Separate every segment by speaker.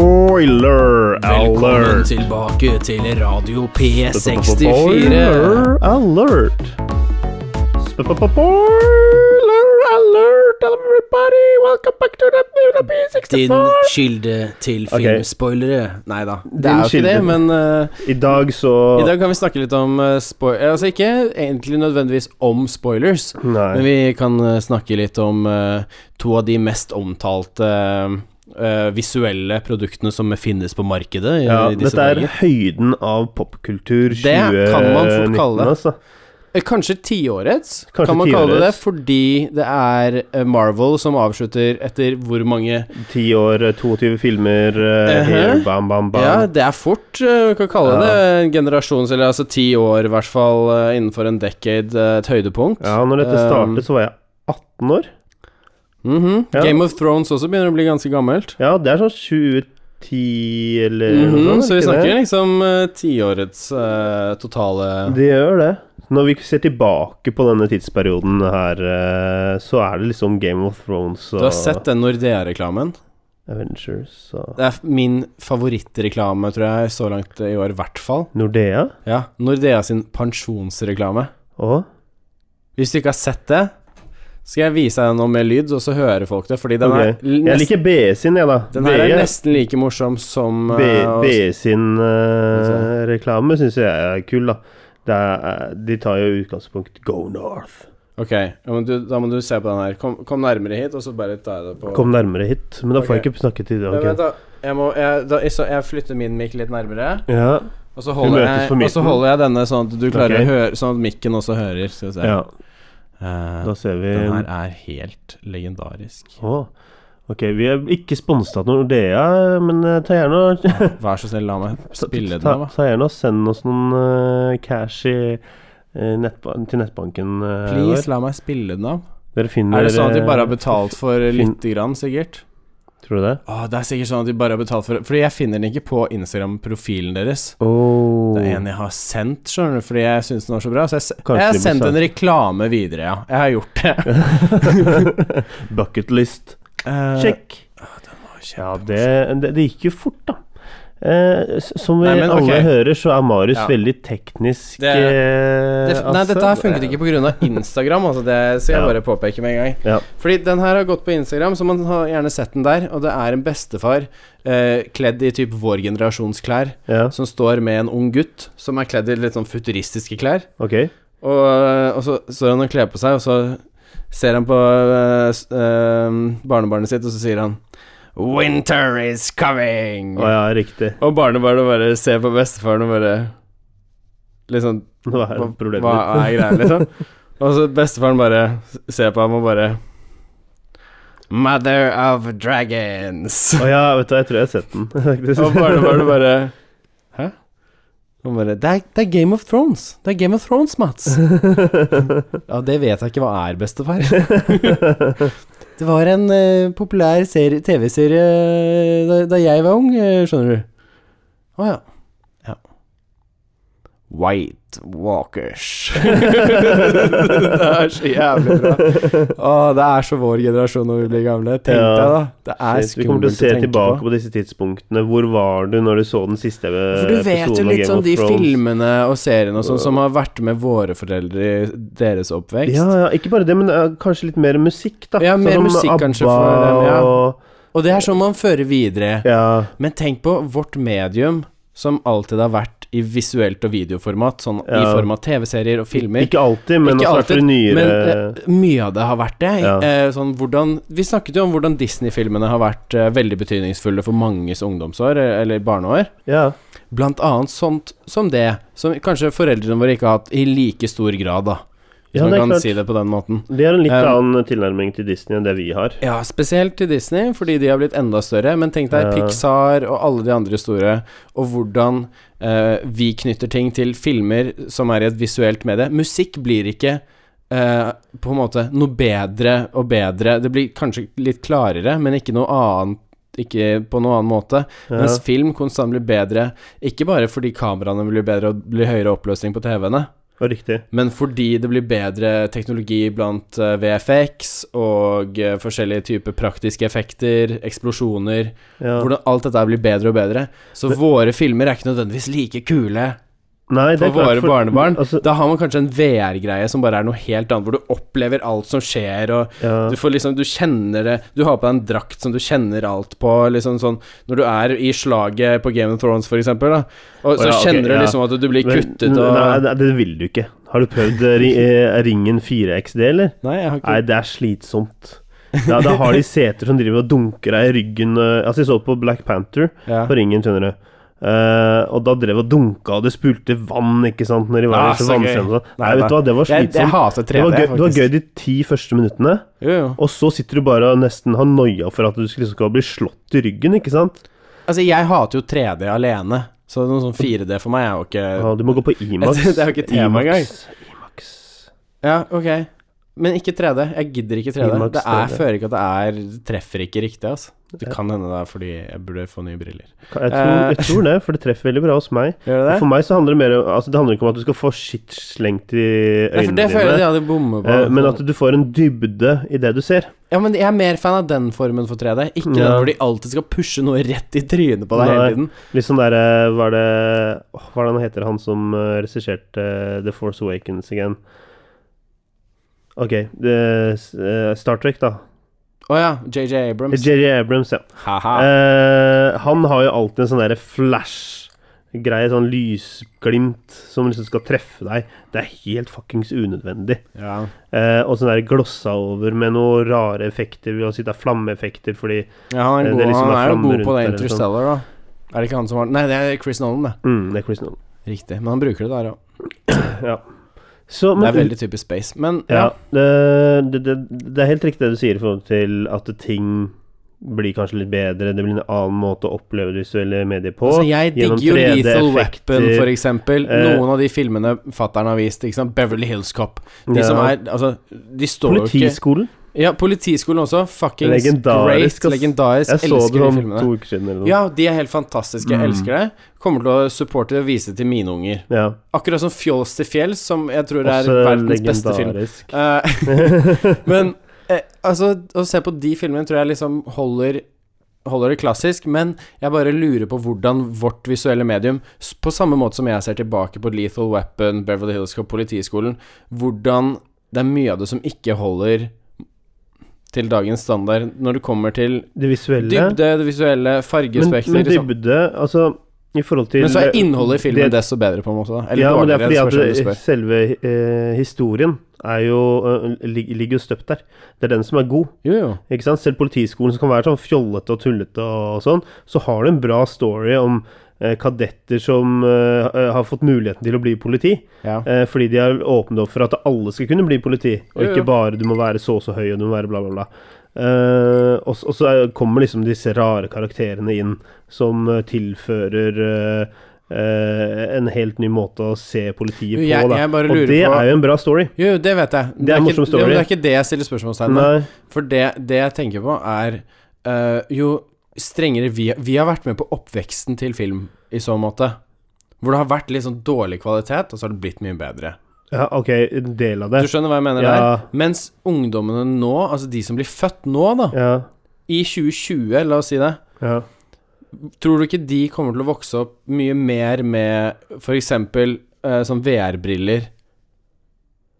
Speaker 1: Spoiler
Speaker 2: Velkommen
Speaker 1: alert.
Speaker 2: tilbake til Radio P64.
Speaker 1: alert. Spoiler alert, everybody. Welcome back to the
Speaker 2: Din
Speaker 1: P64.
Speaker 2: kilde til
Speaker 1: Ok.
Speaker 2: filmspoilere. Nei da,
Speaker 3: Det er jo ikke
Speaker 1: kilde.
Speaker 3: det, men eh,
Speaker 1: I dag så
Speaker 3: i dag kan vi snakke litt om uh, spoilers Altså ikke egentlig nødvendigvis om spoilers, men
Speaker 1: Nei.
Speaker 3: vi kan eh, snakke litt om eh, to av de mest omtalte eh, visuelle produktene som finnes på markedet. I,
Speaker 1: Ja,
Speaker 3: i disse
Speaker 1: dette er
Speaker 3: dager.
Speaker 1: høyden av popkultur 2019.
Speaker 3: Det kan man fort kalle det.
Speaker 1: altså.
Speaker 3: Eh, Kanskje tiårets,
Speaker 1: Kanskje
Speaker 3: kan man kalle det det,
Speaker 1: tiårets.
Speaker 3: fordi det er eh, Marvel som avslutter etter hvor mange
Speaker 1: Ti år, 22 filmer, eh,
Speaker 3: Ehe.
Speaker 1: here, bam, bam, bam.
Speaker 3: Ja, det er fort, eh, vi kan kalle
Speaker 1: Ja.
Speaker 3: det en generasjons, eller altså ti år i hvert fall, eh, innenfor en decade, eh, et høydepunkt.
Speaker 1: Ja, når dette
Speaker 3: Um,
Speaker 1: startet, så var jeg 18 år.
Speaker 3: Mhm.
Speaker 1: Ja.
Speaker 3: Game of Thrones også begynner å bli ganske gammelt.
Speaker 1: Ja, det er sånn 2010 eller
Speaker 3: Mhm,
Speaker 1: noe sånt.
Speaker 3: så
Speaker 1: ikke
Speaker 3: vi
Speaker 1: det?
Speaker 3: snakker liksom eh, tiårets eh, totale
Speaker 1: Det gjør det. Når vi ser tilbake på denne tidsperioden her, eh, så er det liksom Game of Thrones og
Speaker 3: Du har sett den Nordea-reklamen?
Speaker 1: Avengers og
Speaker 3: Det er f- min favorittreklame, tror jeg, så langt i år, i hvert fall.
Speaker 1: Nordea
Speaker 3: Ja, Nordea sin pensjonsreklame.
Speaker 1: og
Speaker 3: Hvis du ikke har sett det, skal jeg vise deg noe med lyd, og så hører folk det, fordi den
Speaker 1: Ok.
Speaker 3: er l-
Speaker 1: Jeg
Speaker 3: nest-
Speaker 1: liker BE sin, jeg, da.
Speaker 3: Den her
Speaker 1: BE
Speaker 3: er nesten like morsom som
Speaker 1: B,
Speaker 3: eh, å-
Speaker 1: BE sin eh,
Speaker 3: Skal
Speaker 1: reklame syns jeg er kul, da. Det er, eh, de tar jo utgangspunkt Go North.
Speaker 3: Ok, ja, men du, da må du se på den her. Kom, kom nærmere hit, og så bare tar jeg det på
Speaker 1: Kom nærmere hit. Men da får jeg
Speaker 3: Ok.
Speaker 1: ikke snakket i
Speaker 3: Men
Speaker 1: dag.
Speaker 3: Vent, da. Jeg, må, jeg, da jeg, så jeg flytter min mikk litt nærmere,
Speaker 1: Ja,
Speaker 3: og så
Speaker 1: Vi
Speaker 3: holder,
Speaker 1: møtes
Speaker 3: jeg,
Speaker 1: på
Speaker 3: og så
Speaker 1: midten.
Speaker 3: holder jeg denne sånn at du klarer
Speaker 1: Ok.
Speaker 3: å høre Sånn at mikken også hører. Skal vi se.
Speaker 1: ja,
Speaker 3: Eh,
Speaker 1: da ser vi
Speaker 3: den her er helt legendarisk.
Speaker 1: Å, Ok, vi er ikke sponset av Nordea, men eh, ta gjerne og
Speaker 3: Vær så snill, la meg spille den
Speaker 1: ta,
Speaker 3: av. da.
Speaker 1: ta gjerne og send oss noen eh, cash i, eh, nettba til nettbanken. eh,
Speaker 3: Please,
Speaker 1: vår.
Speaker 3: la meg spille den av.
Speaker 1: Dere finner
Speaker 3: Er det sånn at de bare har
Speaker 1: eh,
Speaker 3: betalt for lite grann, sikkert?
Speaker 1: Tror du det?
Speaker 3: Åh, det er sikkert sånn at de bare har betalt for Fordi jeg finner den ikke på Instagram-profilen deres.
Speaker 1: Oh.
Speaker 3: Det er en jeg har sendt, skjønner du, fordi jeg syns den var så bra. Så jeg, s-
Speaker 1: Kanskje
Speaker 3: jeg har
Speaker 1: de blir
Speaker 3: sendt en
Speaker 1: sendt.
Speaker 3: reklame videre, ja. Jeg har gjort det.
Speaker 1: Oh. Bucketlist.
Speaker 3: Eh,
Speaker 1: Sjekk. Eh, Ja, det, det, det gikk jo fort, da. Eh, s- som vi
Speaker 3: Nei, men
Speaker 1: alle
Speaker 3: ok.
Speaker 1: hører, så er Marius
Speaker 3: Ja.
Speaker 1: veldig teknisk.
Speaker 3: Det- det,
Speaker 1: eh,
Speaker 3: nei,
Speaker 1: altså.
Speaker 3: dette her funket ikke pga. Instagram, altså det skal jeg
Speaker 1: Ja.
Speaker 3: bare påpeke med en gang.
Speaker 1: Ja.
Speaker 3: Fordi den her har gått på Instagram, så man har gjerne sett den der. Og det er en bestefar eh, kledd i typ vår generasjons klær,
Speaker 1: Ja,
Speaker 3: som står med en ung gutt som er kledd i litt sånn futuristiske klær.
Speaker 1: ok.
Speaker 3: Og, eh, og så står han og kler på seg, og så ser han på eh, s- eh, barnebarnet sitt, og så sier han Winter is coming!
Speaker 1: Å ja, riktig.
Speaker 3: Og barnebarnet bare ser på bestefaren og bare Liksom
Speaker 1: Hva er
Speaker 3: hva-
Speaker 1: problemet
Speaker 3: Hva
Speaker 1: ditt?
Speaker 3: er greia, liksom? og så bestefaren bare s- ser på ham og bare Mother of dragons.
Speaker 1: Å ja, vet du, hva, jeg tror jeg har sett den. faktisk.
Speaker 3: Og barnebarnet bare Hæ? Han bare det er, det er Game of Thrones. Det er Game of Thrones, Mats. ja, det vet jeg ikke hva er, bestefar. det var en eh, populær serie- TV-serie eh, da, da jeg var ung, eh, skjønner du. Å ja. ja. White Walkers. det er så jævlig bra. Å, det er så vår generasjon når vi blir gamle. Tenk
Speaker 1: Ja.
Speaker 3: deg, da. Det er
Speaker 1: Shit, Vi kommer til å
Speaker 3: skummelt å
Speaker 1: se
Speaker 3: tenke
Speaker 1: tilbake
Speaker 3: på.
Speaker 1: på. disse tidspunktene. Hvor var du når du så den siste episoden
Speaker 3: For du vet jo
Speaker 1: av
Speaker 3: litt
Speaker 1: Game
Speaker 3: sånn
Speaker 1: of
Speaker 3: de
Speaker 1: Thrones?
Speaker 3: filmene og seriene og sånn som har vært med våre foreldre i deres oppvekst.
Speaker 1: Ja, ja, ikke bare det, men eh, kanskje litt mer musikk, da.
Speaker 3: Ja, mer
Speaker 1: som
Speaker 3: musikk
Speaker 1: ABBA
Speaker 3: kanskje for dem, ja.
Speaker 1: og
Speaker 3: Og det er sånn man fører videre.
Speaker 1: Ja,
Speaker 3: Men tenk på vårt medium, som alltid har vært i visuelt og videoformat, sånn i
Speaker 1: Ja.
Speaker 3: form av TV-serier og filmer.
Speaker 1: Ikke alltid, men
Speaker 3: Ikke
Speaker 1: også alltid,
Speaker 3: alltid,
Speaker 1: nyere
Speaker 3: Men eh, mye av det har vært det.
Speaker 1: Ja.
Speaker 3: Eh, sånn hvordan, vi snakket jo om hvordan Disney-filmene har vært eh, veldig betydningsfulle for manges ungdomsår, eh, eller barneår.
Speaker 1: Ja.
Speaker 3: Blant annet sånt som det, som kanskje foreldrene våre ikke har hatt i like stor grad, da. Hvis
Speaker 1: Ja, det
Speaker 3: man
Speaker 1: er
Speaker 3: kan
Speaker 1: klart.
Speaker 3: si det på den måten.
Speaker 1: De har en litt
Speaker 3: Eh,
Speaker 1: annen tilnærming til Disney enn det vi har.
Speaker 3: Ja, spesielt til Disney, fordi de har blitt enda større. Men tenk
Speaker 1: Ja.
Speaker 3: deg Pixar og alle de andre store, og hvordan eh, vi knytter ting til filmer som er i et visuelt medie. Musikk blir ikke eh, på en måte noe bedre og bedre. Det blir kanskje litt klarere, men ikke noe annet. Ikke på noen annen måte.
Speaker 1: Ja.
Speaker 3: Mens film konstant blir bedre, ikke bare fordi kameraene blir bedre og blir høyere oppløsning på TV-ene,
Speaker 1: Og riktig.
Speaker 3: Men fordi det blir bedre teknologi blant eh, VFX og eh, forskjellige typer praktiske effekter, eksplosjoner
Speaker 1: Ja.
Speaker 3: Hvordan alt dette blir bedre og bedre. Så våre filmer er ikke nødvendigvis like kule
Speaker 1: Nei,
Speaker 3: for våre barnebarn.
Speaker 1: Altså,
Speaker 3: da har man kanskje en VR-greie som bare er noe helt annet, hvor du opplever alt som skjer, og
Speaker 1: ja.
Speaker 3: du får liksom Du kjenner det Du har på deg en drakt som du kjenner alt på, liksom sånn Når du er i slaget på Game of Thrones, for eksempel, da,
Speaker 1: Å
Speaker 3: og så
Speaker 1: ja, ok,
Speaker 3: kjenner
Speaker 1: ja.
Speaker 3: du liksom at du blir
Speaker 1: Men-
Speaker 3: kuttet og
Speaker 1: Nei, nei, det vil du ikke. Har du prøvd eh, ri- eh, Ringen 4XD, eller?
Speaker 3: Nei, jeg har ikke
Speaker 1: Nei, det er slitsomt. Da, da har de seter som driver og dunker deg i ryggen eh, Altså, jeg så på Black Panther
Speaker 3: ja.
Speaker 1: på Ringen, skjønner du. Eh, og da drev og dunka, og det spulte vann, ikke sant, når de var
Speaker 3: Ah,
Speaker 1: i disse
Speaker 3: så gøy.
Speaker 1: vannstrømmene. og sånn. Nei,
Speaker 3: Nei,
Speaker 1: vet du hva, det var
Speaker 3: Jeg, jeg
Speaker 1: slitsomt.
Speaker 3: hater 3D,
Speaker 1: Det var, gøy, det var
Speaker 3: faktisk.
Speaker 1: gøy de ti første minuttene,
Speaker 3: Jo, jo.
Speaker 1: og så sitter du bare og nesten har noia for at du skal- skal bli slått i ryggen, ikke sant?
Speaker 3: Altså, jeg hater jo 3D alene, så noe sånn 4D for meg er jo ikke
Speaker 1: Ja, du må gå på Imax.
Speaker 3: Det er jo ikke tema
Speaker 1: Imax. Imax.
Speaker 3: Ja, ok. Men ikke 3D. Jeg gidder ikke 3D.
Speaker 1: Filmax
Speaker 3: Det er
Speaker 1: 3D.
Speaker 3: føler ikke at det er det Treffer ikke riktig, altså. Det kan hende det er fordi jeg burde få nye briller.
Speaker 1: Jeg tror, jeg
Speaker 3: Eh.
Speaker 1: tror det, for det treffer veldig bra hos meg.
Speaker 3: Gjør det
Speaker 1: For meg så handler det mer om altså Det handler ikke om at du skal få shit slengt i
Speaker 3: Nei, for
Speaker 1: øynene
Speaker 3: det føler jeg de
Speaker 1: dine,
Speaker 3: hadde bommet på.
Speaker 1: eh, men at du får en dybde i det du ser.
Speaker 3: Ja, men jeg er mer fan av den formen for 3D. Ikke den
Speaker 1: Ja.
Speaker 3: hvor de alltid skal pushe noe rett i trynet på deg hele
Speaker 1: Nei.
Speaker 3: tiden.
Speaker 1: Litt sånn derre Var det åh, Hva er det han heter, han som eh, regisserte eh, The Force Awakens igjen? Ok, det, eh, Star Trek, da.
Speaker 3: Å ja, JJ Abrams.
Speaker 1: Jerry Abrams, ja.
Speaker 3: Haha.
Speaker 1: Eh, han har jo alltid en sånn derre flash-greie, sånn lysglimt som liksom skal treffe deg. Det er helt fuckings unødvendig.
Speaker 3: Ja.
Speaker 1: Eh, og sånn der glossa over med noen rare effekter, vi har sett av flammeeffekter fordi
Speaker 3: ja, han
Speaker 1: Det
Speaker 3: er,
Speaker 1: er
Speaker 3: god.
Speaker 1: liksom
Speaker 3: han
Speaker 1: bare
Speaker 3: er jo
Speaker 1: flammer
Speaker 3: god på
Speaker 1: rundt
Speaker 3: det
Speaker 1: der,
Speaker 3: Interstellar, da. Er det ikke han som var Nei, det er Chris Nolan, det.
Speaker 1: mm, Det er Chris Nolan.
Speaker 3: Riktig. Men han bruker det der òg.
Speaker 1: Så,
Speaker 3: Det
Speaker 1: men,
Speaker 3: er veldig typisk space. Men ja.
Speaker 1: ja, det, det, det, det er helt riktig det du sier i forhold til at ting blir kanskje litt bedre, det blir en annen måte å oppleve det visuelle medier på.
Speaker 3: altså, jeg
Speaker 1: gjennom
Speaker 3: digger jo Lethal
Speaker 1: 3D-effekter.
Speaker 3: Weapon, for eksempel.
Speaker 1: Eh,
Speaker 3: Noen av de filmene fattern har vist, ikke sant. Beverly Hills Cop. De som
Speaker 1: Ja.
Speaker 3: er Altså, de står jo ikke
Speaker 1: Politiskolen.
Speaker 3: Ja, Politiskolen også. Fucking
Speaker 1: Legendarisk,
Speaker 3: great.
Speaker 1: ass.
Speaker 3: Legendarisk.
Speaker 1: Jeg så det
Speaker 3: Elsker de
Speaker 1: om
Speaker 3: filmene.
Speaker 1: to Mm. uker siden eller noe.
Speaker 3: Ja, de er helt fantastiske. Jeg elsker det. Kommer til å supporte det og vise det til mine unger.
Speaker 1: Ja.
Speaker 3: Akkurat som Fjols til fjells, som jeg tror er
Speaker 1: Også
Speaker 3: verdens beste film.
Speaker 1: legendarisk.
Speaker 3: Eh, men eh, altså, å se på de filmene tror jeg liksom holder Holder det klassisk, men jeg bare lurer på hvordan vårt visuelle medium, s- på samme måte som jeg ser tilbake på Lethal Weapon, Beverly Hills Cop, Politiskolen, hvordan det er mye av det som ikke holder til dagens standard når det kommer til
Speaker 1: Det visuelle.
Speaker 3: dybde, det visuelle, fargespekter
Speaker 1: men, men
Speaker 3: liksom.
Speaker 1: dybde, altså i forhold til
Speaker 3: Men så er innholdet i filmen
Speaker 1: det-
Speaker 3: desto bedre, på en måte. Da. Eller
Speaker 1: Ja, men det er fordi
Speaker 3: dårligere, spørs om du
Speaker 1: at
Speaker 3: spør.
Speaker 1: det- selve eh, historien er jo, eh, lig- ligger jo støpt der. Det er den som er god.
Speaker 3: Jo, jo.
Speaker 1: Ikke sant? Selv politiskolen som kan være sånn fjollete og tullete og sånn, så har du en bra story om eh, kadetter som eh, har fått muligheten til å bli politi.
Speaker 3: Ja.
Speaker 1: Eh, fordi de har åpnet opp for at alle skal kunne bli politi, og
Speaker 3: Jo, jo.
Speaker 1: ikke bare du må være så og så høy og du må være bla, bla, bla. Eh, og, s- og så er- kommer liksom disse rare karakterene inn som eh, tilfører eh, eh, en helt ny måte å se politiet
Speaker 3: Jo,
Speaker 1: på.
Speaker 3: jeg-
Speaker 1: da.
Speaker 3: jeg bare
Speaker 1: og
Speaker 3: lurer
Speaker 1: det
Speaker 3: på-
Speaker 1: er jo en bra story.
Speaker 3: Jo, jo, det vet jeg.
Speaker 1: Det er en morsom
Speaker 3: ikke,
Speaker 1: story.
Speaker 3: men det er ikke det jeg stiller spørsmålstegn ved.
Speaker 1: Nei,
Speaker 3: For det, det jeg tenker på, er eh, Jo strengere vi Vi har vært med på oppveksten til film i så måte. Hvor det har vært litt sånn dårlig kvalitet, og så har det blitt mye bedre.
Speaker 1: ja, ok, en del av det.
Speaker 3: Du skjønner hva jeg mener
Speaker 1: Ja.
Speaker 3: der? Mens ungdommene nå, altså de som blir født nå, da,
Speaker 1: Ja,
Speaker 3: i 2020, la oss si det,
Speaker 1: ja.
Speaker 3: Tror du ikke de kommer til å vokse opp mye mer med f.eks. Uh, sånn VR-briller?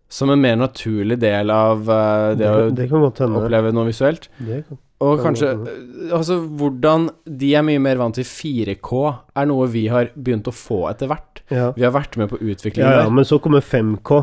Speaker 3: Som en mer naturlig del av eh, det,
Speaker 1: Det, det kan godt
Speaker 3: å
Speaker 1: hende.
Speaker 3: oppleve noe visuelt?
Speaker 1: Det kan.
Speaker 3: Og
Speaker 1: Kan
Speaker 3: kanskje
Speaker 1: godt
Speaker 3: eh, Altså, hvordan de er mye mer vant til 4K, er noe vi har begynt å få etter hvert.
Speaker 1: Ja.
Speaker 3: Vi har vært med på utviklingen
Speaker 1: ja, ja,
Speaker 3: der.
Speaker 1: men så kommer 5K.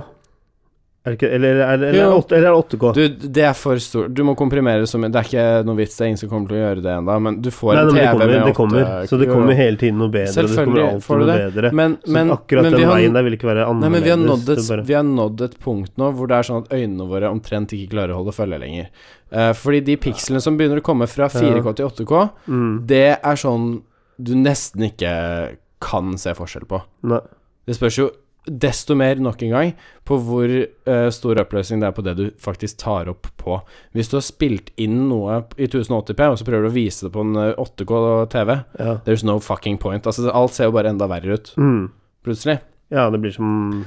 Speaker 1: Er det ikke, eller, eller, eller,
Speaker 3: Jo.
Speaker 1: eller, åtte- eller er det 8K?
Speaker 3: Du, det er for stort. Du må komprimere det så mye. Det er ikke noe vits, det er ingen som kommer til å gjøre det ennå, men du får
Speaker 1: Nei, nei, men
Speaker 3: en
Speaker 1: det
Speaker 3: TV
Speaker 1: kommer,
Speaker 3: med
Speaker 1: det kommer.
Speaker 3: 8K.
Speaker 1: Så det kommer hele tiden noe bedre. og Det kommer
Speaker 3: Selvfølgelig får
Speaker 1: alltid
Speaker 3: du
Speaker 1: noe
Speaker 3: det.
Speaker 1: bedre.
Speaker 3: Men, men,
Speaker 1: så akkurat
Speaker 3: men vi
Speaker 1: den
Speaker 3: har-
Speaker 1: veien der vil ikke være
Speaker 3: Nei,
Speaker 1: annerledes.
Speaker 3: men vi har, nådd et,
Speaker 1: det er bare-
Speaker 3: vi har nådd et punkt nå hvor det er sånn at øynene våre omtrent ikke klarer å holde følge lenger. Eh, fordi de pikslene som begynner å komme fra 4K til 8K,
Speaker 1: mm,
Speaker 3: det er sånn du nesten ikke kan se forskjell på.
Speaker 1: nei.
Speaker 3: Det spørs jo desto mer, nok en gang, på hvor eh, stor oppløsning det er på det du faktisk tar opp på. Hvis du har spilt inn noe i 1080p, og så prøver du å vise det på en eh, 8K TV,
Speaker 1: Ja.
Speaker 3: there's no fucking point. Altså, alt ser jo bare enda verre ut,
Speaker 1: Mm.
Speaker 3: plutselig.
Speaker 1: ja, det blir som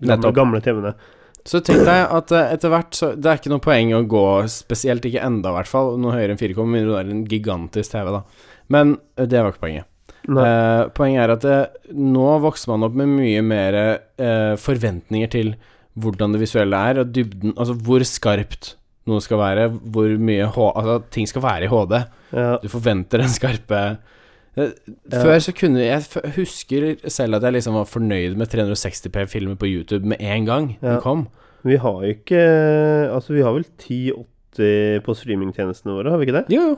Speaker 1: Gamle,
Speaker 3: Nettopp.
Speaker 1: gamle TV-ene.
Speaker 3: Så tenk deg at eh, etter hvert så Det er ikke noe poeng å gå, spesielt ikke enda i hvert fall, noe høyere enn 4,0, men det er en gigantisk TV, da. Men eh, det var ikke poenget.
Speaker 1: Nei.
Speaker 3: Eh, poenget er at eh, nå vokser man opp med mye mer eh, forventninger til hvordan det visuelle er, og dybden Altså hvor skarpt noe skal være, hvor mye H... Altså at ting skal være i HD.
Speaker 1: Ja.
Speaker 3: Du forventer den skarpe Eh, Før så kunne Jeg f- husker selv at jeg liksom var fornøyd med 360p-filmer på YouTube med en gang
Speaker 1: Ja.
Speaker 3: den kom.
Speaker 1: Vi har jo ikke Altså, vi har vel 1080 på streamingtjenestene våre, har vi ikke det?
Speaker 3: Jo, jo.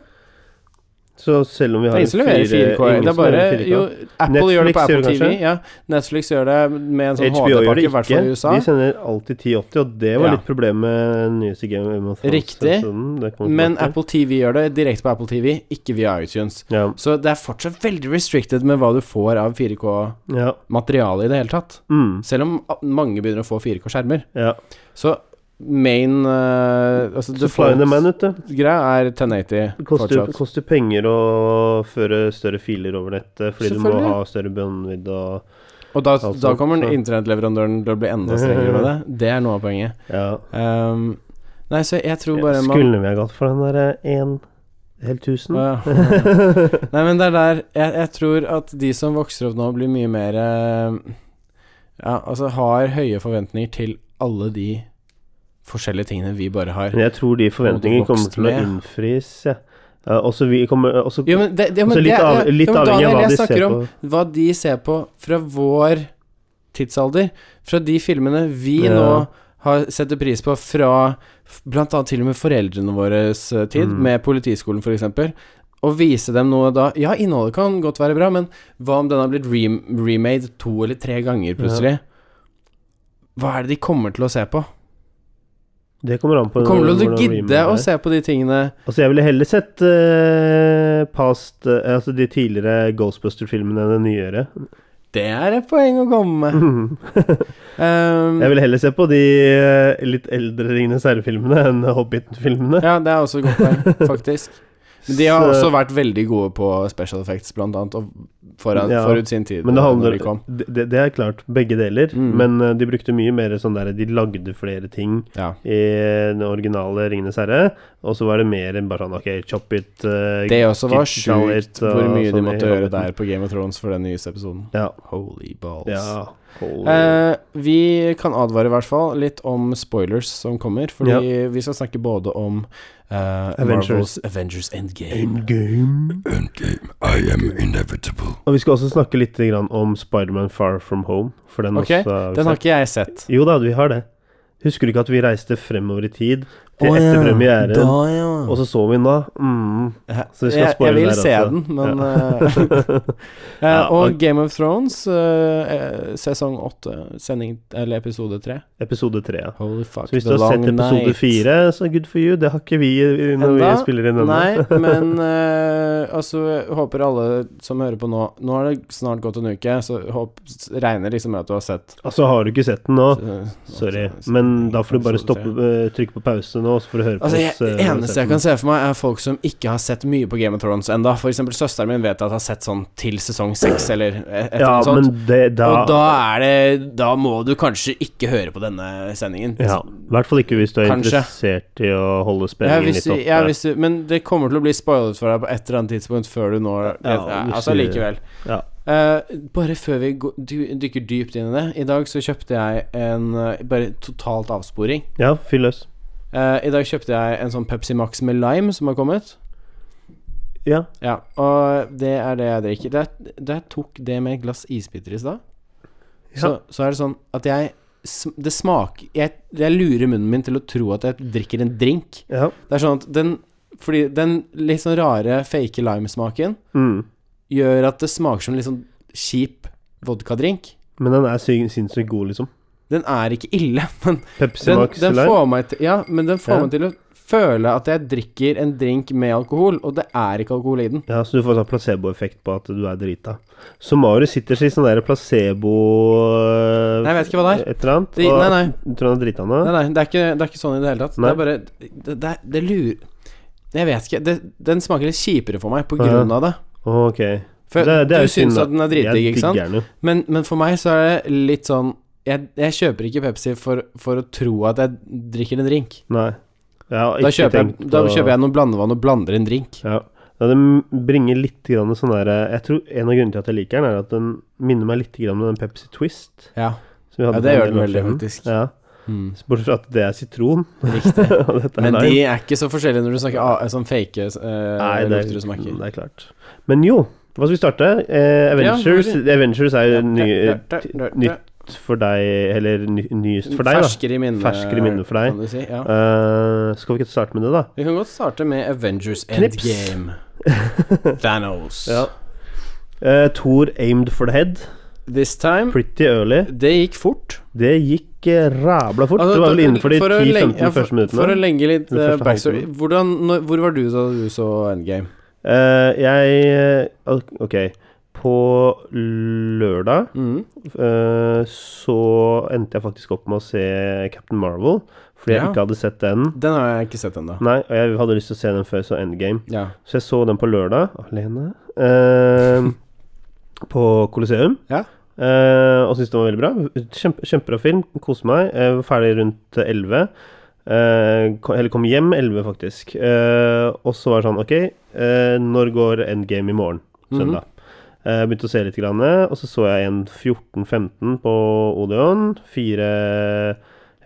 Speaker 1: Så selv om vi
Speaker 3: Det
Speaker 1: har
Speaker 3: er ingen som leverer 4K.
Speaker 1: ingen
Speaker 3: Det er
Speaker 1: som
Speaker 3: bare
Speaker 1: leverer 4K.
Speaker 3: Jo, Apple gjør det på
Speaker 1: Netflix gjør
Speaker 3: Apple
Speaker 1: det
Speaker 3: TV.
Speaker 1: kanskje?
Speaker 3: Ja, Netflix gjør det med en sånn
Speaker 1: HBO gjør det
Speaker 3: HD-pakke, i hvert
Speaker 1: ikke.
Speaker 3: fall i USA.
Speaker 1: De sender alltid 1080, og det var
Speaker 3: Ja.
Speaker 1: litt problemet med den nyeste Game of Thrones.
Speaker 3: Riktig.
Speaker 1: episoden. Det kommer vi
Speaker 3: Men
Speaker 1: tilbake
Speaker 3: Apple TV gjør det direkte på Apple TV, ikke via iTunes.
Speaker 1: til. ja.
Speaker 3: Så det er fortsatt veldig restricted med hva du får av 4K-materiale
Speaker 1: Ja.
Speaker 3: i det hele tatt.
Speaker 1: Mm.
Speaker 3: Selv om a- mange begynner å få 4K-skjermer.
Speaker 1: ja.
Speaker 3: Så main eh, Altså
Speaker 1: Så fly in the man, vet du.
Speaker 3: greia er 1080
Speaker 1: Det koster,
Speaker 3: fortsatt.
Speaker 1: koster penger å føre større filer over nettet fordi du må
Speaker 3: Selvfølgelig.
Speaker 1: ha større båndvidde og
Speaker 3: Og da,
Speaker 1: Altså,
Speaker 3: da kommer
Speaker 1: så-
Speaker 3: internettleverandøren til å bli enda strengere med det. Det er noe av poenget.
Speaker 1: Ja.
Speaker 3: Ehm, nei, så jeg tror bare man
Speaker 1: Skulle vi ha gått for den derre én helt tusen?
Speaker 3: Å, ja. Nei, men det er der jeg, jeg tror at de som vokser opp nå, blir mye mer eh, Ja, altså har høye forventninger til alle de forskjellige tingene vi bare har.
Speaker 1: Men jeg tror de forventningene
Speaker 3: Hadde
Speaker 1: kommer
Speaker 3: vokst
Speaker 1: til å
Speaker 3: med.
Speaker 1: innfris, ja. Eh, også vi kommer også,
Speaker 3: Jo, men det, det,
Speaker 1: også
Speaker 3: men
Speaker 1: Altså, litt,
Speaker 3: det-
Speaker 1: av,
Speaker 3: ja,
Speaker 1: litt
Speaker 3: jo,
Speaker 1: avhengig
Speaker 3: men
Speaker 1: av
Speaker 3: Daniel,
Speaker 1: hva
Speaker 3: jeg
Speaker 1: de
Speaker 3: snakker
Speaker 1: ser
Speaker 3: om
Speaker 1: på.
Speaker 3: Hva de ser på fra vår tidsalder, fra de filmene vi
Speaker 1: Ja.
Speaker 3: nå har setter pris på fra f- blant annet til og med foreldrene våres eh, tid,
Speaker 1: Mm.
Speaker 3: med Politiskolen f.eks., og vise dem noe da Ja, innholdet kan godt være bra, men hva om den har blitt rem remade to eller tre ganger plutselig? Hva er det de kommer til å se på?
Speaker 1: Det kommer an på
Speaker 3: Kommer
Speaker 1: hvordan
Speaker 3: til å
Speaker 1: remake
Speaker 3: gidde
Speaker 1: er.
Speaker 3: å se på de tingene
Speaker 1: Altså, jeg ville heller sett eh, past eh, Altså de tidligere Ghostbuster-filmene enn den nyere.
Speaker 3: Det er et poeng å komme med. Um,
Speaker 1: Jeg ville heller se på de eh, litt eldre Ringenes herre-filmene enn Hobbiten-filmene.
Speaker 3: Ja, det er også et godt poeng, faktisk. Men de har
Speaker 1: Så-
Speaker 3: også vært veldig gode på special effects, blant annet, og foran,
Speaker 1: Ja,
Speaker 3: forut sin tid. eh,
Speaker 1: Men det
Speaker 3: når
Speaker 1: handler
Speaker 3: de kom.
Speaker 1: det, det- det er klart, begge deler.
Speaker 3: Mm.
Speaker 1: Men eh, de brukte mye mer sånn der De lagde flere ting
Speaker 3: Ja.
Speaker 1: i den originale Ringenes herre. Og så var det mer enn bare sånn OK, chop it eh,
Speaker 3: Det også var
Speaker 1: digitalet
Speaker 3: sjukt
Speaker 1: og
Speaker 3: hvor mye de
Speaker 1: sånn i
Speaker 3: måtte gjøre
Speaker 1: Hobbiten.
Speaker 3: der på Game of Thrones for den nyeste episoden.
Speaker 1: Ja.
Speaker 3: Holy balls.
Speaker 1: ja holy-
Speaker 3: Eh, vi kan advare i hvert fall litt om spoilers som kommer, fordi vi skal snakke både om eh,
Speaker 1: Avengers.
Speaker 3: Marvels Avengers Endgame.
Speaker 1: Endgame.
Speaker 2: I am inevitable.
Speaker 1: Og vi skal også snakke litt grann om Spiderman Far From Home. For den
Speaker 3: Ok,
Speaker 1: også har vi
Speaker 3: Den har
Speaker 1: sett.
Speaker 3: ikke jeg sett.
Speaker 1: Jo da, vi har det. Husker du ikke at vi reiste fremover i tid til
Speaker 3: Å, ja.
Speaker 1: etter premieren?
Speaker 3: Da, ja.
Speaker 1: Og så så vi den da. Mm. så vi skal
Speaker 3: jeg,
Speaker 1: spoile
Speaker 3: jeg vil
Speaker 1: den her
Speaker 3: se
Speaker 1: også.
Speaker 3: den, men eh,
Speaker 1: Ja,
Speaker 3: eh, Og
Speaker 1: og-
Speaker 3: Game of Thrones, eh, eh, sesong åtte, sending Eller episode tre.
Speaker 1: Episode tre, ja.
Speaker 3: Holy fuck,
Speaker 1: Så hvis du har sett episode fire, så good for you. Det har ikke vi eh, når vi
Speaker 3: Enda?
Speaker 1: spiller inn
Speaker 3: Nei,
Speaker 1: ennå.
Speaker 3: men eh, altså jeg håper alle som hører på nå Nå har det snart gått en uke, så håp, regner liksom med at du har sett
Speaker 1: Altså, har du ikke sett den nå,
Speaker 3: eh,
Speaker 1: sorry.
Speaker 3: altså,
Speaker 1: Men da får du bare
Speaker 3: episode
Speaker 1: stoppe,
Speaker 3: tre.
Speaker 1: eh, trykke på pause nå, så får du høre på
Speaker 3: Altså, jeg,
Speaker 1: oss. eh, når du har sett
Speaker 3: eneste jeg
Speaker 1: den.
Speaker 3: kan se for meg, er folk som ikke har sett mye på Game of Thrones ennå. eksempel søsteren min vet at jeg har sett sånn til sesong seks, eller et et eller
Speaker 1: Ja,
Speaker 3: annet sånt.
Speaker 1: men det, da,
Speaker 3: Og da er det Da må du kanskje ikke høre på denne sendingen.
Speaker 1: ja, I hvert fall ikke hvis du er
Speaker 3: Kanskje.
Speaker 1: interessert i å holde
Speaker 3: Ja,
Speaker 1: spenningen
Speaker 3: hvis
Speaker 1: litt
Speaker 3: du,
Speaker 1: oppe.
Speaker 3: ja, hvis du, men det kommer til å bli spoilet for deg på et eller annet tidspunkt før du når
Speaker 1: Ja,
Speaker 3: ja,
Speaker 1: hvis
Speaker 3: Altså
Speaker 1: du-
Speaker 3: likevel.
Speaker 1: Ja.
Speaker 3: Eh, bare før vi går, du, dykker dypt inn i det I dag så kjøpte jeg en eh, Bare totalt avsporing.
Speaker 1: ja, fyll løs.
Speaker 3: Eh, I dag kjøpte jeg en sånn Pepsi Max med lime som har kommet.
Speaker 1: Ja.
Speaker 3: Ja, og det er det jeg drikker. Da da jeg tok det med et glass isbiter i stad,
Speaker 1: Ja.
Speaker 3: så, så er det sånn at jeg sm- Det smaker jeg, jeg lurer munnen min til å tro at jeg drikker en drink.
Speaker 1: ja.
Speaker 3: Det er sånn at den Fordi den litt sånn rare fake limesmaken
Speaker 1: Mm.
Speaker 3: gjør at det smaker som litt sånn kjip vodkadrink.
Speaker 1: Men den er sin- sinnssykt god, liksom.
Speaker 3: Den er ikke ille, men
Speaker 1: Pepsi
Speaker 3: den,
Speaker 1: Max
Speaker 3: den
Speaker 1: Lime.
Speaker 3: får meg til Ja, men den får
Speaker 1: Ja.
Speaker 3: meg til å føle at jeg drikker en drink med alkohol, og det er ikke alkohol i den.
Speaker 1: Ja, så du får sånn placeboeffekt på at du er drita. Så Marius sitter i sånn der placebo øh,
Speaker 3: Nei, jeg vet ikke hva det
Speaker 1: Et eller annet.
Speaker 3: Det,
Speaker 1: og
Speaker 3: nei, nei.
Speaker 1: Du tror han er drita nå?
Speaker 3: Nei, nei, det er ikke, det er ikke sånn i det hele tatt.
Speaker 1: Nei.
Speaker 3: Det er bare Det, det, er- det lurer Jeg vet ikke. Det, den smaker litt kjipere for meg på
Speaker 1: Ja.
Speaker 3: grunn av det.
Speaker 1: Å, Ok.
Speaker 3: For
Speaker 1: Det- det er jo
Speaker 3: du syns
Speaker 1: synd, da.
Speaker 3: at den er dritdigg, ikke sant?
Speaker 1: Jeg digger den jo.
Speaker 3: Men, men for meg så er det litt sånn jeg, jeg kjøper ikke Pepsi for, for å tro at jeg drikker en drink.
Speaker 1: Nei. Jeg har
Speaker 3: Da
Speaker 1: ikke
Speaker 3: kjøper,
Speaker 1: tenkt
Speaker 3: jeg, da
Speaker 1: å-
Speaker 3: kjøper jeg noe blandevann og blander en drink.
Speaker 1: Ja. ja, den bringer litt grann sånn der Jeg tror en av grunnene til at jeg liker den, er at den minner meg litt grann om den Pepsi Twist.
Speaker 3: Ja,
Speaker 1: Som vi
Speaker 3: ja
Speaker 1: hadde for
Speaker 3: det gjør
Speaker 1: en
Speaker 3: den
Speaker 1: del
Speaker 3: veldig,
Speaker 1: år siden.
Speaker 3: faktisk.
Speaker 1: Ja.
Speaker 3: Mm.
Speaker 1: Så Bortsett fra at det er sitron.
Speaker 3: Riktig.
Speaker 1: og dette er
Speaker 3: Men
Speaker 1: lime.
Speaker 3: de er ikke så forskjellige når du snakker ah, sånn fake eh,
Speaker 1: Nei, det
Speaker 3: lukter og
Speaker 1: er,
Speaker 3: smaker.
Speaker 1: det er klart. Men jo, hva skal vi starte? Eh, Avengers,
Speaker 3: hvor-
Speaker 1: Avengers er jo ny,
Speaker 3: Nytt
Speaker 1: nytt for deg, eller ny, nyest for deg, da.
Speaker 3: Ferskere i minnet.
Speaker 1: Ferskere i minnet for deg.
Speaker 3: Kan du si, ja.
Speaker 1: Eh, skal vi ikke starte med det, da?
Speaker 3: Vi kan godt starte med Avengers
Speaker 1: Knips.
Speaker 3: Endgame. Thanos.
Speaker 1: Ja. Eh, Thor aimed for the head.
Speaker 3: This time
Speaker 1: Pretty early.
Speaker 3: Det gikk fort.
Speaker 1: Det gikk eh, rabla fort.
Speaker 3: Altså,
Speaker 1: det var vel innenfor de
Speaker 3: for å
Speaker 1: 10-15
Speaker 3: lenge- ja, for-
Speaker 1: første minuttene.
Speaker 3: For å legge litt
Speaker 1: Den
Speaker 3: eh,
Speaker 1: første
Speaker 3: backstory
Speaker 1: halvtimen.
Speaker 3: Hvordan, når, Hvor var du da du så Endgame?
Speaker 1: Eh, jeg eh, Ok. På lørdag
Speaker 3: Mm.
Speaker 1: eh, så endte jeg faktisk opp med å se Captain Marvel, fordi jeg
Speaker 3: Ja.
Speaker 1: ikke hadde sett den.
Speaker 3: Den har jeg ikke sett ennå.
Speaker 1: Nei, og jeg hadde lyst til å se den før jeg så Endgame.
Speaker 3: Ja.
Speaker 1: Så jeg så den på lørdag alene. eh, på Colosseum.
Speaker 3: Ja.
Speaker 1: Eh, og syntes den var veldig bra. Kjempe, kjempebra film. Koste meg. Jeg var ferdig rundt 11. Eh, kom, eller kom hjem 11, faktisk. Eh, og så var det sånn Ok, eh, når går Endgame i morgen? Søndag. Eh, begynte å se litt, grann, og så så jeg en 14-15 på Odeon. Fire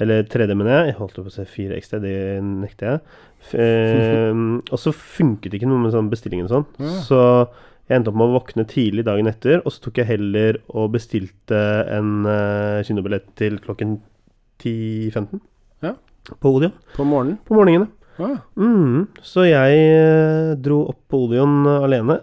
Speaker 1: Eller 3D, mener jeg. Jeg holdt på å se 4XD, det nekter jeg. F- Eh, og så funket ikke noe med sånn bestillingen og sånn.
Speaker 3: Ja.
Speaker 1: Så jeg endte opp med å våkne tidlig dagen etter, og så tok jeg heller og bestilte en eh, kinobillett til klokken 10.15
Speaker 3: Ja.
Speaker 1: på Odeon
Speaker 3: På morgenen?
Speaker 1: på morgenene.
Speaker 3: Ah.
Speaker 1: Mm, så jeg eh, dro opp på Odeon eh, alene.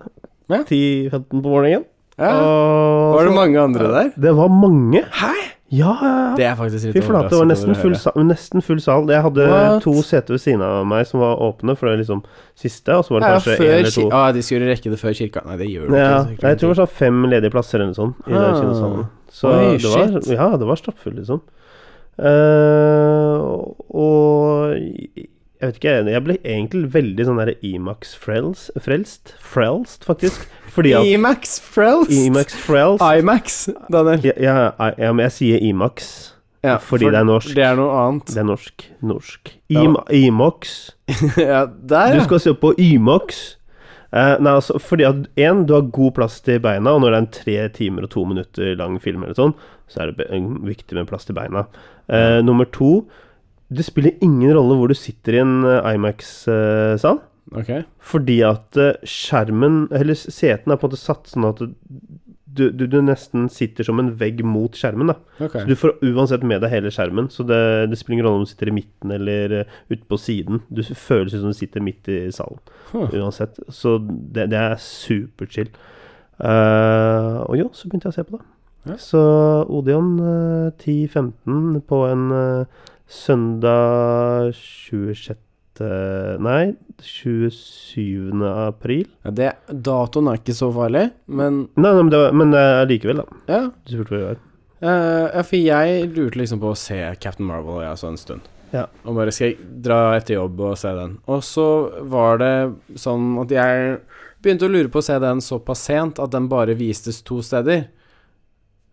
Speaker 3: Ja.
Speaker 1: 10-15 på morgenen.
Speaker 3: Ja.
Speaker 1: Og
Speaker 3: Var det
Speaker 1: så-
Speaker 3: mange andre der?
Speaker 1: Det var mange.
Speaker 3: Hæ?
Speaker 1: Ja, ja, ja.
Speaker 3: Det er faktisk litt
Speaker 1: Fy flate, det var nesten full, sal, nesten full sal. Jeg hadde
Speaker 3: What?
Speaker 1: to seter ved siden av meg som var åpne, for det er liksom siste, og så var det
Speaker 3: Ja,
Speaker 1: kanskje
Speaker 3: før
Speaker 1: én eller to.
Speaker 3: ki- ah, de skulle rekke det før kirka. Nei, det gjør du
Speaker 1: Ja,
Speaker 3: ikke.
Speaker 1: jeg tror det var sånn fem ledige plasser eller noe sånt i den
Speaker 3: Ah.
Speaker 1: kinosalen. Så
Speaker 3: Oi,
Speaker 1: det var,
Speaker 3: shit.
Speaker 1: ja, det var stappfullt, liksom. Eh, og jeg vet ikke, jeg ble egentlig veldig sånn derre Imax frelst, frelst, frelst faktisk. Fordi at
Speaker 3: Imax Frelst.
Speaker 1: sånn- Imax frelst
Speaker 3: Imax, Daniel.
Speaker 1: ja, ja, I- ja, men jeg sier Imax
Speaker 3: Ja,
Speaker 1: fordi det er norsk.
Speaker 3: Det er noe annet.
Speaker 1: Det er norsk. Norsk.
Speaker 3: Ja.
Speaker 1: Im Imax.
Speaker 3: ja, der,
Speaker 1: Du
Speaker 3: Ah, ja.
Speaker 1: skal se på Imax. Eh, nei, altså, fordi at en, du har god plass til beina, og når det er en tre timer og to minutter lang film, eller sånn, så er det be- viktig med plass til beina. Eh, Nummer to Det spiller ingen rolle hvor du sitter i en eh, Imax-sal,
Speaker 3: Ok.
Speaker 1: fordi at eh, skjermen, eller s- setene, er på en måte satt sånn at du, du, du nesten sitter som en vegg mot skjermen. da
Speaker 3: ok.
Speaker 1: så du får uansett med deg hele skjermen, så det, det spiller ingen rolle om du sitter i midten eller eh, ute på siden. Du s- føles ut som du sitter midt i salen,
Speaker 3: Huh.
Speaker 1: uansett. Så det, det er superchill. Eh, og jo, så begynte jeg å se på det.
Speaker 3: Ja.
Speaker 1: Så Odeon eh, 10.15 på en eh, søndag 26. Nei, 27. april.
Speaker 3: Ja, det, datoen er ikke så farlig, men
Speaker 1: Nei, nei men, det var, men eh, likevel, da.
Speaker 3: ja.
Speaker 1: Du spurte hva det var.
Speaker 3: Eh, ja, for jeg lurte liksom på å se Captain Marvel ja, så en stund.
Speaker 1: Ja.
Speaker 3: Og bare skal jeg dra etter jobb og se den. Og så var det sånn at jeg begynte å lure på å se den såpass sent at den bare vistes to steder.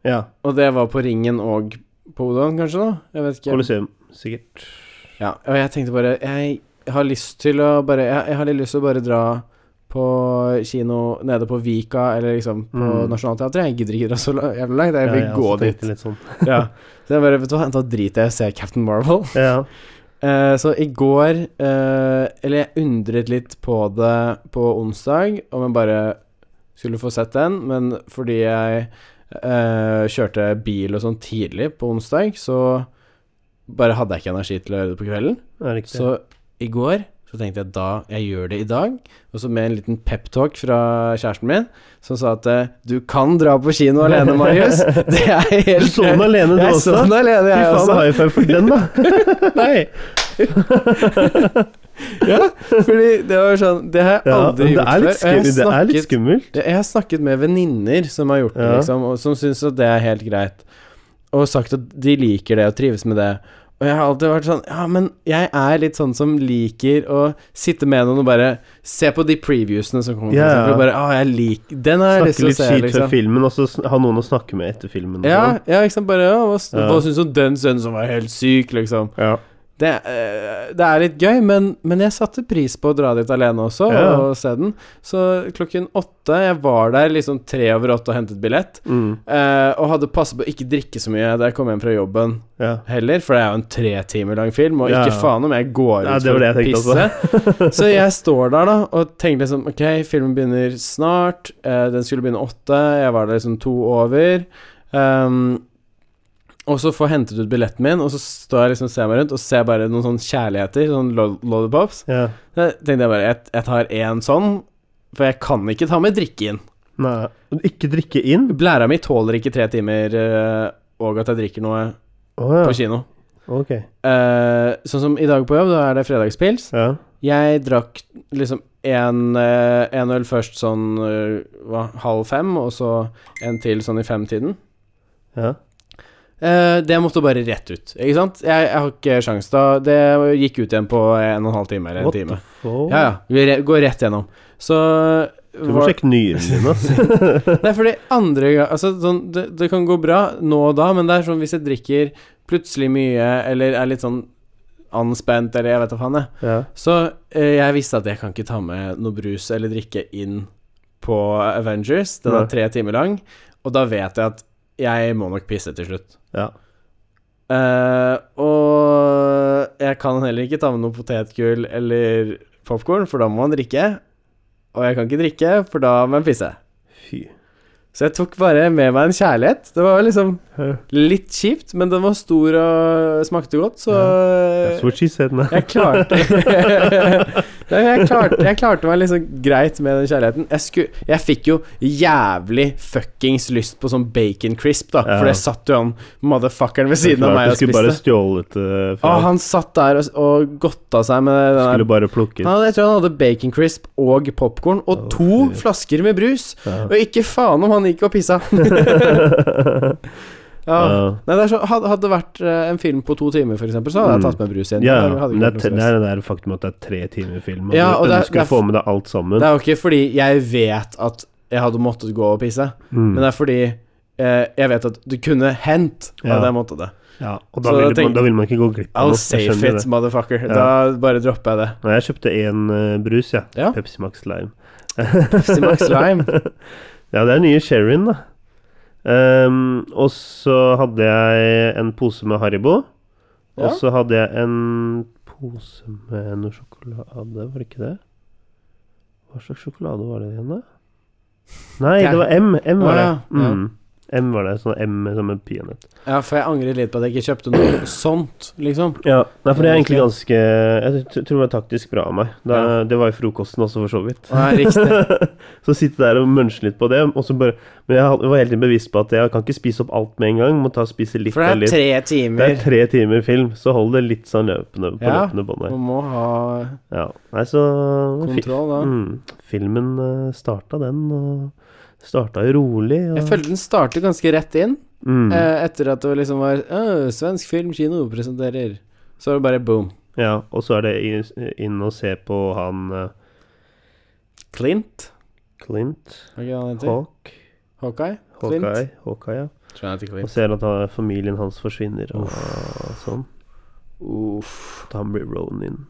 Speaker 1: Ja.
Speaker 3: Og det var på Ringen og på Odeon, kanskje, da? Jeg vet ikke.
Speaker 1: Colosseum, sikkert.
Speaker 3: Ja, og jeg tenkte bare Jeg har lyst til å bare Jeg, jeg har litt lyst til å bare dra på kino nede på Vika, eller liksom på
Speaker 1: Mm.
Speaker 3: Nationaltheatret. Jeg gidder ikke dra så la- jævlig langt. Jeg vil
Speaker 1: Ja, jeg
Speaker 3: gå
Speaker 1: også
Speaker 3: dit.
Speaker 1: tenkte Litt sånn.
Speaker 3: Ja. Så jeg bare Vet du hva, da driter jeg i å se Captain Marvel.
Speaker 1: Ja.
Speaker 3: Eh, så i går eh, Eller jeg undret litt på det på onsdag, om jeg bare skulle få sett den, men fordi jeg eh, kjørte bil og sånn tidlig på onsdag, så bare hadde jeg ikke energi til å gjøre det på kvelden.
Speaker 1: Ja, riktig.
Speaker 3: Så i går så tenkte jeg da jeg gjør det i dag, og så med en liten peptalk fra kjæresten min, som sa at eh, du kan dra på kino alene, Marius. Det er
Speaker 1: du
Speaker 3: helt
Speaker 1: så den alene, du
Speaker 3: Jeg
Speaker 1: også?
Speaker 3: så den alene,
Speaker 1: Fy
Speaker 3: jeg
Speaker 1: faen,
Speaker 3: også.
Speaker 1: high five for den, da.
Speaker 3: Nei. ja, fordi det var sånn Det har jeg
Speaker 1: Ja,
Speaker 3: aldri
Speaker 1: men det,
Speaker 3: gjort
Speaker 1: er litt
Speaker 3: før. og jeg
Speaker 1: skum,
Speaker 3: har
Speaker 1: det er litt
Speaker 3: snakket-
Speaker 1: skummelt.
Speaker 3: jeg har snakket med venninner som har gjort det,
Speaker 1: Ja.
Speaker 3: liksom, og som syns at det er helt greit, og sagt at de liker det og trives med det. Og jeg har alltid vært sånn Ja, men jeg er litt sånn som liker å sitte med noen og bare se på de previewsene som kommer. for
Speaker 1: Ja, ja.
Speaker 3: eksempel, og Bare, å, jeg liker Den har jeg
Speaker 1: Snakke
Speaker 3: lyst til å
Speaker 1: litt
Speaker 3: se,
Speaker 1: skit før
Speaker 3: liksom.
Speaker 1: filmen, og så sn- ha noen å snakke med etter filmen. og
Speaker 3: Ja,
Speaker 1: sånn.
Speaker 3: ja, ikke sant. Bare ja, hva, s-
Speaker 1: Ja.
Speaker 3: hva syns du om den sønnen som var helt syk, liksom?
Speaker 1: ja.
Speaker 3: Det, eh, det er litt gøy, men, men jeg satte pris på å dra dit alene også
Speaker 1: Ja.
Speaker 3: og se den. Så klokken åtte Jeg var der liksom tre over åtte og hentet billett.
Speaker 1: Mm,
Speaker 3: eh, og hadde passet på å ikke drikke så mye da jeg kom hjem fra jobben
Speaker 1: ja.
Speaker 3: heller, for det er jo en tre timer lang film, og
Speaker 1: Ja,
Speaker 3: ikke
Speaker 1: ja.
Speaker 3: faen om jeg går ut
Speaker 1: Nei, det var
Speaker 3: for å
Speaker 1: det jeg
Speaker 3: pisse.
Speaker 1: tenkte
Speaker 3: så jeg står der da og tenker liksom Ok, filmen begynner snart. eh, den skulle begynne åtte. Jeg var der liksom to over. Ehm, og så får jeg hentet ut billetten min, og så står jeg liksom og ser meg rundt og ser bare noen sånne kjærligheter, sånn lo- lollipops.
Speaker 1: ja.
Speaker 3: Da tenkte jeg bare Jeg, jeg tar én sånn, for jeg kan ikke ta med drikke inn.
Speaker 1: Nei. Og Ikke drikke inn?
Speaker 3: Blæra mi tåler ikke tre timer eh, og at jeg drikker noe
Speaker 1: Å
Speaker 3: på
Speaker 1: ja.
Speaker 3: kino.
Speaker 1: Ok.
Speaker 3: Eh, sånn som i dag på jobb, da er det fredagspils.
Speaker 1: Ja.
Speaker 3: Jeg drakk liksom en, eh, en øl først sånn eh, hva, halv fem, og så en til sånn i femtiden.
Speaker 1: ja.
Speaker 3: Eh, det måtte bare rett ut, ikke sant? Jeg, jeg har ikke sjans da. Det gikk ut igjen på en og en halv time eller en
Speaker 1: What
Speaker 3: time.
Speaker 1: the fuck?
Speaker 3: Ja, ja. Vi re går rett gjennom. Så
Speaker 1: Du må
Speaker 3: var-
Speaker 1: sjekke nyrene dine, ass.
Speaker 3: Nei, fordi andre gang Altså, sånn, det, det kan gå bra nå og da, men det er sånn hvis jeg drikker plutselig mye, eller er litt sånn anspent, eller jeg vet da faen, jeg.
Speaker 1: Ja.
Speaker 3: Så eh, jeg visste at jeg kan ikke ta med noe brus eller drikke inn på Avengers. Den
Speaker 1: Nei.
Speaker 3: er tre timer lang, og da vet jeg at jeg må nok pisse til slutt.
Speaker 1: Ja.
Speaker 3: Eh, og jeg kan heller ikke ta med noe potetgull eller popkorn, for da må man drikke. Og jeg kan ikke drikke, for da må jeg pisse.
Speaker 1: Fy.
Speaker 3: Så jeg tok bare med meg en kjærlighet. Det var liksom litt kjipt, men den var stor og smakte godt, så eh,
Speaker 1: That's what she said, nei.
Speaker 3: jeg klarte Nei, jeg klarte, jeg klarte meg liksom greit med den kjærligheten. Jeg, skulle, jeg fikk jo jævlig fuckings lyst på sånn bacon crisp, da.
Speaker 1: Ja.
Speaker 3: For det satt jo han motherfuckeren ved siden av
Speaker 1: Klart
Speaker 3: meg
Speaker 1: du
Speaker 3: og
Speaker 1: skulle bare
Speaker 3: spiste.
Speaker 1: stjålet det
Speaker 3: Å,
Speaker 1: fra
Speaker 3: han satt der og, og godta seg med den der
Speaker 1: Skulle bare plukket.
Speaker 3: han, Jeg tror han hadde bacon crisp og popkorn og
Speaker 1: Å,
Speaker 3: to
Speaker 1: fy.
Speaker 3: flasker med brus.
Speaker 1: Ja.
Speaker 3: Og ikke faen om han gikk og pissa. ja.
Speaker 1: Ja.
Speaker 3: Nei, det er så, hadde hadde det vært eh, en film på to timer, f.eks., så hadde jeg
Speaker 1: Mm.
Speaker 3: tatt med brus igjen.
Speaker 1: Ja,
Speaker 3: Jeg
Speaker 1: ja.
Speaker 3: hadde
Speaker 1: Men
Speaker 3: ikke
Speaker 1: det
Speaker 3: gjort
Speaker 1: er,
Speaker 3: noe
Speaker 1: te-
Speaker 3: som
Speaker 1: det
Speaker 3: helst.
Speaker 1: er det der faktum at det er tre timer film, og
Speaker 3: Ja,
Speaker 1: du
Speaker 3: og det er-
Speaker 1: ønsker
Speaker 3: det er
Speaker 1: å få med deg alt sammen.
Speaker 3: Det er jo ikke fordi jeg vet at jeg hadde måttet gå og pisse,
Speaker 1: Mm.
Speaker 3: men det er fordi eh, jeg vet at det kunne hendt at
Speaker 1: Ja.
Speaker 3: jeg måtte det.
Speaker 1: ja, og da
Speaker 3: Så
Speaker 1: vil,
Speaker 3: jeg tenker-
Speaker 1: man, da vil man ikke gå glipp av
Speaker 3: I'll
Speaker 1: noe. Jeg
Speaker 3: safe
Speaker 1: skjønner
Speaker 3: it,
Speaker 1: det.
Speaker 3: motherfucker.
Speaker 1: Ja.
Speaker 3: Da bare dropper jeg det.
Speaker 1: Nei, jeg kjøpte én brus, jeg.
Speaker 3: Ja.
Speaker 1: Pepsi Max Lime.
Speaker 3: Pepsi Max Lime.
Speaker 1: ja, det er nye sherryen, da. Ehm, og så hadde jeg en pose med Haribo.
Speaker 3: Ja.
Speaker 1: Og så hadde jeg en pose med noe sjokolade, var det ikke det? Hva slags sjokolade var det igjen, da? Nei,
Speaker 3: Det er-
Speaker 1: det var M. M var
Speaker 3: Å,
Speaker 1: det.
Speaker 3: ja, ja.
Speaker 1: Mm. M var det, sånn M med sånn med peanøtt.
Speaker 3: Ja, for jeg angrer litt på at jeg ikke kjøpte noe sånt, liksom.
Speaker 1: Ja, nei, for det er
Speaker 3: Ja,
Speaker 1: egentlig
Speaker 3: ok.
Speaker 1: ganske Jeg t- tror det var taktisk bra av meg. Da, Det var jo frokosten også, for så vidt.
Speaker 3: Nei, riktig.
Speaker 1: så sitte der og munche litt på det. Og så bare, men jeg had- var hele tiden bevisst på at jeg kan ikke spise opp alt med en gang. Må ta og spise litt
Speaker 3: For
Speaker 1: og
Speaker 3: det er
Speaker 1: litt.
Speaker 3: tre
Speaker 1: Det er
Speaker 3: timer.
Speaker 1: tre timer film, så hold det litt sånn løpende på
Speaker 3: Ja.
Speaker 1: løpende bånd her.
Speaker 3: Man må ha
Speaker 1: Ja. Nei, så fi-
Speaker 3: kontroll, da.
Speaker 1: mm, Filmen eh, starta den, og starta jo rolig. Og,
Speaker 3: Jeg følte den startet ganske rett inn,
Speaker 1: mm,
Speaker 3: eh, etter at det liksom var «Åh, Svensk film kino presenterer. Så var det bare boom.
Speaker 1: ja, og så er det i- inn og se på han eh,
Speaker 3: Clint,
Speaker 1: Clint
Speaker 3: hva er det han heter?
Speaker 1: Hawk.
Speaker 3: Hawkeye? Clint?
Speaker 1: Hawkeye, Hawkeye, ja.
Speaker 3: Tror jeg han heter
Speaker 1: Og
Speaker 3: Clint.
Speaker 1: ser at han, familien hans forsvinner og sånn.
Speaker 3: Uff.
Speaker 1: At han blir Ronin.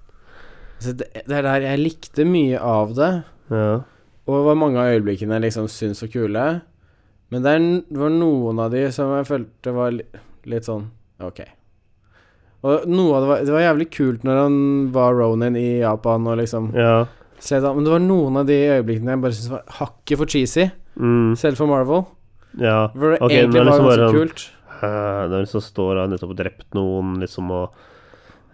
Speaker 3: Så Altså, det, det er der jeg likte mye av det,
Speaker 1: Ja.
Speaker 3: og var mange av øyeblikkene jeg liksom syntes var kule. Men det er n- var noen av de som jeg følte var li, litt sånn Ok. Og noe av det var Det var jævlig kult når han var Ronin i Japan og liksom
Speaker 1: ja.
Speaker 3: slet han, Men det var noen av de øyeblikkene jeg bare syntes var hakket for cheesy,
Speaker 1: Mm,
Speaker 3: selv for Marvel.
Speaker 1: ja.
Speaker 3: Hvor det
Speaker 1: Ok, nå er
Speaker 3: egentlig
Speaker 1: det
Speaker 3: var
Speaker 1: liksom
Speaker 3: ganske
Speaker 1: bare
Speaker 3: kult.
Speaker 1: Eh, Det er liksom står og nettopp drept noen, liksom, og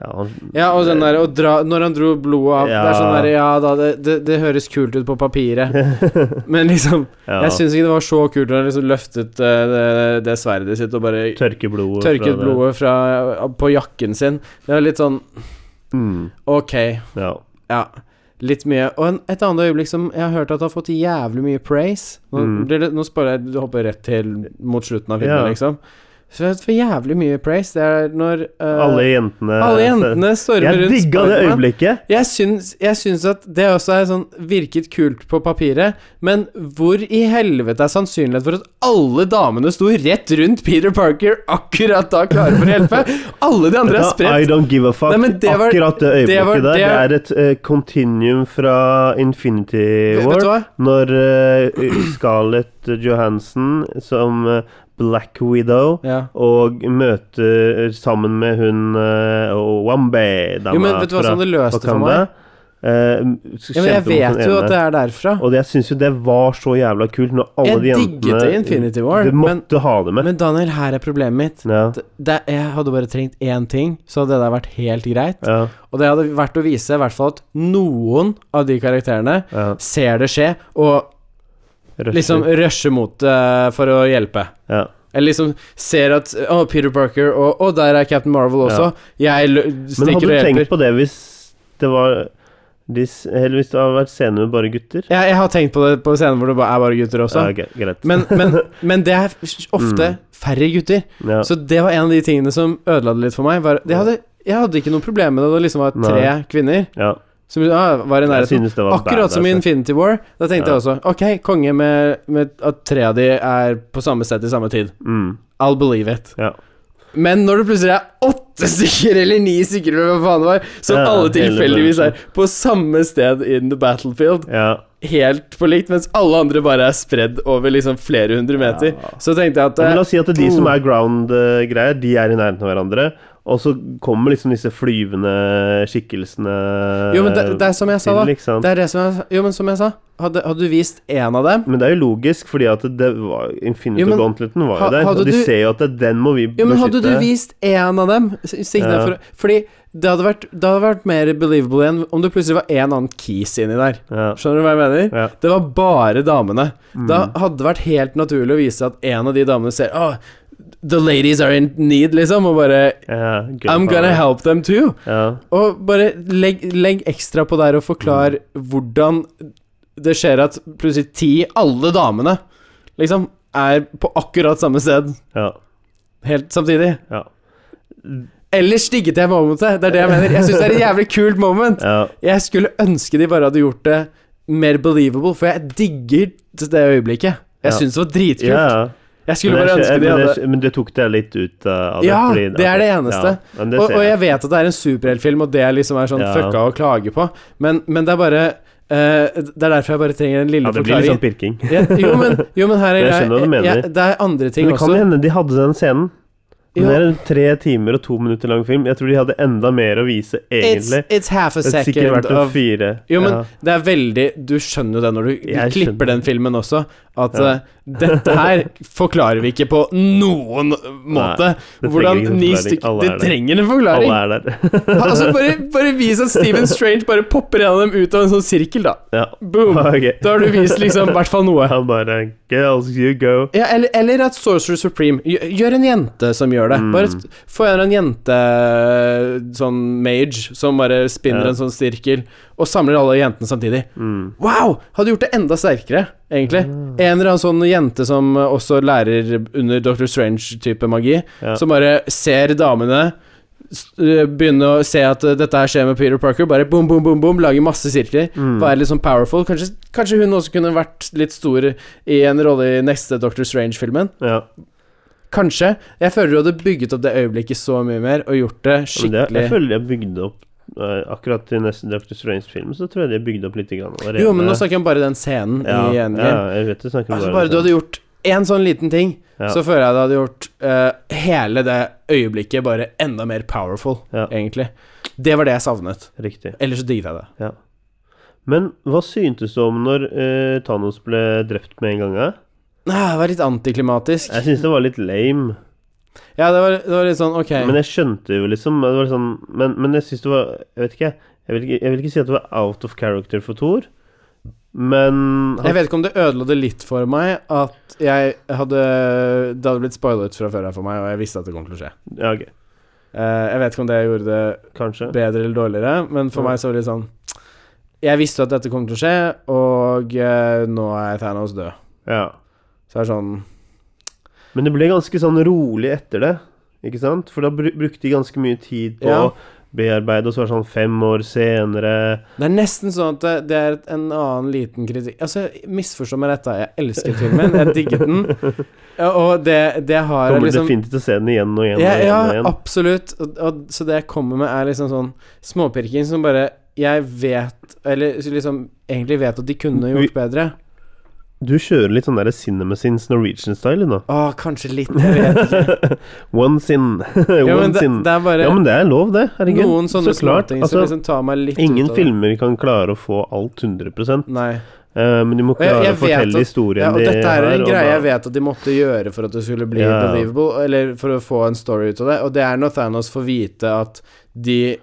Speaker 1: ja, han,
Speaker 3: Ja, og den der å dra Når han dro blodet av Det er sånn
Speaker 1: Ja.
Speaker 3: der Ja da, det, det, det høres kult ut på papiret, men liksom
Speaker 1: ja,
Speaker 3: Jeg syns ikke det var så kult når han liksom løftet eh, det, det sverdet sitt og bare
Speaker 1: Tørker blodet. fra
Speaker 3: tørket
Speaker 1: det.
Speaker 3: blodet fra, eh, på jakken sin. Det var litt sånn
Speaker 1: Mm,
Speaker 3: Ok,
Speaker 1: ja.
Speaker 3: ja. Litt mye. Og en, et annet øyeblikk som jeg har hørt at har fått jævlig mye praise Nå,
Speaker 1: Mm.
Speaker 3: blir det, nå spør jeg, du hopper rett til mot slutten av filmen,
Speaker 1: Ja.
Speaker 3: liksom. Så jeg får jævlig mye praise. Det er når eh,
Speaker 1: Alle jentene
Speaker 3: alle jentene stormer
Speaker 1: Jeg
Speaker 3: rundt
Speaker 1: digga det
Speaker 3: Spiderman.
Speaker 1: øyeblikket.
Speaker 3: Jeg syns, jeg syns at det også er sånn virket kult på papiret, men hvor i helvete er sannsynligheten for at alle damene sto rett rundt Peter Parker akkurat da klare for å hjelpe? Alle de andre er
Speaker 1: Da, I
Speaker 3: spredt.
Speaker 1: don't give a fuck.
Speaker 3: Nei, men det var-
Speaker 1: Akkurat det øyeblikket
Speaker 3: det
Speaker 1: der.
Speaker 3: var- det
Speaker 1: Det
Speaker 3: er-
Speaker 1: er et eh, continuum fra Infinity
Speaker 3: Vet
Speaker 1: War.
Speaker 3: du hva?
Speaker 1: Når eh, Scarlett Johansen som eh, Black Widow
Speaker 3: Ja.
Speaker 1: og møter sammen med hun eh,
Speaker 3: Jo, men
Speaker 1: Wambe-dama eh,
Speaker 3: vet du hva som det løste for meg? Ja, men jeg vet jo at det er derfra.
Speaker 1: Og jeg syns jo det var så jævla kult når alle
Speaker 3: Jeg
Speaker 1: de
Speaker 3: digget
Speaker 1: jentene
Speaker 3: det i Infinity War,
Speaker 1: Du
Speaker 3: men-
Speaker 1: måtte ha det med.
Speaker 3: Men Daniel, her er problemet mitt.
Speaker 1: ja,
Speaker 3: Det, det, jeg hadde bare trengt én ting, så hadde det der vært helt greit.
Speaker 1: ja,
Speaker 3: Og det hadde vært å vise i hvert fall at noen av de karakterene
Speaker 1: ja.
Speaker 3: ser det skje, og
Speaker 1: Rusher.
Speaker 3: liksom rusher mot det for å hjelpe.
Speaker 1: ja.
Speaker 3: Eller liksom ser at Å, Peter Parker, og å, der er Captain Marvel også. Jeg lø-
Speaker 1: Men hadde
Speaker 3: stikker
Speaker 1: du
Speaker 3: og
Speaker 1: tenkt
Speaker 3: hjelper.
Speaker 1: på det hvis det var de, s- Eller hvis det hadde vært scener med bare gutter?
Speaker 3: Jeg, jeg har tenkt på det på scenen hvor det bare er bare gutter
Speaker 1: Ja,
Speaker 3: også.
Speaker 1: ok, greit.
Speaker 3: Men, men, men det er
Speaker 1: Mm.
Speaker 3: ofte færre gutter.
Speaker 1: ja.
Speaker 3: Så det var en av de tingene som ødela det litt for meg. Var, jeg, hadde, jeg hadde ikke noe problem med det da det liksom var tre
Speaker 1: Nei.
Speaker 3: kvinner
Speaker 1: ja.
Speaker 3: som ja, var i
Speaker 1: Jeg
Speaker 3: nærheten.
Speaker 1: synes det var
Speaker 3: sånn Akkurat som i
Speaker 1: badass,
Speaker 3: Infinity War. Da tenkte
Speaker 1: Ja.
Speaker 3: jeg også Ok, konge med, med at tre av de er på samme sted til samme tid.
Speaker 1: jeg. Mm.
Speaker 3: I'll believe it.
Speaker 1: Ja.
Speaker 3: Men når det plutselig er åtte stykker eller ni stykker, eller hva faen det var, som
Speaker 1: Ja, hele
Speaker 3: alle tilfeldigvis
Speaker 1: bunten.
Speaker 3: er på samme sted in the battlefield,
Speaker 1: Ja.
Speaker 3: helt på likt, mens alle andre bare er spredd over liksom flere hundre meter,
Speaker 1: Ja.
Speaker 3: så tenkte jeg at
Speaker 1: Men
Speaker 3: eh,
Speaker 1: la oss si at de som er ground-greier, de er i nærheten av hverandre. Og så kommer liksom disse flyvende skikkelsene
Speaker 3: eh, Jo, men
Speaker 1: eh,
Speaker 3: det, det er som jeg sa, da.
Speaker 1: til, ikke sant?
Speaker 3: Det er det som jeg, jo, men som jeg sa, hadde, hadde du vist én av dem
Speaker 1: Men det er jo logisk, fordi at det var Infinity
Speaker 3: Jo, men
Speaker 1: Gauntleten var
Speaker 3: ha-
Speaker 1: jo der.
Speaker 3: hadde
Speaker 1: Og de
Speaker 3: du-
Speaker 1: ser jo at det, den må vi
Speaker 3: Jo, men hadde du
Speaker 1: beskytte.
Speaker 3: vist én av dem s- signert
Speaker 1: Ja.
Speaker 3: for, Fordi det hadde, vært, det hadde vært mer believable enn om det plutselig var en annen keys inni der.
Speaker 1: ja.
Speaker 3: Skjønner du hva jeg mener?
Speaker 1: Ja.
Speaker 3: Det var bare damene.
Speaker 1: Mm.
Speaker 3: Da hadde det vært helt naturlig å vise at en av de damene ser Åh, The ladies are in need, liksom, og bare
Speaker 1: ja, gøy faen,
Speaker 3: I'm gonna
Speaker 1: ja.
Speaker 3: help them too.
Speaker 1: Ja.
Speaker 3: Og bare legg, legg ekstra på der og forklar
Speaker 1: Mm.
Speaker 3: hvordan det skjer at plutselig ti, alle damene, liksom, er på akkurat samme sted
Speaker 1: Ja.
Speaker 3: helt samtidig.
Speaker 1: Ja.
Speaker 3: Ellers digget jeg momentet, det er det jeg mener. Jeg syns det er et jævlig kult moment.
Speaker 1: ja.
Speaker 3: Jeg skulle ønske de bare hadde gjort det mer believable, for jeg digger det øyeblikket.
Speaker 1: Ja.
Speaker 3: Jeg syns det var dritkult.
Speaker 1: ja. ja.
Speaker 3: Jeg skulle
Speaker 1: Men
Speaker 3: bare
Speaker 1: jeg skjø-
Speaker 3: ønske de
Speaker 1: men jeg
Speaker 3: hadde
Speaker 1: skjø- Men du tok det litt ut uh, av det?
Speaker 3: Ja, det er det
Speaker 1: ok,
Speaker 3: eneste.
Speaker 1: Ja, men det
Speaker 3: og,
Speaker 1: ser
Speaker 3: og
Speaker 1: jeg.
Speaker 3: jeg vet at det er en superheltfilm, og det liksom er sånn
Speaker 1: Ja.
Speaker 3: fucka å klage på, men, men det er bare eh, Det er derfor jeg bare trenger en lille
Speaker 1: ja, det blir
Speaker 3: forklaring.
Speaker 1: liksom pirking.
Speaker 3: ja, jo, men, jo, men her er
Speaker 1: Jeg skjønner hva du mener.
Speaker 3: jeg- det er andre ting
Speaker 1: Men det kan
Speaker 3: også.
Speaker 1: hende de hadde den scenen.
Speaker 3: Jo,
Speaker 1: Det er en tre timer og to minutter lang film. Jeg tror de hadde enda mer å vise,
Speaker 3: it's,
Speaker 1: egentlig.
Speaker 3: it's half a
Speaker 1: Det hadde sikkert
Speaker 3: second
Speaker 1: vært en
Speaker 3: of
Speaker 1: fire.
Speaker 3: Jo, men
Speaker 1: ja.
Speaker 3: det er veldig Du skjønner jo det når du, du
Speaker 1: Jeg
Speaker 3: klipper
Speaker 1: skjønner.
Speaker 3: den filmen også, at
Speaker 1: Ja.
Speaker 3: eh, dette her forklarer vi ikke på noen måte.
Speaker 1: det trenger
Speaker 3: Hvordan
Speaker 1: ikke en
Speaker 3: ni
Speaker 1: forklaring.
Speaker 3: stykker
Speaker 1: Alle
Speaker 3: Det
Speaker 1: er der.
Speaker 3: trenger en forklaring!
Speaker 1: Alle er der.
Speaker 3: altså, bare, bare vis at Stephen Strange bare popper en av dem ut av en sånn sirkel, da.
Speaker 1: Ja.
Speaker 3: Boom!
Speaker 1: Ok.
Speaker 3: Da har du vist liksom i hvert fall noe.
Speaker 1: Han bare Girls, you go.
Speaker 3: Ja, eller, eller at Sorcerer Supreme gjør, gjør en jente som gjør det.
Speaker 1: Mm.
Speaker 3: Bare t- få en eller annen jente sånn mage som bare spinner
Speaker 1: Ja.
Speaker 3: en sånn sirkel, og samler alle jentene samtidig.
Speaker 1: Mm.
Speaker 3: Wow! Hadde gjort det enda sterkere, egentlig. En eller annen sånn jente som eh, også lærer under Dr. Strange-type magi,
Speaker 1: Ja.
Speaker 3: som bare ser damene s- eh, Begynne å se at eh, dette her skjer med Peter Parker. Bare boom, boom, boom, boom, lage masse sirkler.
Speaker 1: Mm.
Speaker 3: Være litt sånn powerful. Kanskje, kanskje hun også kunne vært litt stor i en rolle i neste Dr. Strange-filmen.
Speaker 1: Ja.
Speaker 3: Kanskje. Jeg føler du hadde bygget opp det øyeblikket så mye mer, og gjort det
Speaker 1: Men det,
Speaker 3: skikkelig
Speaker 1: jeg føler jeg bygde opp eh, Akkurat til neste Dr. Strange-film så tror jeg de bygde opp litt grann allerede.
Speaker 3: Jo, men nå snakker jeg om bare den scenen
Speaker 1: eh. ja,
Speaker 3: i Endgame.
Speaker 1: Ja, jeg vet du snakker om
Speaker 3: Altså bare du hadde gjort én sånn liten ting,
Speaker 1: Ja.
Speaker 3: så føler jeg det hadde gjort eh, hele det øyeblikket bare enda mer powerful,
Speaker 1: Ja.
Speaker 3: egentlig. Det var det jeg savnet.
Speaker 1: Riktig.
Speaker 3: Ellers så digget jeg det.
Speaker 1: Men hva syntes du om når eh, Thanos ble drept med en gang? eh?
Speaker 3: Nei, det var litt antiklimatisk.
Speaker 1: Jeg syns det var litt lame.
Speaker 3: Ja, det var, det var litt sånn ok.
Speaker 1: Men jeg skjønte jo liksom det var sånn, men, men jeg syns det var Jeg vet ikke. Jeg vil ikke, jeg vil ikke si at det var out of character for Thor, men han,
Speaker 3: Jeg vet ikke om det ødela det litt for meg at jeg hadde Det hadde blitt spoilet fra før her for meg, og jeg visste at det kom til å skje.
Speaker 1: ja, ok,
Speaker 3: Eh, jeg vet ikke om det gjorde det
Speaker 1: Kanskje.
Speaker 3: bedre eller dårligere, men for
Speaker 1: Ja.
Speaker 3: meg så var det litt sånn Jeg visste at dette kom til å skje, og eh, nå er Thanos død.
Speaker 1: Ja.
Speaker 3: Så er det sånn
Speaker 1: Men det ble ganske sånn rolig etter det, ikke sant? For da bru- brukte de ganske mye tid på
Speaker 3: Ja.
Speaker 1: å bearbeide, og så var det sånn fem år senere
Speaker 3: Det er nesten sånn at det, det er en annen liten kritikk Altså, misforstå meg rett, da. Jeg elsker filmen. Jeg digget den. Ja, Og det, det har jeg
Speaker 1: Kommer du
Speaker 3: liksom
Speaker 1: definitivt til å se den igjen og igjen og
Speaker 3: ja,
Speaker 1: igjen.
Speaker 3: ja,
Speaker 1: og igjen.
Speaker 3: absolutt. Og, og, så det jeg kommer med, er liksom sånn småpirking som bare Jeg vet Eller liksom egentlig vet at de kunne gjort bedre.
Speaker 1: Du kjører litt sånn der Cinema Sins Norwegian-style nå.
Speaker 3: Å, kanskje litt. Jeg vet ikke.
Speaker 1: One sin, one
Speaker 3: Ja, men det,
Speaker 1: sin.
Speaker 3: det er bare
Speaker 1: ja, men det er lov, det. Herregud.
Speaker 3: noen sånne
Speaker 1: så klart.
Speaker 3: småting som
Speaker 1: Altså,
Speaker 3: liksom tar meg litt
Speaker 1: ingen
Speaker 3: ut av det.
Speaker 1: filmer kan klare å få alt 100
Speaker 3: Nei.
Speaker 1: eh, men de må
Speaker 3: jeg-
Speaker 1: klare
Speaker 3: jeg
Speaker 1: å
Speaker 3: vet
Speaker 1: fortelle
Speaker 3: at-
Speaker 1: historien
Speaker 3: Ja, og
Speaker 1: de
Speaker 3: dette er
Speaker 1: har,
Speaker 3: en
Speaker 1: og
Speaker 3: greie
Speaker 1: da-
Speaker 3: jeg vet at de måtte gjøre for at det skulle bli
Speaker 1: Ja.
Speaker 3: believable, eller for å få en story ut av det, og det er når Thanos får vite at de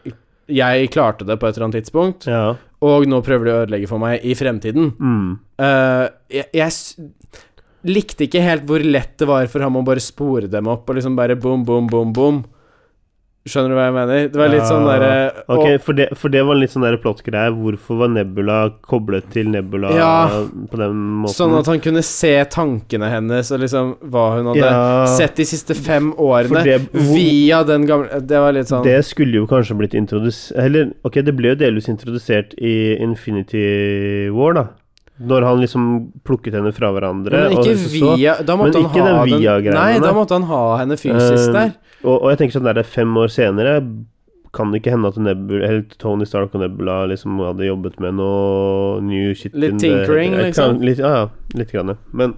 Speaker 3: Jeg klarte det på et eller annet tidspunkt,
Speaker 1: Ja.
Speaker 3: og nå prøver de å ødelegge for meg i fremtiden.
Speaker 1: Mm.
Speaker 3: Eh, jeg, jeg s- likte ikke helt hvor lett det var for ham å bare spore dem opp og liksom bare boom, boom, boom, boom. Skjønner du hva jeg mener? Det var litt
Speaker 1: Ja.
Speaker 3: sånn derre
Speaker 1: Ok, for det, for det var litt sånn der plott-greie. Hvorfor var Nebula koblet til Nebula
Speaker 3: Ja.
Speaker 1: på den måten?
Speaker 3: Sånn at han kunne se tankene hennes og liksom hva hun hadde
Speaker 1: Ja.
Speaker 3: sett de siste fem
Speaker 1: For
Speaker 3: årene
Speaker 1: det- hvor-
Speaker 3: via den gamle Det var litt sånn
Speaker 1: Det skulle jo kanskje blitt introdusert Eller ok, det ble jo delvis introdusert i Infinity War, da. Når han liksom plukket henne fra hverandre.
Speaker 3: Men ikke
Speaker 1: og, så-
Speaker 3: via Da måtte
Speaker 1: men
Speaker 3: han
Speaker 1: ikke
Speaker 3: ha
Speaker 1: den via-greiene,
Speaker 3: Nei, da
Speaker 1: nei.
Speaker 3: måtte han ha henne fysisk
Speaker 1: Eh,
Speaker 3: der.
Speaker 1: og, og jeg tenker sånn der fem år senere kan det ikke hende at Nebula, eller Tony Stark og Nebula liksom hadde jobbet med noe new shit
Speaker 3: Litt
Speaker 1: in the-
Speaker 3: tinkering,
Speaker 1: Jeg
Speaker 3: liksom.
Speaker 1: Kan, litt, ja, ja, litt grann, ja. Men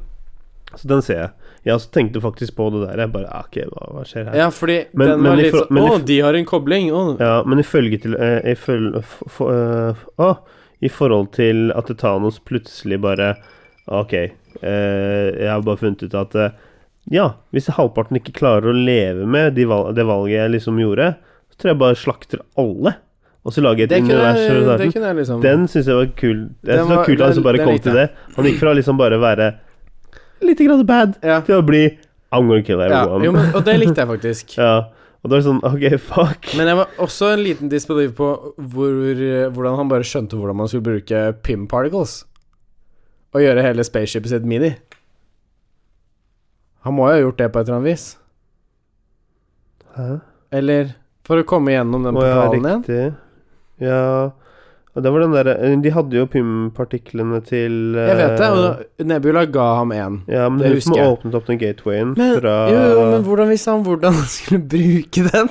Speaker 1: Så den ser jeg. Jeg også tenkte faktisk på det der. Jeg bare ah, Ok, hva, hva skjer her?
Speaker 3: Ja, fordi
Speaker 1: Men-
Speaker 3: den
Speaker 1: men
Speaker 3: var
Speaker 1: i
Speaker 3: litt
Speaker 1: for-
Speaker 3: sånn
Speaker 1: men i
Speaker 3: Å,
Speaker 1: for-
Speaker 3: de har en kobling! Å.
Speaker 1: Ja, men ifølge til eh, ifølge, f, f, eh, ah, I forhold til at Thanos plutselig bare Ok, eh, jeg har bare funnet ut at eh, Ja, hvis halvparten ikke klarer å leve med de val det valget jeg liksom gjorde, så tror jeg bare slakter alle, og så lager jeg et
Speaker 3: Det, kunne
Speaker 1: univers
Speaker 3: jeg,
Speaker 1: rundt
Speaker 3: det
Speaker 1: verden.
Speaker 3: kunne jeg liksom
Speaker 1: Den syns jeg var kul. Jeg
Speaker 3: Den
Speaker 1: synes det
Speaker 3: var-
Speaker 1: var kult at han
Speaker 3: den-
Speaker 1: så bare
Speaker 3: den
Speaker 1: kom
Speaker 3: likte
Speaker 1: til det. Han gikk fra liksom bare å være lite grann bad
Speaker 3: ja,
Speaker 1: til å bli I'm gonna kill
Speaker 3: ja,
Speaker 1: everyone.
Speaker 3: jo, men, Og det likte jeg faktisk.
Speaker 1: Ja, og da er det sånn Ok, fuck.
Speaker 3: Men jeg var også en liten disbeliv på hvor, hvordan han bare skjønte hvordan man skulle bruke pim particles. Og gjøre hele spaceshipet sitt mini. Han må jo ha gjort det på et eller annet vis.
Speaker 1: Hæ?
Speaker 3: Eller for å komme gjennom den
Speaker 1: Å, ja,
Speaker 3: portalen igjen.
Speaker 1: riktig. Ja Og det var den derre De hadde jo pym-partiklene til
Speaker 3: Jeg vet det.
Speaker 1: eh,
Speaker 3: Og Nebula ga ham én.
Speaker 1: Ja, men
Speaker 3: det
Speaker 1: det er hun som
Speaker 3: husker jeg.
Speaker 1: åpnet opp den gatewayen
Speaker 3: Men,
Speaker 1: fra
Speaker 3: jo, jo, men hvordan visste han hvordan han skulle bruke den?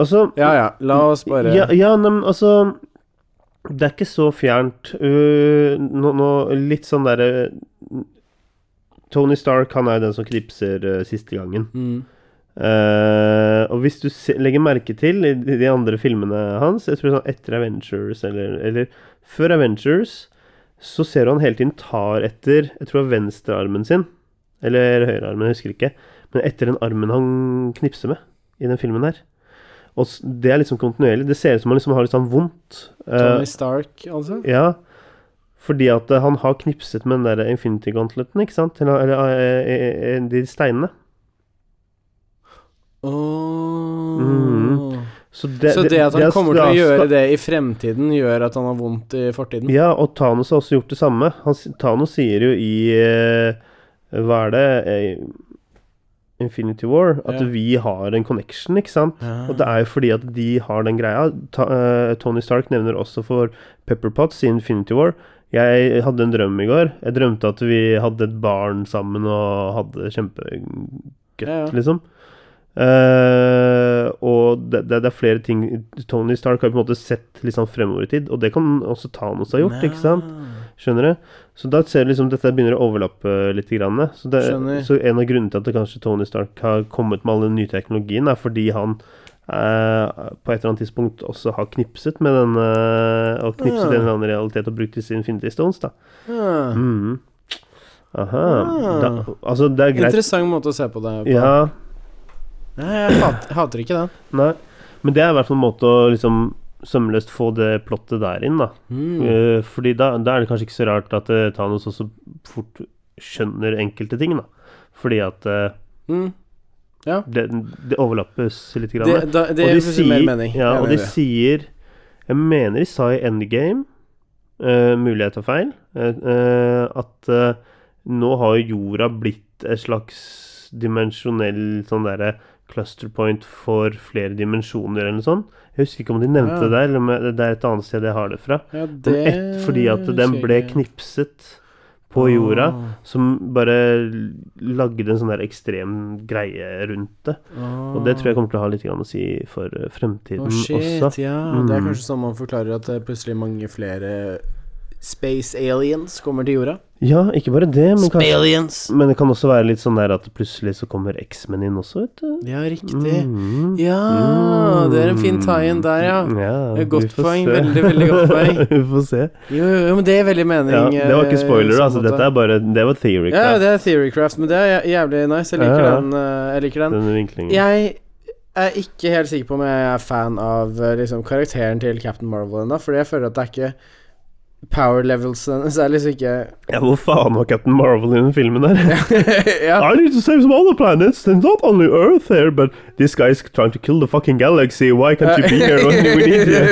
Speaker 1: Altså
Speaker 3: Ja ja, la oss bare
Speaker 1: Ja, ja nei, men altså Det er ikke så fjernt. Uh, nå, nå litt sånn derre Tony Stark, han er jo den som knipser eh, siste gangen.
Speaker 3: Mm.
Speaker 1: Eh, og hvis du se, legger merke til i de de andre filmene hans Jeg tror sånn etter Avengers eller, eller før Avengers så ser du han hele tiden tar etter Jeg tror det er venstrearmen sin. Eller høyrearmen, jeg husker ikke. Men etter den armen han knipser med i den filmen her. Og s- det er liksom kontinuerlig. Det ser ut som han liksom har litt sånn vondt. Eh,
Speaker 3: Tony Stark, altså?
Speaker 1: ja, fordi at eh, han har knipset med den der Infinity Gauntleten, ikke sant? Eller, eller eh, eh, eh, de steinene.
Speaker 3: Åh Mm.
Speaker 1: Mhm. Så det,
Speaker 3: så det at han
Speaker 1: har
Speaker 3: kommer til å
Speaker 1: ska-
Speaker 3: gjøre det i fremtiden, gjør at han har vondt i fortiden?
Speaker 1: Ja, og Thanos har også gjort det samme. Han, s- Thanos sier jo i eh, Hva er det eh, Infinity War at
Speaker 3: Ja.
Speaker 1: vi har en connection, ikke sant?
Speaker 3: Ah.
Speaker 1: Og det er jo fordi at de har den greia. Ta, eh, Tony Stark nevner også for Pepper Potts i Infinity War. Jeg hadde en drøm i går. Jeg drømte at vi hadde et barn sammen og hadde det kjempegøtt,
Speaker 3: Ja, ja.
Speaker 1: liksom. Eh, og det, det, det er flere ting Tony Stark har på en måte sett litt sånn fremover i tid, og det kan også Thanos ha gjort, ikke sant? Skjønner du? Så da ser du liksom dette begynner å overlappe litt. Grann, så, det,
Speaker 3: Skjønner.
Speaker 1: så en av grunnene til at det kanskje Tony Stark har kommet med all den nye teknologien, er fordi han eh, på et eller annet tidspunkt også har knipset med den eh, Og knipset
Speaker 3: Ah.
Speaker 1: en eller annen realitet og brukt i sin Infinity Stones, da.
Speaker 3: Ah.
Speaker 1: Mhm. Aha.
Speaker 3: Ah.
Speaker 1: Da, altså, det er greit.
Speaker 3: Interessant måte å se på det på.
Speaker 1: Ja.
Speaker 3: Nei, jeg hater, hater ikke den.
Speaker 1: Nei. Men det er i hvert fall en måte å liksom sømløst få det plottet der inn, da.
Speaker 3: Mm.
Speaker 1: Eh, Fordi da, da er det kanskje ikke så rart at eh, Thanos også fort skjønner enkelte ting, da. Fordi at eh,
Speaker 3: Mm.
Speaker 1: det, det overlappes litt. Grann.
Speaker 3: Det, da, det
Speaker 1: og
Speaker 3: gir
Speaker 1: de
Speaker 3: plutselig mer mening.
Speaker 1: ja,
Speaker 3: Jeg
Speaker 1: og
Speaker 3: mener
Speaker 1: de
Speaker 3: det.
Speaker 1: sier Jeg mener de sa i Endgame, eh, mulighet og feil, eh, eh, at eh, Nå har jo jorda blitt et slags dimensjonell sånn derre cluster point for flere dimensjoner eller noe sånt. Jeg husker ikke om de nevnte
Speaker 3: Ja.
Speaker 1: det der, eller om jeg- det er et annet sted jeg har det fra.
Speaker 3: Ja,
Speaker 1: Den ett, fordi at den ble knipset på jorda,
Speaker 3: Ah.
Speaker 1: som bare lagde en sånn der ekstrem greie rundt det. Og det tror jeg kommer til å ha litt grann å si for eh, fremtiden
Speaker 3: Ah. Å, shit,
Speaker 1: også.
Speaker 3: ja. Det er
Speaker 1: Mm.
Speaker 3: kanskje sånn man forklarer at det er plutselig mange flere space aliens kommer til jorda.
Speaker 1: Ja, ikke bare det, men, kanskje,
Speaker 3: Spaliens!
Speaker 1: men det kan også være litt sånn der at plutselig så kommer X-Men inn også, vet du.
Speaker 3: Ja, riktig.
Speaker 1: Mm.
Speaker 3: Ja, det er en fin tie-in der, ja.
Speaker 1: Ja,
Speaker 3: Det er
Speaker 1: vi
Speaker 3: godt
Speaker 1: får
Speaker 3: poeng,
Speaker 1: se.
Speaker 3: veldig, veldig godt poeng.
Speaker 1: vi får se.
Speaker 3: Jo, jo, jo, men det gir veldig mening.
Speaker 1: Ja, det var ikke
Speaker 3: eh,
Speaker 1: spoiler,
Speaker 3: sånn
Speaker 1: altså.
Speaker 3: at-
Speaker 1: Dette er bare Det var theory.
Speaker 3: Ja,
Speaker 1: craft,
Speaker 3: det er Theorycraft, men det er jæ- jævlig nice. Jeg
Speaker 1: Ja,
Speaker 3: liker
Speaker 1: ja.
Speaker 3: den. eh, Jeg liker den.
Speaker 1: Denne vinklingen.
Speaker 3: Jeg er ikke helt sikker på om jeg er fan av eh, liksom, karakteren til Captain Marvel ennå, fordi jeg føler at det er ikke power levels hennes er liksom ikke
Speaker 1: Ja, hvor faen var Captain Marvel i den filmen der?
Speaker 3: ja.
Speaker 1: I need to save some other planets. There's not only Earth here, but this guy's trying to kill the fucking galaxy. Why can't you be here when we need
Speaker 3: Uh,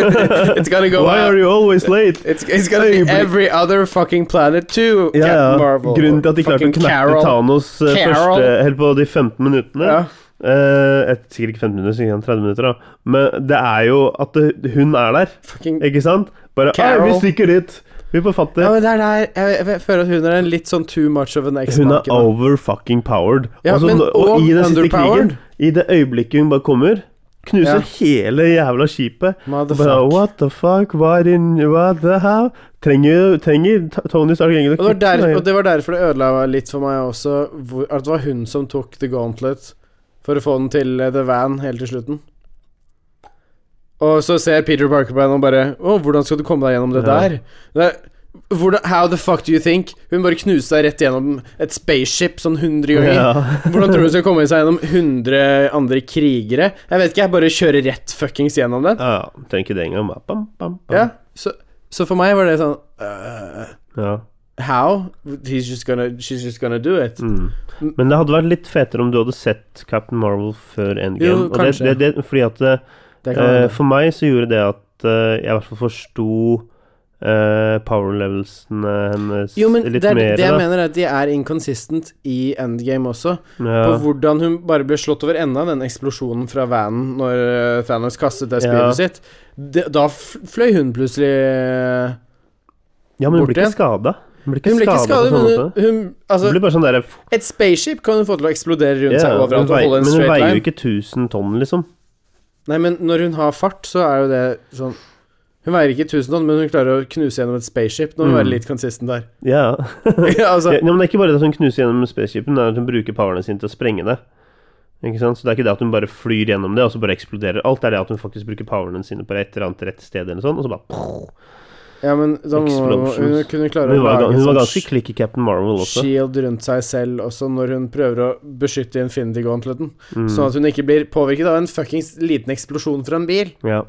Speaker 3: It's
Speaker 1: you?
Speaker 3: gonna go
Speaker 1: Why are
Speaker 3: out.
Speaker 1: you always late?
Speaker 3: It's, it's gonna be every other fucking planet too,
Speaker 1: Ja, ja.
Speaker 3: Captain Marvel.
Speaker 1: Grunnen til at de klarte å
Speaker 3: Fucking
Speaker 1: knekke
Speaker 3: Carol.
Speaker 1: Thanos eh,
Speaker 3: Carol.
Speaker 1: første Helt på de 15 minuttene.
Speaker 3: Ja.
Speaker 1: Eh, et, sikkert ikke 15 minutter, sikkert 30 minutter, da. Men det er jo at det, hun er der,
Speaker 3: Fucking
Speaker 1: ikke sant? Bare «Ai,
Speaker 3: Carol.
Speaker 1: Vi stikker dit! Vi får fatt i
Speaker 3: ja, men det er der jeg, jeg, jeg føler at hun er en litt sånn too much of an
Speaker 1: Hun er
Speaker 3: X-Marken.
Speaker 1: over fucking powered.
Speaker 3: Ja,
Speaker 1: Altså,
Speaker 3: men-
Speaker 1: og
Speaker 3: og
Speaker 1: i den siste
Speaker 3: underpowered.
Speaker 1: krigen, i det øyeblikket hun bare kommer, knuser
Speaker 3: Ja.
Speaker 1: hele jævla skipet. Og
Speaker 3: Motherfuck.
Speaker 1: Bare, what the fuck, why didn't what the hell? Trenger, trenger T- Tony Stark egentlig
Speaker 3: Og det, var der,
Speaker 1: kutte
Speaker 3: og det var derfor det ødela litt for meg også, hvor, at det var hun som tok The Gauntlet for å få den til eh, The Van helt til slutten. Og så ser Peter Parker på henne og bare Å, hvordan skal du komme deg gjennom det
Speaker 1: Ja.
Speaker 3: der? Det er, hvordan, how the fuck do you think? Hun bare knuste deg rett gjennom et spaceship sånn 100 ganger.
Speaker 1: Ja.
Speaker 3: Hvordan tror du hun skal komme seg gjennom 100 andre krigere? Jeg vet ikke, jeg bare kjører rett fuckings gjennom den.
Speaker 1: Ja, ja, trenger ikke det engang. bare Bam, bam, bam.
Speaker 3: Ja, så, så for meg var det sånn øh,
Speaker 1: Ja.
Speaker 3: How? He's just gonna, she's just gonna do it.
Speaker 1: Mm. Men det hadde vært litt fetere om du hadde sett Captain Marvel før Endgame.
Speaker 3: Jo,
Speaker 1: og det, det,
Speaker 3: kanskje.
Speaker 1: det, fordi at det,
Speaker 3: Det kan
Speaker 1: Eh,
Speaker 3: hende.
Speaker 1: for meg så gjorde det at eh, jeg i hvert fall forsto eh, power levelsene hennes
Speaker 3: jo, men
Speaker 1: litt
Speaker 3: det, er,
Speaker 1: mer.
Speaker 3: det jeg
Speaker 1: da.
Speaker 3: mener, er at de er inconsistent i endgame også.
Speaker 1: ja.
Speaker 3: På hvordan hun bare ble slått over enda den eksplosjonen fra vanen når eh, Thanos kastet det
Speaker 1: Ja.
Speaker 3: spillet sitt. Det- da f- fløy hun plutselig eh,
Speaker 1: ja, men hun
Speaker 3: bort
Speaker 1: blir ikke
Speaker 3: igjen.
Speaker 1: skada. Hun blir
Speaker 3: Hun ble
Speaker 1: ikke skada
Speaker 3: ikke skadet,
Speaker 1: på sånn
Speaker 3: men hun,
Speaker 1: måte.
Speaker 3: hun
Speaker 1: Hun
Speaker 3: Altså,
Speaker 1: blir bare sånn derre
Speaker 3: et spaceship kan hun få til å eksplodere rundt
Speaker 1: ja,
Speaker 3: seg
Speaker 1: hun
Speaker 3: overalt og
Speaker 1: vei-
Speaker 3: holde
Speaker 1: Men hun
Speaker 3: en straight
Speaker 1: veier jo
Speaker 3: line.
Speaker 1: ikke 1000 tonn, liksom.
Speaker 3: Nei, men når hun har fart, så er jo det sånn Hun veier ikke 1000 tonn, men hun klarer å knuse gjennom et spaceship. Nå må hun
Speaker 1: Mm.
Speaker 3: være litt consistent der.
Speaker 1: Ja.
Speaker 3: Ja, altså,
Speaker 1: ja, men Det er ikke bare det at hun knuser gjennom spaceshipen, det er at hun bruker powerne sine til å sprenge det. Ikke sant? Så det er ikke det at hun bare flyr gjennom det, og så bare eksploderer alt. Det er det at hun faktisk bruker powerne sine på et eller annet rett sted, eller sånn, og så bare
Speaker 3: ja, men da må
Speaker 1: Explosions.
Speaker 3: hun kunne klare
Speaker 1: Hun
Speaker 3: å
Speaker 1: var,
Speaker 3: lage
Speaker 1: ga- hun
Speaker 3: en
Speaker 1: var
Speaker 3: sånn
Speaker 1: ganske klikk i Captain Marvel også.
Speaker 3: shield rundt seg selv også når hun prøver å beskytte Infinity Gauntleten.
Speaker 1: Mm.
Speaker 3: Sånn at hun ikke blir påvirket av en fuckings liten eksplosjon fra en bil.
Speaker 1: Ja.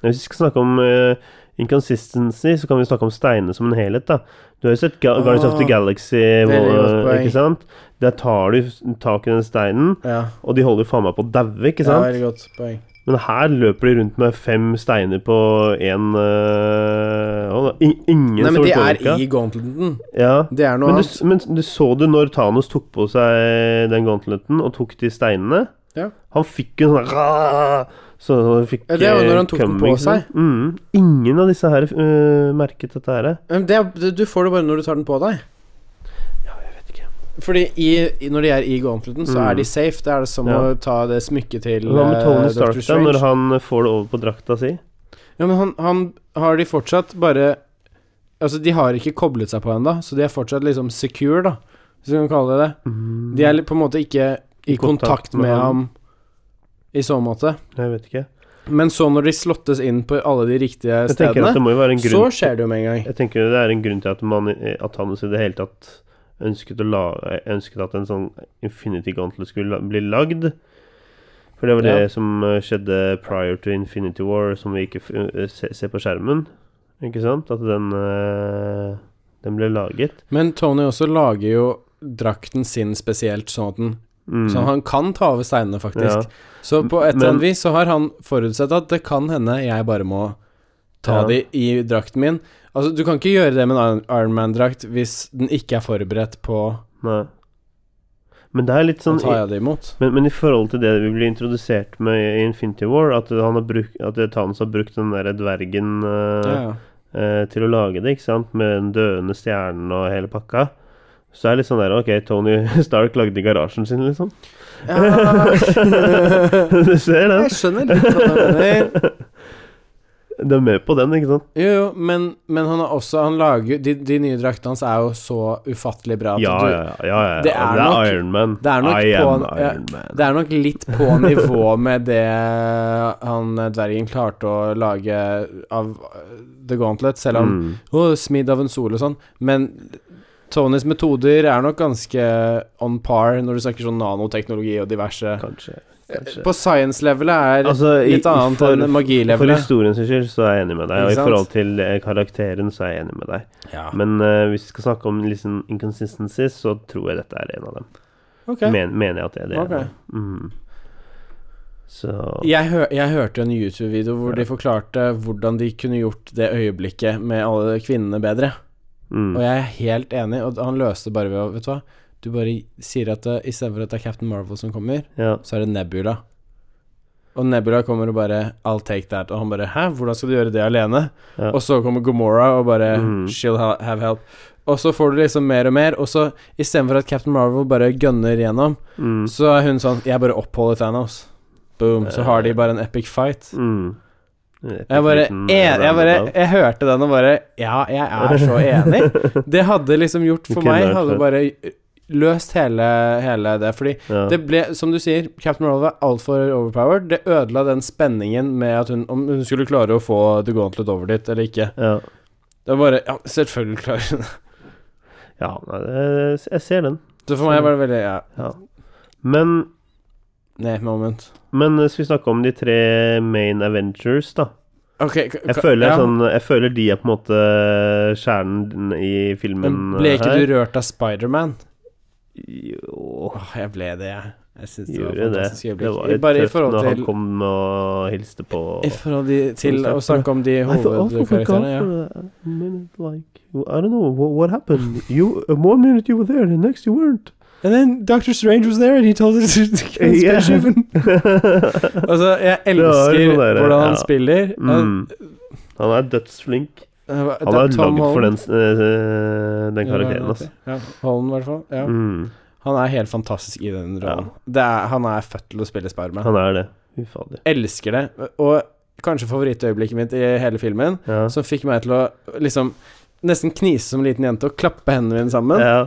Speaker 1: Hvis vi skal snakke om eh, inconsistency, så kan vi snakke om steinene som en helhet. da Du har jo sett Ga Guardians of the
Speaker 3: Ah,
Speaker 1: Galaxy,
Speaker 3: veldig godt
Speaker 1: eh,
Speaker 3: poeng.
Speaker 1: ikke sant? Der tar du tak i den steinen,
Speaker 3: Ja,
Speaker 1: og de holder jo faen meg på å daue, ikke
Speaker 3: ja
Speaker 1: sant?
Speaker 3: veldig godt poeng.
Speaker 1: Men her løper de rundt med fem steiner på én eh, og da- i- Ingen
Speaker 3: Nei,
Speaker 1: som
Speaker 3: men
Speaker 1: blir
Speaker 3: de er
Speaker 1: påvirka.
Speaker 3: i Gauntleten.
Speaker 1: Ja.
Speaker 3: Det er noe
Speaker 1: Men, du,
Speaker 3: annet.
Speaker 1: s- men du så du når Thanos tok på seg den gauntleten og tok de steinene?
Speaker 3: Ja.
Speaker 1: Han fikk en sånn rah, Så han fikk
Speaker 3: Ja, det er jo
Speaker 1: eh,
Speaker 3: når han tok den på
Speaker 1: ikke sant? Mm. Ingen av disse her eh, merket dette her.
Speaker 3: Men Det, er- du får det bare når du tar den på deg.
Speaker 1: Jeg vet ikke.
Speaker 3: Fordi i, i, når de er i Gauntleten, så
Speaker 1: Mm.
Speaker 3: er de safe. Det er det som
Speaker 1: Ja.
Speaker 3: å ta det smykket til
Speaker 1: Hva med Tony
Speaker 3: eh, Dr.
Speaker 1: Stark da,
Speaker 3: Strange.
Speaker 1: når han får det over på drakta si?
Speaker 3: Ja, men han, han har de fortsatt bare Altså, de har ikke koblet seg på ennå, så de er fortsatt liksom secure, da, hvis vi kan kalle det det. De er li- på en måte ikke i kontakt med ham i så måte.
Speaker 1: Jeg vet ikke.
Speaker 3: Men så når de slottes inn på alle de riktige
Speaker 1: Jeg tenker at
Speaker 3: stedene,
Speaker 1: det må jo være en
Speaker 3: så
Speaker 1: grunn
Speaker 3: skjer det jo med en gang.
Speaker 1: Jeg tenker det er en grunn til at, man, eh, at Thanos i det hele tatt ønsket, å la, ønsket at en sånn Infinity Gauntlet skulle la- bli lagd. For det var det
Speaker 3: Ja.
Speaker 1: som eh, skjedde prior to Infinity War, som vi ikke f- eh, se- ser på skjermen. Ikke sant? At den, eh, den ble laget.
Speaker 3: Men Tony også lager jo drakten sin spesielt, sånn at den,
Speaker 1: Mm.
Speaker 3: sånn at han kan ta over steinene,
Speaker 1: ja.
Speaker 3: faktisk. Så på et eller
Speaker 1: Men-
Speaker 3: annet vis så har han forutsett at det kan hende jeg bare må ta
Speaker 1: Ja.
Speaker 3: de i drakten min. Altså, du kan ikke gjøre det med en Iron- Iron Man-drakt hvis den ikke er forberedt på
Speaker 1: Nei. Men det er litt
Speaker 3: Da
Speaker 1: sånn
Speaker 3: tar jeg det imot.
Speaker 1: Men, men i forhold til det vi ble introdusert med i Infinity War, at, han har bruk, at Thanos har brukt den der dvergen eh,
Speaker 3: Ja, ja.
Speaker 1: eh, til å lage det, ikke sant? Med den døende stjernen og hele pakka. Så det er litt sånn der Ok, Tony Stark lagde i garasjen sin, liksom.
Speaker 3: Ja.
Speaker 1: du ser den?
Speaker 3: Jeg skjønner litt hva du mener.
Speaker 1: Du er med på den, ikke sant?
Speaker 3: Jo, jo, men, men han har også Han lager De, de nye draktene hans er jo så ufattelig bra at
Speaker 1: Ja,
Speaker 3: altså, du
Speaker 1: ja, ja. ja, ja.
Speaker 3: det
Speaker 1: Det,
Speaker 3: er
Speaker 1: er
Speaker 3: nok-
Speaker 1: Iron Man.
Speaker 3: det er nok
Speaker 1: I am
Speaker 3: på en- ja,
Speaker 1: Iron Man.
Speaker 3: Det er nok litt på nivå med det han eh, dvergen klarte å lage av eh, The Gauntlet, selv om
Speaker 1: Mm.
Speaker 3: oh, Smidd av en sol og sånn. Men Tonys metoder er nok ganske on par når du snakker sånn nanoteknologi og diverse.
Speaker 1: Kanskje. kanskje.
Speaker 3: På science-levelet er
Speaker 1: Altså, i-
Speaker 3: litt annet
Speaker 1: for-
Speaker 3: enn
Speaker 1: For
Speaker 3: magilevelet.
Speaker 1: historien sin skyld så er jeg enig med deg, og
Speaker 3: Ikke
Speaker 1: i
Speaker 3: sant?
Speaker 1: forhold til eh, karakteren så er jeg enig med deg.
Speaker 3: Ja.
Speaker 1: Men eh, hvis vi skal snakke om liksom inconsistencies, så tror jeg dette er en av dem.
Speaker 3: Ok.
Speaker 1: Men, mener jeg at det er det.
Speaker 3: Ok.
Speaker 1: ene. Mm. Så
Speaker 3: Jeg, hø jeg hørte en YouTube-video hvor
Speaker 1: Ja.
Speaker 3: de forklarte hvordan de kunne gjort det øyeblikket med alle kvinnene bedre. Og
Speaker 1: mm.
Speaker 3: jeg er helt enig, og han løste det bare ved å Vet du hva? Du bare sier at eh, det, istedenfor at det er Captain Marvel som kommer,
Speaker 1: ja.
Speaker 3: så er det Nebula. Og Nebula kommer og bare I'll take that. Og han bare Hæ, hvordan skal du gjøre det alene?
Speaker 1: Ja.
Speaker 3: Og så kommer Gomora og bare
Speaker 1: Mhm.
Speaker 3: She'll ha have help. Og så får du liksom mer og mer, og så istedenfor at Captain Marvel bare gønner gjennom,
Speaker 1: Mm.
Speaker 3: så er hun sånn Jeg bare oppholder Thanos. Boom. Så har de bare en epic fight.
Speaker 1: Mm.
Speaker 3: Jeg bare,
Speaker 1: Liten
Speaker 3: en, jeg bare
Speaker 1: roundabout.
Speaker 3: Jeg hørte den og bare Ja, jeg er så enig. Det hadde liksom gjort for
Speaker 1: Det kunne
Speaker 3: meg
Speaker 1: vært
Speaker 3: Hadde
Speaker 1: fett.
Speaker 3: bare eh, løst hele, hele det. Fordi
Speaker 1: ja.
Speaker 3: det ble, som du sier, Captain Marvel var altfor overpowered. Det ødela den spenningen med at hun om hun skulle klare å få The Gauntlet over dit eller ikke.
Speaker 1: ja.
Speaker 3: Det var bare Ja, selvfølgelig klarer hun det.
Speaker 1: ja nei, det- jeg ser den.
Speaker 3: Så for meg var det veldig Ja,
Speaker 1: Ja. Men
Speaker 3: nei, moment.
Speaker 1: Men eh, skal vi snakke om de tre main Avengers, da?
Speaker 3: Ok,
Speaker 1: Jeg føler, sånn, jeg føler de er på en måte kjernen i filmen
Speaker 3: Men ble ikke
Speaker 1: her.
Speaker 3: du rørt av Spiderman?
Speaker 1: Jo
Speaker 3: Åh, jeg ble det, jeg. Jeg syns det var
Speaker 1: Gjorde
Speaker 3: et
Speaker 1: det.
Speaker 3: fantastisk
Speaker 1: Det var
Speaker 3: øyeblikk.
Speaker 1: litt
Speaker 3: Bare i
Speaker 1: tøft
Speaker 3: forhold
Speaker 1: når
Speaker 3: til
Speaker 1: han kom og hilste på
Speaker 3: I forhold de, til å snakke om de
Speaker 1: I thought- I thought we got
Speaker 3: hovedkarakterene, ja.
Speaker 1: for a minute, like, I don't know, what, what happened? You, uh, one minute you were there, the next you weren't.
Speaker 3: And then Dr. Strange was there, and he told us
Speaker 1: Yeah.
Speaker 3: Altså, jeg
Speaker 1: Det var
Speaker 3: elsker
Speaker 1: jo sånn der,
Speaker 3: hvordan han
Speaker 1: ja.
Speaker 3: spiller. Han-
Speaker 1: mm. Han er dødsflink.
Speaker 3: Han
Speaker 1: Han er
Speaker 3: Tom
Speaker 1: lagd for den,
Speaker 3: Holland.
Speaker 1: s- eh, den
Speaker 3: Ja,
Speaker 1: karakteren,
Speaker 3: ok.
Speaker 1: altså.
Speaker 3: Ja, Holland, i hvert fall. Ja.
Speaker 1: Mm.
Speaker 3: Han er helt fantastisk i den rollen. Det er, han er født til å spille Spiderman.
Speaker 1: Han er det. Fy fader.
Speaker 3: Elsker det. Og kanskje favorittøyeblikket mitt i hele filmen,
Speaker 1: Ja.
Speaker 3: som fikk meg til å liksom nesten knise som en liten jente og klappe hendene mine sammen,
Speaker 1: ja.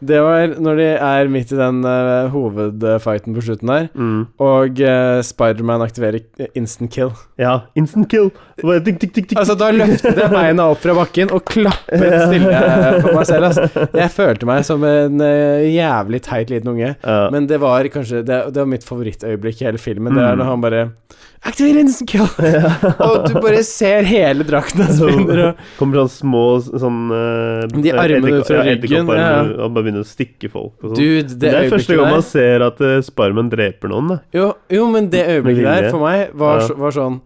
Speaker 3: det var når de er midt i den eh, hovedfighten på slutten der.
Speaker 1: Mm.
Speaker 3: Og eh, Spiderman aktiverer eh, instant kill.
Speaker 1: Ja, instant kill. Det var tikk, tikk, tikk, tikk.
Speaker 3: Altså, da løftet jeg beina opp fra bakken og klappet stille eh, på meg selv. Altså. Jeg følte meg som en eh, jævlig teit liten unge.
Speaker 1: Ja.
Speaker 3: Men det var kanskje Det, det var mitt favorittøyeblikk i hele filmen. Det er
Speaker 1: Mm.
Speaker 3: når han bare Aktiver instant kill! og du bare ser hele drakten hans begynner å
Speaker 1: Kommer sånn små sånn eh,
Speaker 3: De armene
Speaker 1: edderko-
Speaker 3: fra
Speaker 1: ja,
Speaker 3: ryggen,
Speaker 1: edderkopparmer,
Speaker 3: ja,
Speaker 1: Og bare begynner å stikke folk. Og sånn.
Speaker 3: Dude,
Speaker 1: det,
Speaker 3: det
Speaker 1: er første
Speaker 3: øyeblikket
Speaker 1: gang man
Speaker 3: der
Speaker 1: ser at uh, Sparman dreper noen. Da.
Speaker 3: jo, jo, men det øyeblikket
Speaker 1: vilje.
Speaker 3: der for meg var,
Speaker 1: Ja.
Speaker 3: så- var sånn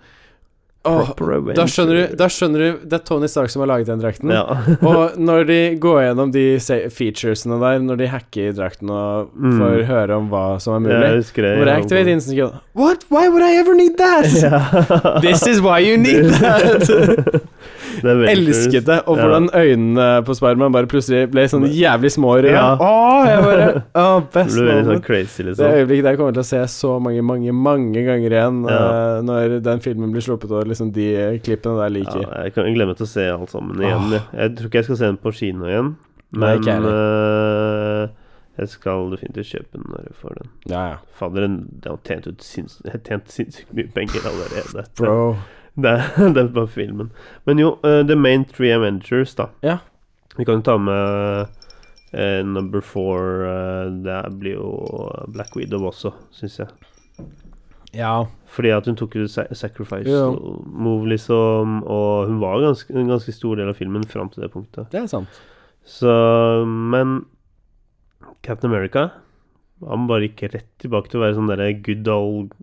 Speaker 3: Åh,
Speaker 1: Proper revenge.
Speaker 3: da skjønner du Da skjønner du Det er Tony Stark som har laget den drakten.
Speaker 1: Ja.
Speaker 3: Og når de går gjennom de se- featuresene der, når de hacker drakten og
Speaker 1: Mm.
Speaker 3: får høre om hva som er
Speaker 1: jeg
Speaker 3: mulig
Speaker 1: husker det.
Speaker 3: Hvor jeg aktiverer instant kill What? Why would I ever need that?
Speaker 1: Ja.
Speaker 3: This is why you need that!
Speaker 1: Det er veldig
Speaker 3: Elsket det. Og
Speaker 1: Ja.
Speaker 3: hvordan øynene på Spiderman bare plutselig ble sånn jævlig små. og røde.
Speaker 1: Ja.
Speaker 3: Åh, jeg bare åh,
Speaker 1: Det
Speaker 3: Best
Speaker 1: blir veldig sånn
Speaker 3: moment.
Speaker 1: crazy,
Speaker 3: Det
Speaker 1: liksom.
Speaker 3: øyeblikket der kommer jeg til å se så mange, mange mange ganger igjen
Speaker 1: Ja.
Speaker 3: eh, når den filmen blir sluppet, og liksom de eh, klippene der
Speaker 1: Ja,
Speaker 3: liker.
Speaker 1: jeg kan glemme til å se alt sammen igjen.
Speaker 3: Åh.
Speaker 1: Jeg. jeg tror ikke jeg skal se den på kino igjen,
Speaker 3: Nei,
Speaker 1: men
Speaker 3: ikke jeg
Speaker 1: eh, jeg skal definitivt kjøpe den når jeg får den.
Speaker 3: Ja, ja.
Speaker 1: Fader, den- den har tjent ut sinns- jeg har tjent sinnssykt mye penger allerede.
Speaker 3: Bro.
Speaker 1: Det, det er bare filmen. Men jo, eh, The Main Three Avengers, da.
Speaker 3: Ja.
Speaker 1: Vi kan jo ta med eh, number four eh, Det blir jo eh, Black Widow også, syns jeg.
Speaker 3: Ja.
Speaker 1: Fordi at hun tok jo sa sacrifice
Speaker 3: Ja.
Speaker 1: move, liksom, og hun var ganske, en ganske stor del av filmen fram til det punktet.
Speaker 3: Det er sant.
Speaker 1: Så Men Captain America Han bare gikk rett tilbake til å være sånn derre good old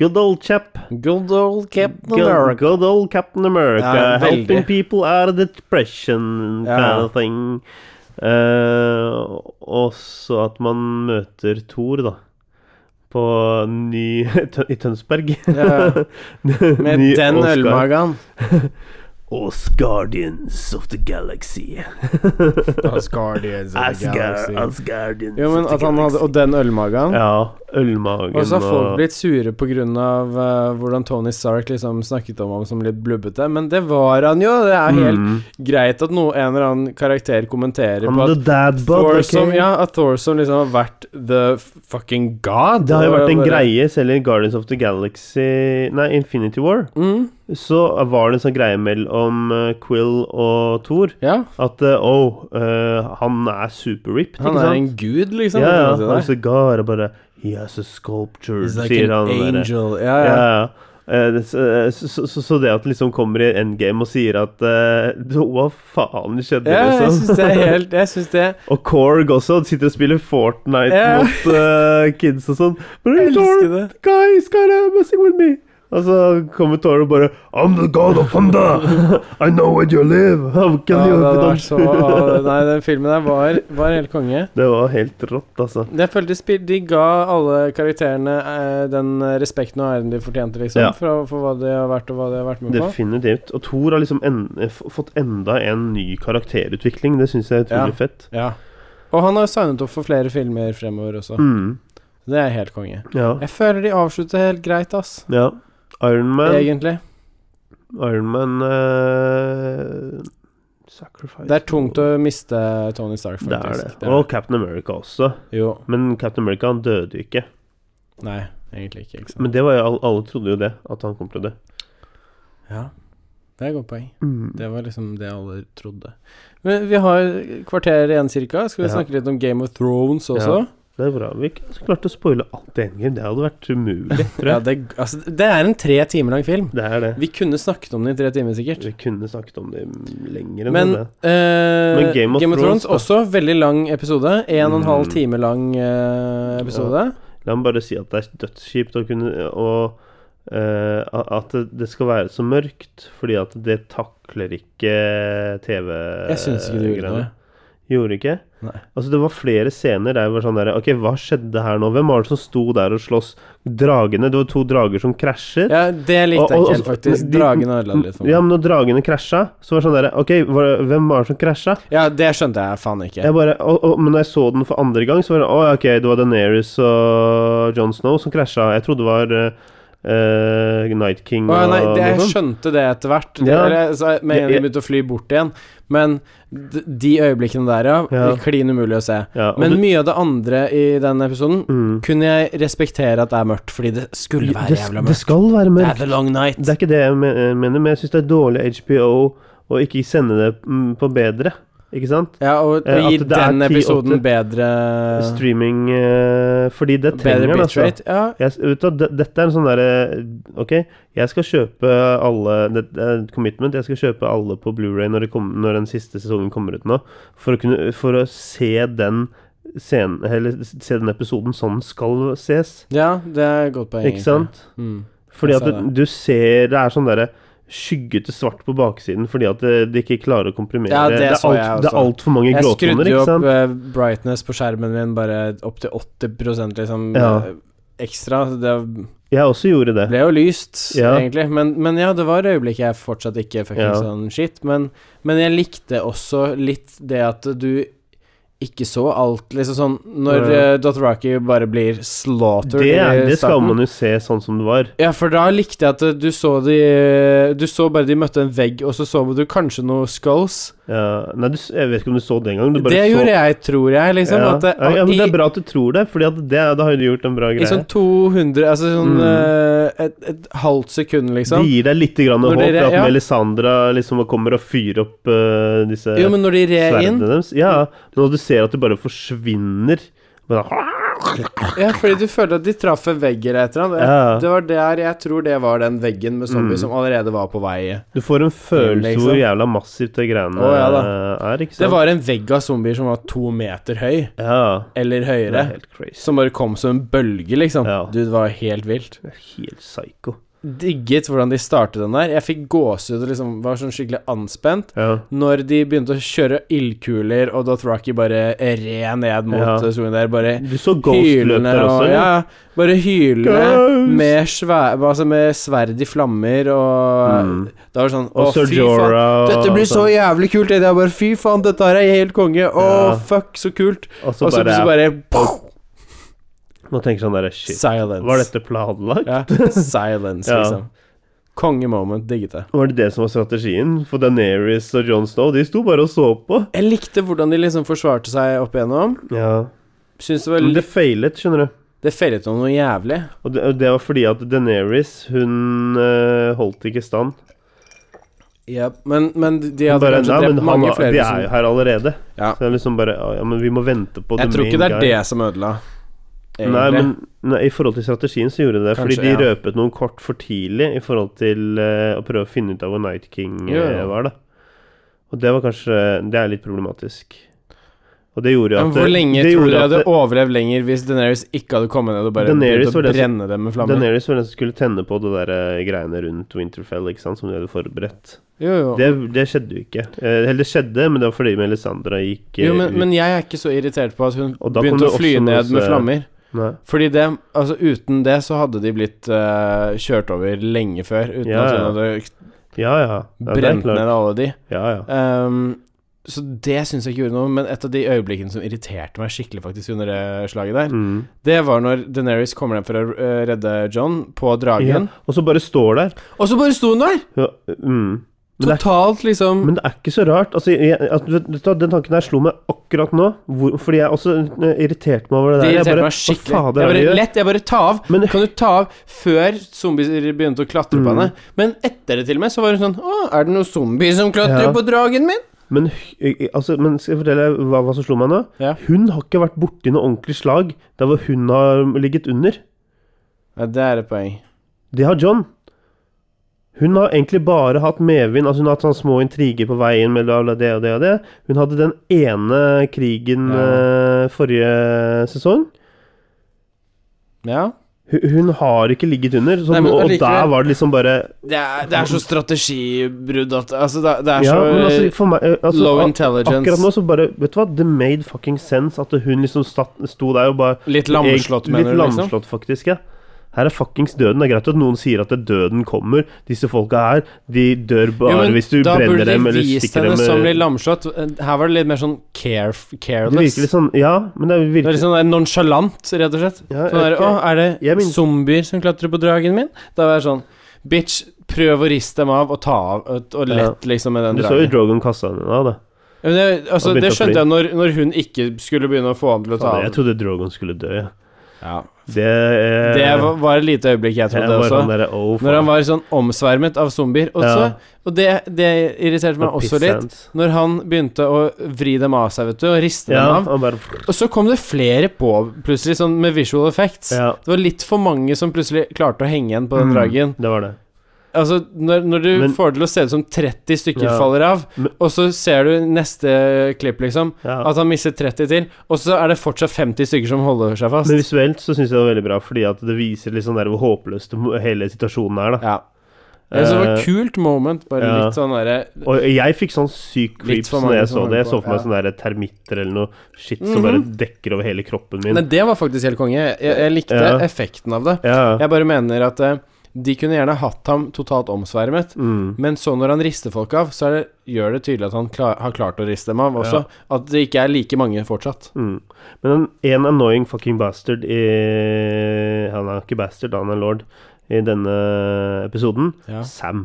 Speaker 1: Good old chap.
Speaker 3: Good old Captain
Speaker 1: Good-
Speaker 3: America.
Speaker 1: Good old Captain America.
Speaker 3: Ja, veldig.
Speaker 1: helping people out of depression
Speaker 3: Ja.
Speaker 1: kind of thing. Eh, og også at man møter Thor, da. På ny I Tønsberg.
Speaker 3: Ja, Med
Speaker 1: Ny
Speaker 3: den
Speaker 1: Oscar.
Speaker 3: ølmagen.
Speaker 1: Osgardians of the Galaxy.
Speaker 3: Asgardians
Speaker 1: Asgardians
Speaker 3: Jo, men at han hadde Og den ølmagen.
Speaker 1: altså. Ja. Ølmagen
Speaker 3: Og så har folk blitt sure på grunn av eh, hvordan Tony Stark liksom snakket om ham som litt blubbete, men det var han jo. Det er helt
Speaker 1: Mm.
Speaker 3: greit at no, en eller annen karakter kommenterer
Speaker 1: Han
Speaker 3: på
Speaker 1: hadde
Speaker 3: at
Speaker 1: dad bod,
Speaker 3: Thor
Speaker 1: ok?
Speaker 3: som, ja, at Thor som liksom har vært the fucking god.
Speaker 1: Det har jo
Speaker 3: Og
Speaker 1: vært en
Speaker 3: bare-
Speaker 1: greie, selv i Guardians of the Galaxy Nei, Infinity War,
Speaker 3: Mm,
Speaker 1: så var det en sånn greie mellom eh, Quill og Thor
Speaker 3: ja,
Speaker 1: at eh, oh, eh, han er super-ripped,
Speaker 3: han
Speaker 1: ikke
Speaker 3: er
Speaker 1: sant?
Speaker 3: en gud, liksom.
Speaker 1: ja, ja.
Speaker 3: kan
Speaker 1: Han
Speaker 3: man
Speaker 1: er
Speaker 3: si
Speaker 1: så
Speaker 3: det.
Speaker 1: gar og bare He has a sculpture,
Speaker 3: He's like
Speaker 1: sier han.
Speaker 3: an
Speaker 1: der.
Speaker 3: angel. Ja,
Speaker 1: Ja, ja.
Speaker 3: ja.
Speaker 1: Eh, det- Så, så- så, så det at det liksom kommer i endgame og sier at eh, Hva faen skjedde,
Speaker 3: ja jeg
Speaker 1: liksom?
Speaker 3: syns det er helt Jeg syns det
Speaker 1: Og Korg også sitter og spiller Fortnite
Speaker 3: Ja.
Speaker 1: mot eh, kids og sånn. But
Speaker 3: Jeg
Speaker 1: hey, Thor,
Speaker 3: elsker det.
Speaker 1: guys, God, I'm messing with me. Og så kommer Thor og bare I'm the god of thunder. I know where you live. How can
Speaker 3: Ja,
Speaker 1: you
Speaker 3: det hadde
Speaker 1: don't-"
Speaker 3: vært så Nei, den filmen der var, var helt konge.
Speaker 1: Det var helt rått, altså.
Speaker 3: Jeg følte spill, De ga alle karakterene eh, den respekten og æren de fortjente, liksom.
Speaker 1: Ja.
Speaker 3: For, for hva de har vært, og hva de har vært med på.
Speaker 1: Definitivt. Og Thor har liksom en, f- fått enda en ny karakterutvikling. Det syns jeg er utrolig fett.
Speaker 3: Ja. Og han har jo signet opp for flere filmer fremover også.
Speaker 1: Mm.
Speaker 3: Det er helt konge.
Speaker 1: Ja.
Speaker 3: Jeg føler de avslutter helt greit, ass.
Speaker 1: Ja. Iron Man
Speaker 3: Egentlig.
Speaker 1: Iron Man eh, Sacrifice
Speaker 3: Det er tungt å miste Tony Stark,
Speaker 1: Det er
Speaker 3: faktisk.
Speaker 1: det. Og Captain America også.
Speaker 3: Jo.
Speaker 1: Men Captain America han døde jo ikke.
Speaker 3: Nei, egentlig ikke. ikke sant?
Speaker 1: Men det var jo alle, alle trodde jo det, at han kom til å dø.
Speaker 3: Ja. Det er et godt poeng.
Speaker 1: Mm.
Speaker 3: Det var liksom det alle trodde. Men vi har kvarter igjen cirka. Skal vi
Speaker 1: Ja.
Speaker 3: snakke litt om Game of Thrones også?
Speaker 1: Det er bra. Vi ikke altså, klarte å spoile alt i Endgame. Det hadde vært umulig, tror
Speaker 3: Ja,
Speaker 1: jeg.
Speaker 3: det, altså, det er en tre timer lang film.
Speaker 1: Det er det.
Speaker 3: Vi kunne snakket om den i tre timer, sikkert.
Speaker 1: Vi kunne snakket om det lenger enn
Speaker 3: Men,
Speaker 1: det.
Speaker 3: eh,
Speaker 1: Men
Speaker 3: Game of Thrones, også veldig lang episode. En og en halv
Speaker 1: Mm.
Speaker 3: time lang eh, episode.
Speaker 1: La meg bare si at det er dødskjipt å kunne Og eh, at det- det skal være så mørkt, fordi at det takler ikke TV-greiene.
Speaker 3: Jeg syns
Speaker 1: eh,
Speaker 3: ikke du gjorde det.
Speaker 1: Gjorde ikke?
Speaker 3: Nei.
Speaker 1: Altså, det var flere scener der jeg var sånn der Ok, hva skjedde her nå? Hvem var det som sto der og sloss? Dragene? Det var to drager som krasjer.
Speaker 3: Ja, det likte jeg
Speaker 1: Og- og-
Speaker 3: ikke helt, faktisk.
Speaker 1: de-
Speaker 3: Dragen ødela det litt for
Speaker 1: Ja,
Speaker 3: meg.
Speaker 1: men når dragene krasja, så var det sånn derre Ok, hva- hvem var det som krasja?
Speaker 3: Ja, det skjønte jeg faen ikke.
Speaker 1: Jeg bare, og, og, men når jeg så den for andre gang, så var det Å, ja, ok, det var Daenerys og Jon Snow som krasja. Jeg trodde det var eh, eh, Night King
Speaker 3: Å, ja, nei,
Speaker 1: og
Speaker 3: det, jeg
Speaker 1: noe sånt.
Speaker 3: skjønte det etter hvert, Det-
Speaker 1: Liksom. Ja.
Speaker 3: eller, så med en gang de begynte å fly bort igjen. Men d- de øyeblikkene der, ja,
Speaker 1: Ja.
Speaker 3: blir klin umulig å se.
Speaker 1: Ja, og
Speaker 3: Men
Speaker 1: det,
Speaker 3: mye av det andre i den episoden
Speaker 1: Mm.
Speaker 3: kunne jeg respektere at det er mørkt, fordi det skulle være
Speaker 1: det,
Speaker 3: jævla
Speaker 1: det
Speaker 3: mørkt.
Speaker 1: skal være
Speaker 3: Det er
Speaker 1: mørkt.
Speaker 3: the long night.
Speaker 1: Det er ikke det jeg me- mener, men jeg syns det er dårlig HBO å ikke sende det mm, på bedre, ikke sant?
Speaker 3: Ja, og
Speaker 1: Eh,
Speaker 3: gi
Speaker 1: at det er
Speaker 3: den
Speaker 1: 10-8.
Speaker 3: episoden bedre
Speaker 1: Streaming eh, Fordi det
Speaker 3: Bedre
Speaker 1: trenger den, altså.
Speaker 3: bitrate. Ja,
Speaker 1: Jeg, vet du, hva, det- dette er en sånn derre Ok, jeg skal kjøpe alle Det er et commitment. Jeg skal kjøpe alle på Blu-ray når, det kom- når den siste sesongen kommer ut nå. For å, kunne, for å se den scenen Eller se den episoden sånn den skal ses.
Speaker 3: ja, det er et godt poeng.
Speaker 1: Ikke
Speaker 3: egentlig.
Speaker 1: sant?
Speaker 3: Mm.
Speaker 1: Fordi at
Speaker 3: Jeg ser
Speaker 1: du, du ser Det er sånn derre Skyggete svart på baksiden fordi at eh, de ikke klarer å komprimere.
Speaker 3: Ja, det
Speaker 1: er
Speaker 3: så jeg
Speaker 1: alt-
Speaker 3: også.
Speaker 1: det er altfor mange
Speaker 3: Jeg
Speaker 1: gråtoner,
Speaker 3: skrudde jo
Speaker 1: ikke
Speaker 3: opp
Speaker 1: sant?
Speaker 3: eh, brightness på skjermen min bare opp til 80 liksom
Speaker 1: Ja.
Speaker 3: eh, ekstra. så Det
Speaker 1: Jeg også gjorde det.
Speaker 3: eh, ble jo lyst,
Speaker 1: Ja.
Speaker 3: egentlig. Men, men ja, det var øyeblikket jeg fortsatt ikke fuckings
Speaker 1: Ja.
Speaker 3: sånn shit. Men, men jeg likte også litt det at du ikke så alt, liksom sånn Når
Speaker 1: Ja.
Speaker 3: eh, Dothraki bare blir slaughtered
Speaker 1: Det, er-
Speaker 3: i
Speaker 1: det skal
Speaker 3: starten.
Speaker 1: man jo se sånn som det var.
Speaker 3: Ja, for da likte jeg at eh, du så de Du så bare de møtte en vegg, og så så du kanskje noe skulls.
Speaker 1: Ja, nei, du, s- jeg vet ikke om du så det engang. Du bare
Speaker 3: Det
Speaker 1: så,
Speaker 3: gjorde jeg, tror jeg, liksom.
Speaker 1: ja.
Speaker 3: At det,
Speaker 1: ja, men Det
Speaker 3: i-
Speaker 1: er bra at du tror det, Fordi at det, da har du gjort en bra
Speaker 3: I
Speaker 1: greie.
Speaker 3: sånn 200 Altså sånn
Speaker 1: Mm.
Speaker 3: eh, et, et halvt sekund, liksom.
Speaker 1: Det gir deg litt grann
Speaker 3: Når
Speaker 1: håp
Speaker 3: dere-
Speaker 1: for at
Speaker 3: ja.
Speaker 1: Melisandra liksom kommer og fyrer opp eh, disse
Speaker 3: Jo, men når de red inn
Speaker 1: sverdene deres. Ja, men når du ser at de bare forsvinner ah, bare,
Speaker 3: Ja, fordi du følte at de traff en vegg eller et eller annet.
Speaker 1: Ja.
Speaker 3: Det var der jeg tror det var den veggen med zombier
Speaker 1: Mm.
Speaker 3: som allerede var på vei.
Speaker 1: Du får en følelse
Speaker 3: Liksom.
Speaker 1: hvor jævla massivt det greiene
Speaker 3: Å, ja da.
Speaker 1: eh, er, ikke sant?
Speaker 3: Det var en vegg av zombier som var to meter høy,
Speaker 1: ja,
Speaker 3: eller
Speaker 1: det
Speaker 3: høyere,
Speaker 1: er helt crazy.
Speaker 3: som bare kom som en bølge, liksom.
Speaker 1: Ja.
Speaker 3: Du, det var helt vilt.
Speaker 1: Det er Helt psycho.
Speaker 3: digget hvordan de startet den der. Jeg fikk gåsehud og liksom var sånn skikkelig anspent.
Speaker 1: Ja.
Speaker 3: Når de begynte å kjøre ildkuler, og Dothraki bare red ned mot
Speaker 1: Ja.
Speaker 3: ja. der, bare
Speaker 1: Du så Ghost løp
Speaker 3: hylende
Speaker 1: der
Speaker 3: og
Speaker 1: også?
Speaker 3: Ja, ja, bare hylende
Speaker 1: Ghost!
Speaker 3: med, svær, altså med sverd i flammer og
Speaker 1: Mm.
Speaker 3: Da var det sånn Å,
Speaker 1: Og Sir
Speaker 3: fy faen.
Speaker 1: Jorah og
Speaker 3: Dette blir så
Speaker 1: sånn.
Speaker 3: jævlig kult! Det er bare Fy faen, dette her er helt konge!
Speaker 1: Ja.
Speaker 3: Å, fuck, så kult!
Speaker 1: Og så
Speaker 3: Og så
Speaker 1: bare,
Speaker 3: plutselig bare
Speaker 1: Nå tenker jeg sånn derre Shit.
Speaker 3: Silence.
Speaker 1: Var dette planlagt?
Speaker 3: Ja, silence,
Speaker 1: Ja.
Speaker 3: liksom. Kongemoment. Digget det.
Speaker 1: Var det det som var strategien? For Daenerys og Jon Snow, de sto bare og så på.
Speaker 3: Jeg likte hvordan de liksom forsvarte seg opp igjennom.
Speaker 1: Ja.
Speaker 3: Syns det var
Speaker 1: Men
Speaker 3: litt
Speaker 1: det feilet, skjønner du.
Speaker 3: Det feilet om noe jævlig.
Speaker 1: Og det, og det var fordi at Daenerys, hun eh, holdt ikke stand.
Speaker 3: Ja, men, men de
Speaker 1: Hun
Speaker 3: hadde
Speaker 1: bare,
Speaker 3: kanskje
Speaker 1: nei,
Speaker 3: drept
Speaker 1: men han,
Speaker 3: mange flere.
Speaker 1: de er jo
Speaker 3: som,
Speaker 1: her allerede.
Speaker 3: Ja.
Speaker 1: Så det er liksom bare Ja, men vi må vente på
Speaker 3: jeg
Speaker 1: the
Speaker 3: tror
Speaker 1: main
Speaker 3: ikke det er
Speaker 1: guy.
Speaker 3: det som ødela.
Speaker 1: Nei,
Speaker 3: egentlig.
Speaker 1: men nei, i forhold til strategien så gjorde det det.
Speaker 3: Kanskje,
Speaker 1: fordi de
Speaker 3: ja.
Speaker 1: røpet noen kort for tidlig i forhold til eh, å prøve å finne ut av hvor Night King eh,
Speaker 3: Jo, jo.
Speaker 1: var, da. Og det var kanskje Det er litt problematisk. Og det gjorde jo at
Speaker 3: Men hvor
Speaker 1: det-
Speaker 3: lenge
Speaker 1: det
Speaker 3: tror
Speaker 1: gjorde
Speaker 3: du de
Speaker 1: at
Speaker 3: hadde
Speaker 1: det-
Speaker 3: overlevd lenger hvis Daenerys ikke hadde kommet ned og bare
Speaker 1: Daenerys
Speaker 3: begynt å
Speaker 1: var det som-
Speaker 3: brenne dem med flammer?
Speaker 1: Daenerys var den som skulle tenne på det der eh, greiene rundt Winterfell, ikke sant, som de hadde forberedt.
Speaker 3: Jo, jo.
Speaker 1: Det, det skjedde jo ikke. Eh, Eller det skjedde, men det var fordi Melisandra gikk eh,
Speaker 3: jo men,
Speaker 1: ut.
Speaker 3: men jeg er ikke så irritert på at hun
Speaker 1: Og da
Speaker 3: begynte
Speaker 1: kommer
Speaker 3: å fly
Speaker 1: også
Speaker 3: ned
Speaker 1: masse-
Speaker 3: med flammer.
Speaker 1: Nei.
Speaker 3: Fordi det Altså, uten det så hadde de blitt eh, kjørt over lenge før. Uten
Speaker 1: Ja,
Speaker 3: at hun
Speaker 1: ja.
Speaker 3: hadde
Speaker 1: Ja, ja. ja det er
Speaker 3: brent
Speaker 1: klart.
Speaker 3: ned alle de.
Speaker 1: Ja, ja.
Speaker 3: Ehm, så det syns jeg ikke gjorde noe, men et av de øyeblikkene som irriterte meg skikkelig faktisk under det slaget der,
Speaker 1: Mm.
Speaker 3: det var når Daenerys kommer ned for å eh, redde John på
Speaker 1: ja.
Speaker 3: dragen,
Speaker 1: Og så bare står der.
Speaker 3: og så bare sto hun der!
Speaker 1: Ja, mm. Men det er-
Speaker 3: Totalt, liksom.
Speaker 1: Men det er ikke så rart. Altså, jeg, at, vet du hva, den tanken der slo meg akkurat nå. Hvor, fordi jeg også eh, irriterte meg over det der.
Speaker 3: Det
Speaker 1: Jeg
Speaker 3: irriterte
Speaker 1: bare,
Speaker 3: meg skikkelig.
Speaker 1: Hva fader
Speaker 3: jeg
Speaker 1: er det
Speaker 3: bare,
Speaker 1: du gjør?
Speaker 3: lett, jeg bare ta av.
Speaker 1: Men
Speaker 3: Kan du ta av før zombier begynte å klatre på
Speaker 1: Mm.
Speaker 3: henne? Men etter det til og med, så var hun sånn Å, er det noen zombier som klatrer
Speaker 1: Ja.
Speaker 3: på dragen min?
Speaker 1: Men, hy- altså, men skal jeg fortelle hva, hva som slo meg nå?
Speaker 3: Ja.
Speaker 1: Hun har ikke vært borti noe ordentlig slag der hvor hun har ligget under.
Speaker 3: Ja, det er et poeng.
Speaker 1: Det har John. Hun har egentlig bare hatt medvind. Altså hun har hatt sånne små intriger på veien med la, la, det og det og det. Hun hadde den ene krigen eh, forrige sesong.
Speaker 3: Ja.
Speaker 1: Hun, hun har ikke ligget under, så,
Speaker 3: Nei, men
Speaker 1: og, og
Speaker 3: allikevel-
Speaker 1: der var det liksom bare
Speaker 3: Det er, det er så strategibrudd at Altså, det, det er
Speaker 1: Ja,
Speaker 3: så
Speaker 1: men altså, for meg eh, altså,
Speaker 3: low
Speaker 1: a-
Speaker 3: intelligence.
Speaker 1: Akkurat nå så bare Vet du hva, det made fucking sense at hun liksom stat, sto der og bare
Speaker 3: Litt lamslått,
Speaker 1: Egentlig
Speaker 3: mener du,
Speaker 1: Litt
Speaker 3: liksom?
Speaker 1: lamslått, faktisk, ja. Her er fuckings døden. Det er greit at noen sier at det døden kommer. Disse folka her, de dør
Speaker 3: Jo,
Speaker 1: bare
Speaker 3: men
Speaker 1: hvis du
Speaker 3: da burde
Speaker 1: brenner
Speaker 3: de
Speaker 1: dem eller
Speaker 3: vist
Speaker 1: stikker
Speaker 3: henne
Speaker 1: dem
Speaker 3: som litt
Speaker 1: med
Speaker 3: lamslått. Her var det litt mer sånn care,
Speaker 1: Det
Speaker 3: careless.
Speaker 1: virker litt sånn Ja, men det
Speaker 3: Det var
Speaker 1: virker
Speaker 3: litt sånn der nonchalant, rett og slett.
Speaker 1: ja,
Speaker 3: Sånn der,
Speaker 1: ok.
Speaker 3: Å, er det
Speaker 1: Jeg min-
Speaker 3: zombier som klatrer på dragen min? Da var jeg sånn Bitch, prøv å riste dem av og ta av og og
Speaker 1: Ja.
Speaker 3: lett, liksom, med den
Speaker 1: Du så jo
Speaker 3: dragen.
Speaker 1: Drogon kasta henne da. da.
Speaker 3: Ja, men det, altså,
Speaker 1: Og begynte å
Speaker 3: det
Speaker 1: fly.
Speaker 3: skjønte jeg når, når hun ikke skulle begynne å få ham til å ta
Speaker 1: Fader, Jeg
Speaker 3: av.
Speaker 1: trodde Drogon skulle dø, ja.
Speaker 3: Ja.
Speaker 1: Det, eh,
Speaker 3: Det var, var et lite øyeblikk jeg
Speaker 1: jeg
Speaker 3: trodde
Speaker 1: var
Speaker 3: også.
Speaker 1: han derre oh,
Speaker 3: Når han var sånn omsvermet av zombier. Og,
Speaker 1: Ja.
Speaker 3: så, og det, det irriterte meg også litt. Når han begynte å vri dem av seg, vet du, og riste
Speaker 1: Ja,
Speaker 3: dem av.
Speaker 1: han bare
Speaker 3: Og så kom det flere på, plutselig, sånn med visual effects.
Speaker 1: Ja,
Speaker 3: Det var litt for mange som plutselig klarte å henge igjen på den
Speaker 1: Mm.
Speaker 3: dragen.
Speaker 1: det var det.
Speaker 3: Altså, når, når du
Speaker 1: Men-
Speaker 3: får det til å se ut som 30 stykker
Speaker 1: Ja.
Speaker 3: faller av,
Speaker 1: Men-
Speaker 3: og så ser du neste klipp, liksom,
Speaker 1: Ja.
Speaker 3: at han misser 30 til, og så er det fortsatt 50 stykker som holder seg fast.
Speaker 1: Men visuelt så syns jeg det var veldig bra, fordi at det viser litt sånn der hvor håpløst hele situasjonen er. da
Speaker 3: Ja. Jeg synes det var
Speaker 1: Eh,
Speaker 3: et kult moment, bare
Speaker 1: ja.
Speaker 3: litt sånn derre
Speaker 1: Og jeg fikk sånn syk
Speaker 3: Litt
Speaker 1: creeps
Speaker 3: for
Speaker 1: når
Speaker 3: mange
Speaker 1: jeg
Speaker 3: som
Speaker 1: så det. Jeg
Speaker 3: hører
Speaker 1: så
Speaker 3: på, Mhm.
Speaker 1: for meg sånne
Speaker 3: ja.
Speaker 1: der termitter eller noe shit som bare dekker over hele kroppen min.
Speaker 3: Nei, det var faktisk helt konge. Jeg, jeg likte
Speaker 1: Ja.
Speaker 3: effekten av det.
Speaker 1: Ja.
Speaker 3: Jeg bare mener at eh, de kunne gjerne hatt ham totalt omsvermet,
Speaker 1: Mm.
Speaker 3: men så når han rister folk av, så er det, gjør det tydelig at han kla- har klart å riste dem av også. At det ikke er like mange fortsatt.
Speaker 1: Mm. Men en, en annoying fucking bastard i Han er ikke bastard, han er lord i denne episoden.
Speaker 3: Ja,
Speaker 1: Sam.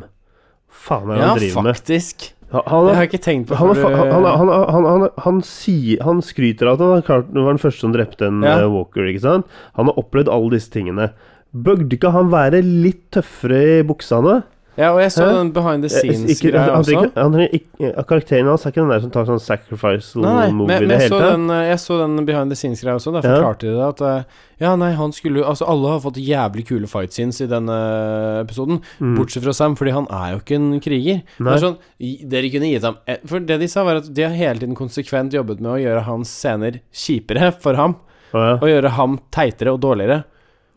Speaker 1: Faen er det han driver med?
Speaker 3: faktisk.
Speaker 1: Han, han,
Speaker 3: Det har
Speaker 1: er-
Speaker 3: jeg ikke tenkt på
Speaker 1: han, er
Speaker 3: før eh,
Speaker 1: fa-
Speaker 3: du-
Speaker 1: han, han, han, han, han, han, sier, han skryter av at han har klart, var den første som drepte en
Speaker 3: Ja.
Speaker 1: eh, Walker. ikke sant? Han har opplevd alle disse tingene. Burde ikke han være litt tøffere i buksene?
Speaker 3: Ja, og jeg så
Speaker 1: Hæ?
Speaker 3: den behind the
Speaker 1: Jeg- ikke- han-
Speaker 3: scenes-greia
Speaker 1: han-
Speaker 3: også.
Speaker 1: han- han- ikke- Karakteren hans er ikke den der som tar sånn sacrifice
Speaker 3: Nei, nei, men,
Speaker 1: movie i
Speaker 3: men
Speaker 1: det
Speaker 3: jeg,
Speaker 1: hele
Speaker 3: så
Speaker 1: tatt.
Speaker 3: den, eh, jeg så den behind the scenes-greia også. Da
Speaker 1: Ja.
Speaker 3: forklarte de det at eh, Ja, nei, han skulle jo Altså, alle har fått jævlig kule fight scenes i denne episoden,
Speaker 1: Mm.
Speaker 3: bortsett fra Sam, fordi han er jo ikke en kriger. Det
Speaker 1: Nei.
Speaker 3: er sånn i- Dere kunne gitt ham eh, For det de sa, var at de har hele tiden konsekvent jobbet med å gjøre hans scener kjipere for ham,
Speaker 1: Å ja.
Speaker 3: og gjøre ham teitere og dårligere.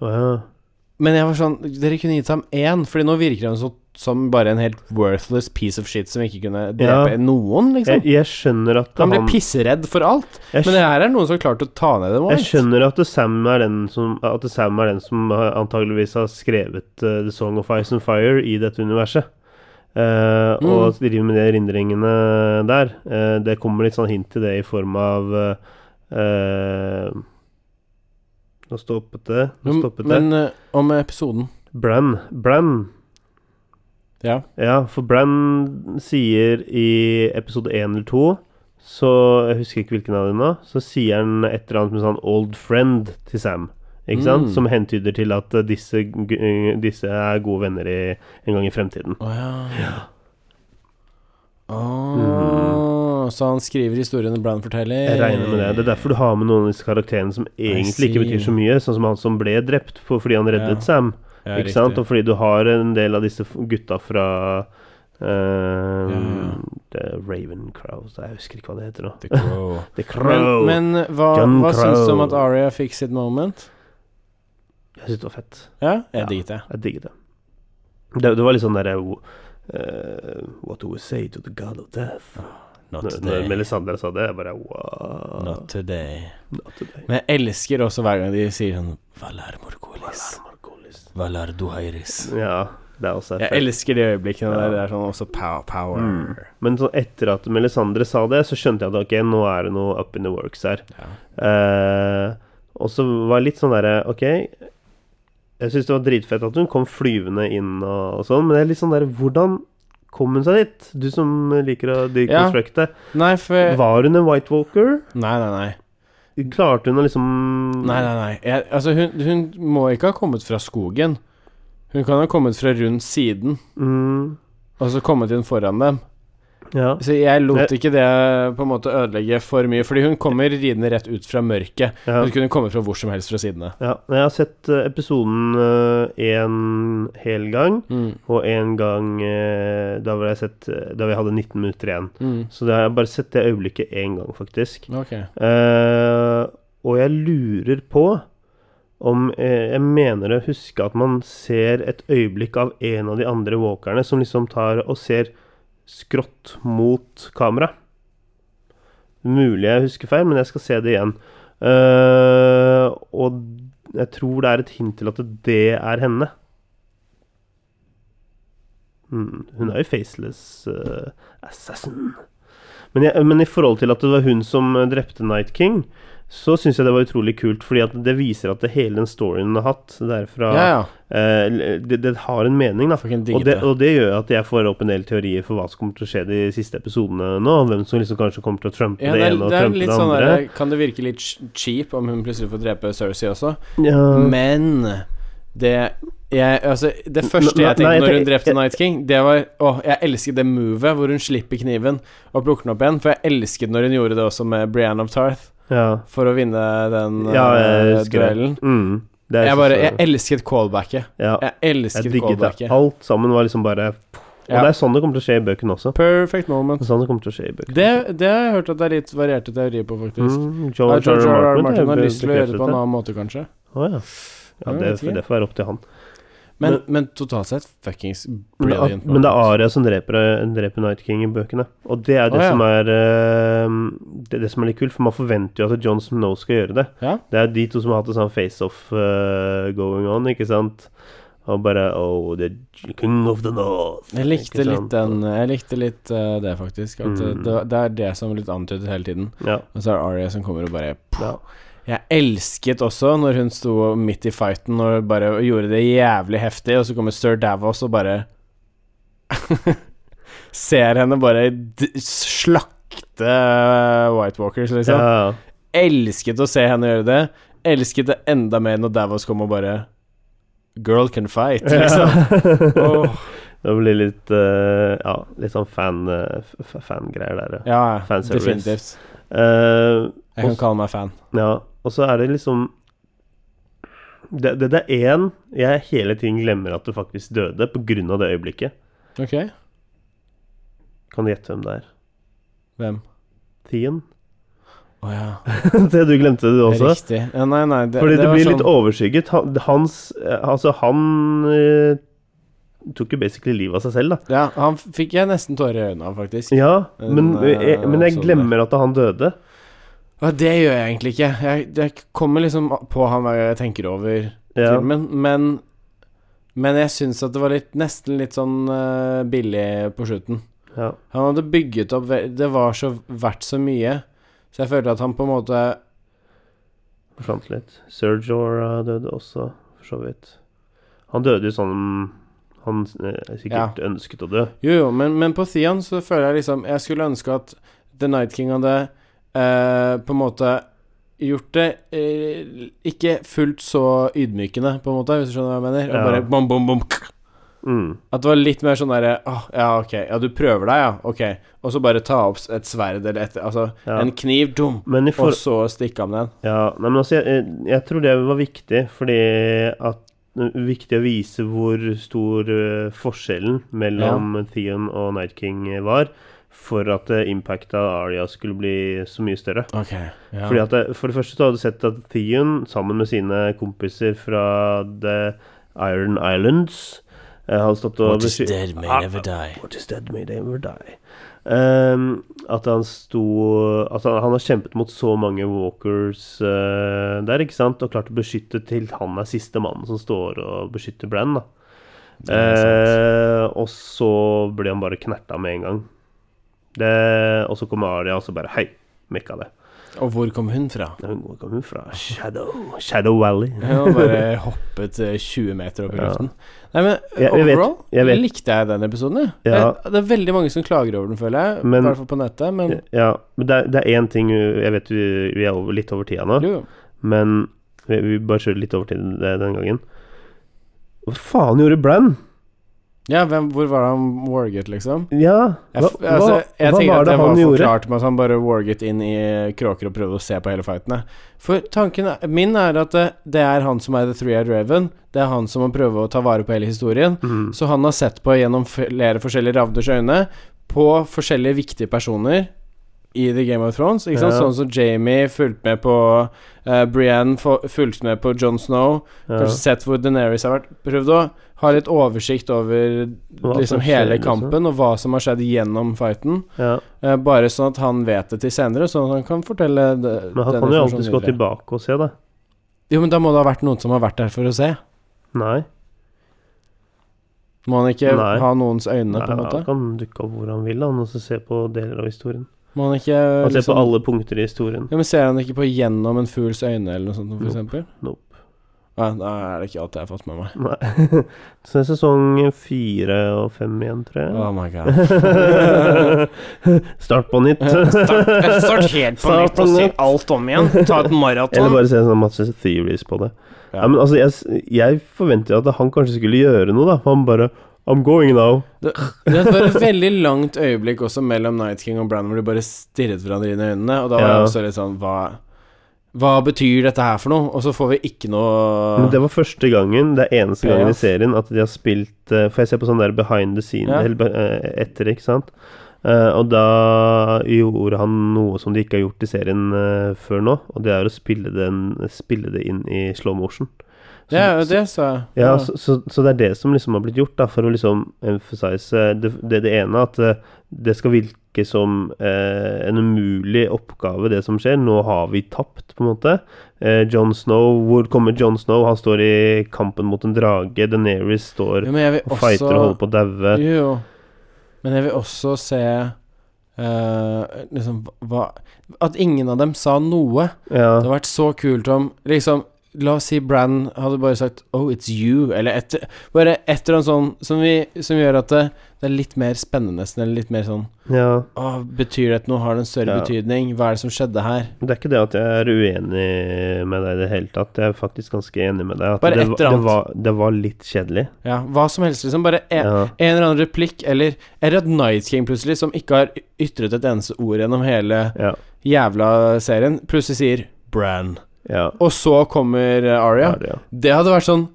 Speaker 1: Å ja.
Speaker 3: Men jeg var sånn Dere kunne gitt ham én, Fordi nå virker han så, som bare en helt worthless piece of shit som ikke kunne drepe
Speaker 1: Ja.
Speaker 3: noen, liksom.
Speaker 1: Jeg, jeg skjønner at
Speaker 3: han
Speaker 1: han
Speaker 3: ble pisseredd for alt.
Speaker 1: jeg,
Speaker 3: Men det her er noen som har klart å ta ned det
Speaker 1: skj- jeg skjønner at Sam er den som At Sam er den som har- antageligvis har skrevet eh, The Song of Ice and Fire i dette universet. Eh, Og driver med de erindringene der. Eh, det kommer litt sånn hint til det i form av eh, eh, Nå stoppet det. Nå stoppet det.
Speaker 3: Men eh, om episoden
Speaker 1: Bran. Bran
Speaker 3: Ja.
Speaker 1: Ja, for Bran sier i episode 1 eller 2 Så jeg husker ikke hvilken av dem nå Så sier han et eller annet med sånn old friend til Sam Ikke sant?
Speaker 3: Mm.
Speaker 1: Som hentyder til at eh, disse, gu- disse er gode venner i, en gang i fremtiden
Speaker 3: Å ja. Åh, Så han skriver historiene Brann forteller?
Speaker 1: Mhm. Jeg regner med det Det er derfor du har med noen av disse karakterene Som egentlig ikke
Speaker 3: see.
Speaker 1: betyr så mye Sånn som han som ble drept for, fordi han reddet
Speaker 3: Ja.
Speaker 1: Sam
Speaker 3: Ja,
Speaker 1: Ikke
Speaker 3: riktig.
Speaker 1: sant? Og fordi du har en del av disse f- gutta fra eh,
Speaker 3: ja.
Speaker 1: The Raven Crows Jeg husker ikke hva det heter nå
Speaker 3: The Crow.
Speaker 1: The Crow
Speaker 3: Men, men hva,
Speaker 1: Jon
Speaker 3: hva syns du om
Speaker 1: Crow.
Speaker 3: at Aria fikk sitt moment?
Speaker 1: Jeg synes det var fett.
Speaker 3: Ja, jeg
Speaker 1: Ja.
Speaker 3: digget det.
Speaker 1: Jeg digget det. Det, det var litt sånn derre eh, What do we say to the god of death?
Speaker 3: Not
Speaker 1: Når,
Speaker 3: today.
Speaker 1: når Melisandre sa det, jeg bare wow.
Speaker 3: Not today.
Speaker 1: Not today.
Speaker 3: Men jeg elsker også hver gang de sier sånn Valar Morgolis.
Speaker 1: Margolis.
Speaker 3: Valar Duhairis.
Speaker 1: Ja, det er også
Speaker 3: Jeg
Speaker 1: fett.
Speaker 3: elsker de øyeblikkene der.
Speaker 1: Ja.
Speaker 3: Det er sånn også pow, power.
Speaker 1: Mm. Men sånn etter at Melisandre sa det, så skjønte jeg at ok, nå er det noe up in the works her.
Speaker 3: Ja.
Speaker 1: Eh, og så var jeg litt sånn derre Ok, jeg syns det var dritfett at hun kom flyvende inn og, og sånn, men det er litt sånn derre Hvordan kom hun seg dit? Du som liker å deconstructe.
Speaker 3: Nei, for Nei,
Speaker 1: Var hun en White Walker?
Speaker 3: nei, nei.
Speaker 1: Klarte hun å liksom
Speaker 3: Nei, nei, nei. Jeg, altså, hun, hun må ikke ha kommet fra skogen. Hun kan ha kommet fra rundt siden,
Speaker 1: Mm,
Speaker 3: og så kommet inn foran dem.
Speaker 1: ja.
Speaker 3: Så jeg lot
Speaker 1: Men-
Speaker 3: ikke det på en måte ødelegge for mye, fordi hun kommer ridende rett ut fra mørket.
Speaker 1: ja.
Speaker 3: Hun kunne komme fra hvor som helst fra sidene.
Speaker 1: Ja, men jeg har sett eh, episoden én hel gang,
Speaker 3: Mm.
Speaker 1: og én gang eh, da, var jeg sett, eh, da vi hadde 19 minutter igjen.
Speaker 3: Mm.
Speaker 1: Så det har jeg bare sett det øyeblikket én gang, faktisk.
Speaker 3: Ok.
Speaker 1: Eh, og jeg lurer på om eh, Jeg mener å huske at man ser et øyeblikk av en av de andre walkerne som liksom tar og ser skrått mot kamera. Mulig jeg husker feil, men jeg skal se det igjen. Eh, og jeg tror det er et hint til at det er henne. Mm, hun er jo faceless eh, assassin. Men, jeg, men i forhold til at det var hun som eh, drepte Night King, så syns jeg det var utrolig kult, fordi at det viser at det hele den storyen hun har hatt derfra
Speaker 3: Ja, ja.
Speaker 1: eh, det, det har en mening, da.
Speaker 3: Fucking
Speaker 1: Og
Speaker 3: digget
Speaker 1: det,
Speaker 3: det.
Speaker 1: og det gjør at jeg får opp en del teorier for hva som kommer til å skje de siste episodene nå. og Hvem som liksom kanskje kommer til å trumpe
Speaker 3: Ja,
Speaker 1: det
Speaker 3: det er,
Speaker 1: ene og
Speaker 3: det er
Speaker 1: trumpe
Speaker 3: litt
Speaker 1: det
Speaker 3: sånn
Speaker 1: andre.
Speaker 3: der, Kan det virke litt ch- cheap om hun plutselig får drepe Cersei også?
Speaker 1: ja.
Speaker 3: Men det jeg, altså, det første
Speaker 1: Nei,
Speaker 3: jeg tenkte
Speaker 1: nei, jeg
Speaker 3: når hun
Speaker 1: tenk-
Speaker 3: drepte
Speaker 1: jeg-
Speaker 3: Night King, det var Å, jeg elsker det movet hvor hun slipper kniven og plukker den opp igjen. For jeg elsket når hun gjorde det også med Brienne of Tarth
Speaker 1: ja.
Speaker 3: for å vinne den
Speaker 1: ja, jeg
Speaker 3: eh,
Speaker 1: husker det.
Speaker 3: duellen.
Speaker 1: Mm. Det er
Speaker 3: Jeg
Speaker 1: så-
Speaker 3: bare Jeg elsket callbacket.
Speaker 1: ja.
Speaker 3: Jeg
Speaker 1: Jeg
Speaker 3: elsket
Speaker 1: digget det.
Speaker 3: callbacket.
Speaker 1: Alt sammen var liksom bare Og
Speaker 3: Ja.
Speaker 1: det er sånn det kommer til å skje i bøkene også.
Speaker 3: Perfect
Speaker 1: Det
Speaker 3: moment.
Speaker 1: er sånn det kommer til å skje i bøkene.
Speaker 3: Det, det har jeg hørt at det er litt varierte teorier på, faktisk.
Speaker 1: Mm,
Speaker 3: Ja,
Speaker 1: George
Speaker 3: George
Speaker 1: R.
Speaker 3: R.
Speaker 1: R.
Speaker 3: R. Martin har
Speaker 1: be-
Speaker 3: lyst til å gjøre det på en
Speaker 1: bekreftet
Speaker 3: annen måte, kanskje.
Speaker 1: Å, ja. Ja,
Speaker 3: Ja, jeg
Speaker 1: det,
Speaker 3: vet ikke.
Speaker 1: det får være opp til han.
Speaker 3: Men,
Speaker 1: Men-
Speaker 3: men totalt sett fuckings
Speaker 1: Men det er-
Speaker 3: brilliant.
Speaker 1: Men det er
Speaker 3: moment.
Speaker 1: Aria som dreper, eh, dreper Night King i bøkene. Og det er det,
Speaker 3: Å, ja.
Speaker 1: som er, eh, det er det som er litt kult, for man forventer jo at John Snow skal gjøre det.
Speaker 3: Ja.
Speaker 1: Det er de to som har hatt en sånn face-off eh, going on, ikke sant? Og bare Oh, the king of the north.
Speaker 3: Jeg likte
Speaker 1: Ikke sant?
Speaker 3: litt den Jeg likte litt eh, det, faktisk. At eh,
Speaker 1: Mm.
Speaker 3: det, det er det som er litt antydet hele tiden.
Speaker 1: Ja.
Speaker 3: Og så er det Aria som kommer og bare
Speaker 1: ja.
Speaker 3: Jeg elsket også når hun sto midt i fighten og bare gjorde det jævlig heftig, og så kommer sir Davos og bare Ser henne bare d slakte White Walkers, liksom.
Speaker 1: ja.
Speaker 3: Elsket å se henne gjøre det. Elsket det enda mer når Davos kom og bare Girl can fight, liksom.
Speaker 1: Ja.
Speaker 3: Åh.
Speaker 1: det blir litt eh, Ja, litt sånn fan, eh, f- f- fangreier der, ja.
Speaker 3: Ja,
Speaker 1: Fanservice.
Speaker 3: definitivt.
Speaker 1: Eh,
Speaker 3: Jeg kan
Speaker 1: Også-
Speaker 3: kalle meg fan.
Speaker 1: Ja, og så er det liksom Det, det, det er én jeg hele tiden glemmer at du faktisk døde på grunn av det øyeblikket.
Speaker 3: Ok,
Speaker 1: Kan du gjette hvem det er?
Speaker 3: hvem?
Speaker 1: Tien?
Speaker 3: Å ja.
Speaker 1: det du glemte det også.
Speaker 3: Riktig. Ja, nei, nei, det,
Speaker 1: Fordi det,
Speaker 3: var
Speaker 1: blir
Speaker 3: sånn-
Speaker 1: litt overskygget. Han- Hans eh, Altså, han eh, tok jo basically livet av seg selv, da.
Speaker 3: Ja, han f- fikk jeg nesten tårer i øynene av, faktisk.
Speaker 1: Ja, men,
Speaker 3: Den, eh,
Speaker 1: jeg, men jeg
Speaker 3: episoden
Speaker 1: glemmer at han døde.
Speaker 3: Ja, det gjør jeg egentlig ikke. Jeg, jeg kommer liksom på han hver gang jeg tenker over
Speaker 1: Ja.
Speaker 3: filmen, men Men jeg syns at det var litt, nesten litt sånn eh, billig på slutten.
Speaker 1: Ja.
Speaker 3: Han hadde bygget opp ve- Det var så verdt så mye, så jeg følte at han på en måte
Speaker 1: forsvant litt. Sergio eh, døde også, for så vidt. Han døde jo sånn han eh, sikkert ønsket å dø.
Speaker 3: Jo, jo, men, men på Theon så føler jeg liksom Jeg skulle ønske at The Night King hadde eh, på en måte gjort det eh, ikke fullt så ydmykende, på en måte, hvis du skjønner hva jeg mener. Og
Speaker 1: Ja.
Speaker 3: bare bom, bom, bom, kk.
Speaker 1: Mm.
Speaker 3: At det var litt mer sånn derre Åh, ja, ok. Ja, du prøver deg, ja. Ok. Og så bare ta opp et sverd eller et Altså,
Speaker 1: Ja.
Speaker 3: en kniv, dum,
Speaker 1: Men i for...
Speaker 3: og så stikke av med den.
Speaker 1: Ja, nei, men altså, jeg- jeg, jeg tror det var viktig, fordi at det er Viktig å vise hvor stor eh, forskjellen mellom Theon og Night King var, for at eh, impactet av Aria skulle bli så mye større.
Speaker 3: Ok. Ja.
Speaker 1: Fordi at det, For det første så har du sett at Theon, sammen med sine kompiser fra The Iron Islands eh, har stått og besky-
Speaker 3: dead
Speaker 1: Ah,
Speaker 3: die.
Speaker 1: What is dead may they ever die. Ehm, at han sto At han, han har kjempet mot så mange walkers eh, der, ikke sant? Og klart å beskytte til han er siste mannen som står og beskytter Brann, da.
Speaker 3: Det er sant.
Speaker 1: Eh, og så blir han bare knerta med en gang. Det, og så kommer Aria og så bare Hei, mekka det.
Speaker 3: Og hvor kom hun fra?
Speaker 1: Nei, Hun kommer fra Shadow, Shadow Valley.
Speaker 3: Hun bare hoppet eh, 20 meter opp i
Speaker 1: Ja.
Speaker 3: luften. Nei, men eh,
Speaker 1: Jeg- jeg vet-
Speaker 3: overall
Speaker 1: jeg vet-
Speaker 3: likte jeg den episoden, jeg.
Speaker 1: Ja.
Speaker 3: Jeg- Det er veldig mange som klager over den, føler jeg.
Speaker 1: Men-
Speaker 3: I hvert fall på nettet, men
Speaker 1: Ja, men det, er- det er én ting Jeg vet vi vi er over, litt over tida nå.
Speaker 3: jo, jo.
Speaker 1: Men vi, vi bare kjører litt over til det den gangen. Hva faen gjorde Brann?
Speaker 3: Ja, hvem, hvor var det han warget, liksom?
Speaker 1: Ja,
Speaker 3: Jeg,
Speaker 1: hva,
Speaker 3: f- altså, jeg
Speaker 1: hva, hva
Speaker 3: tenker at
Speaker 1: var det
Speaker 3: var
Speaker 1: han gjorde?
Speaker 3: forklart med at han bare warget inn i kråker og prøvde å se på hele fightene. For tanken er, min er at det, det er han som er The Three-Eyed Raven. Det er han som må prøve å ta vare på hele historien.
Speaker 1: Mm.
Speaker 3: Så han har sett på gjennom flere forskjellige ravners øyne på forskjellige viktige personer i The Game of Thrones. Ikke sant?
Speaker 1: Ja.
Speaker 3: Sånn som Jamie fulgte med på eh, Brienne, fo- fulgte med på Jon Snow.
Speaker 1: Ja.
Speaker 3: Kanskje sett hvor Deneris har vært. Prøvd å ha litt oversikt over
Speaker 1: Hva som
Speaker 3: liksom,
Speaker 1: skjer,
Speaker 3: hele
Speaker 1: liksom.
Speaker 3: kampen og hva som har skjedd gjennom fighten.
Speaker 1: Ja.
Speaker 3: Eh, bare sånn at han vet det til senere, sånn at han kan fortelle det,
Speaker 1: Men han
Speaker 3: den
Speaker 1: kan jo
Speaker 3: informasjonen
Speaker 1: alltids gå
Speaker 3: videre.
Speaker 1: tilbake og se, da.
Speaker 3: Jo, men da må det ha vært noen som har vært der for å se.
Speaker 1: Nei.
Speaker 3: Må han ikke
Speaker 1: Nei.
Speaker 3: ha noens øyne,
Speaker 1: Nei
Speaker 3: på en
Speaker 1: han
Speaker 3: måte?
Speaker 1: kan dukke opp hvor han vil, han, og så se på deler av historien.
Speaker 3: Må han ikke
Speaker 1: Han ser på
Speaker 3: liksom-
Speaker 1: alle punkter i historien.
Speaker 3: Ja, men Ser han ikke på gjennom en fugls øyne eller noe sånt, for
Speaker 1: Nope.
Speaker 3: eksempel?
Speaker 1: Nope.
Speaker 3: Nei, da er det ikke alt jeg har fått med meg.
Speaker 1: Nei. Så det er sesong fire og fem igjen, tror jeg.
Speaker 3: Oh my god.
Speaker 1: Start på nytt.
Speaker 3: helt
Speaker 1: på nytt og se
Speaker 3: alt om igjen. Ta et
Speaker 1: Eller bare se sånn Matches Theories på det. Ja, men altså, jeg, s- jeg forventer jo at han kanskje skulle gjøre noe, da. Han bare I'm going now.
Speaker 3: Det, det var et veldig langt øyeblikk også mellom Night King og Brann hvor de bare stirret hverandre inn i øynene, og da var
Speaker 1: Ja.
Speaker 3: jeg også litt sånn Hva Hva betyr dette her for noe? Og så får vi ikke noe
Speaker 1: Men det var første gangen, det er eneste gangen i serien, at de har spilt eh, For jeg ser på sånn der behind the scene
Speaker 3: Ja.
Speaker 1: eller be- eh, etter, ikke sant. Eh, og da gjorde han noe som de ikke har gjort i serien eh, før nå, og det er å spille, den, spille det inn i slow motion. Så-
Speaker 3: Ja, det sa jeg.
Speaker 1: Ja, så, så, så det er det som liksom har blitt gjort, da, for å liksom emphasize eh, det, det, det ene, at eh, det skal virke som eh, en umulig oppgave, det som skjer. Nå har vi tapt, på en måte. Eh, John Snow, hvor kommer John Snow? Han står i kampen mot en drage. Daenerys står
Speaker 3: Jo, men jeg vil
Speaker 1: og
Speaker 3: også
Speaker 1: fighter og holder på å daue.
Speaker 3: Jo, jo. Men jeg vil også se eh, liksom hva At ingen av dem sa noe.
Speaker 1: Ja,
Speaker 3: Det hadde vært så kult om liksom La oss si Brann hadde bare sagt 'Oh, it's you', eller et, bare et eller annet sånn som, vi, som gjør at det, det er litt mer spennende, nesten, eller litt mer sånn
Speaker 1: ja.
Speaker 3: Åh, Betyr dette noe? Har det en større
Speaker 1: Ja.
Speaker 3: betydning? Hva er det som skjedde her?
Speaker 1: Det er ikke det at jeg er uenig med deg i det hele tatt. Jeg er faktisk ganske enig med deg. At
Speaker 3: Bare
Speaker 1: det,
Speaker 3: et
Speaker 1: var-
Speaker 3: eller
Speaker 1: det, var, det var litt kjedelig.
Speaker 3: Ja, hva som helst, liksom. Bare en,
Speaker 1: Ja.
Speaker 3: en eller annen replikk, eller Eller at Night King plutselig, som ikke har ytret et eneste ord gjennom hele
Speaker 1: Ja.
Speaker 3: jævla serien, plutselig sier Brann.
Speaker 1: ja.
Speaker 3: Og så kommer eh, Aria.
Speaker 1: Aria.
Speaker 3: Det hadde vært sånn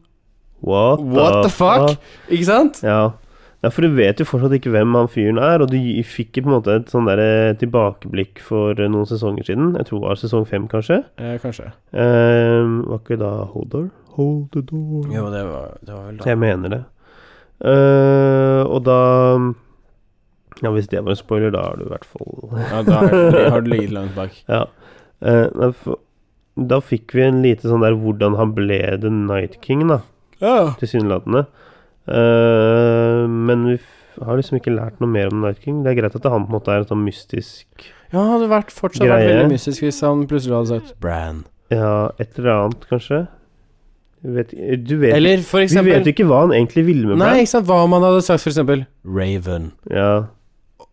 Speaker 1: What,
Speaker 3: What the fuck? Ikke sant?
Speaker 1: Ja. Ja, for du vet jo fortsatt ikke hvem han fyren er, og du gi- fikk jo på en måte et sånn der eh, tilbakeblikk for eh, noen sesonger siden. Jeg tror det var sesong fem, kanskje.
Speaker 3: Eh, kanskje.
Speaker 1: Eh, var ikke da Hodor? Hold the door.
Speaker 3: Jo, det var, det var vel da.
Speaker 1: Jeg mener det. Eh, og da Ja, hvis det var en spoiler, da er du i hvert fall
Speaker 3: Ja, da har du- har du ligget langt bak.
Speaker 1: Ja. Eh, da f- da fikk vi en lite sånn der hvordan han ble The Night King, da.
Speaker 3: Ja.
Speaker 1: Tilsynelatende. Eh, men vi f har liksom ikke lært noe mer om The Night King. Det er greit at han på en måte er et sånn mystisk
Speaker 3: Ja, det hadde vært fortsatt vært
Speaker 1: Greie.
Speaker 3: veldig mystisk hvis han plutselig hadde sagt Bran.
Speaker 1: Ja, et eller annet, kanskje. Du vet, du vet,
Speaker 3: Eller for
Speaker 1: vi
Speaker 3: eksempel
Speaker 1: vet jo ikke hva han egentlig ville med
Speaker 3: Nei,
Speaker 1: Bran.
Speaker 3: ikke sant, hva om han hadde sagt for eksempel Raven.
Speaker 1: Ja,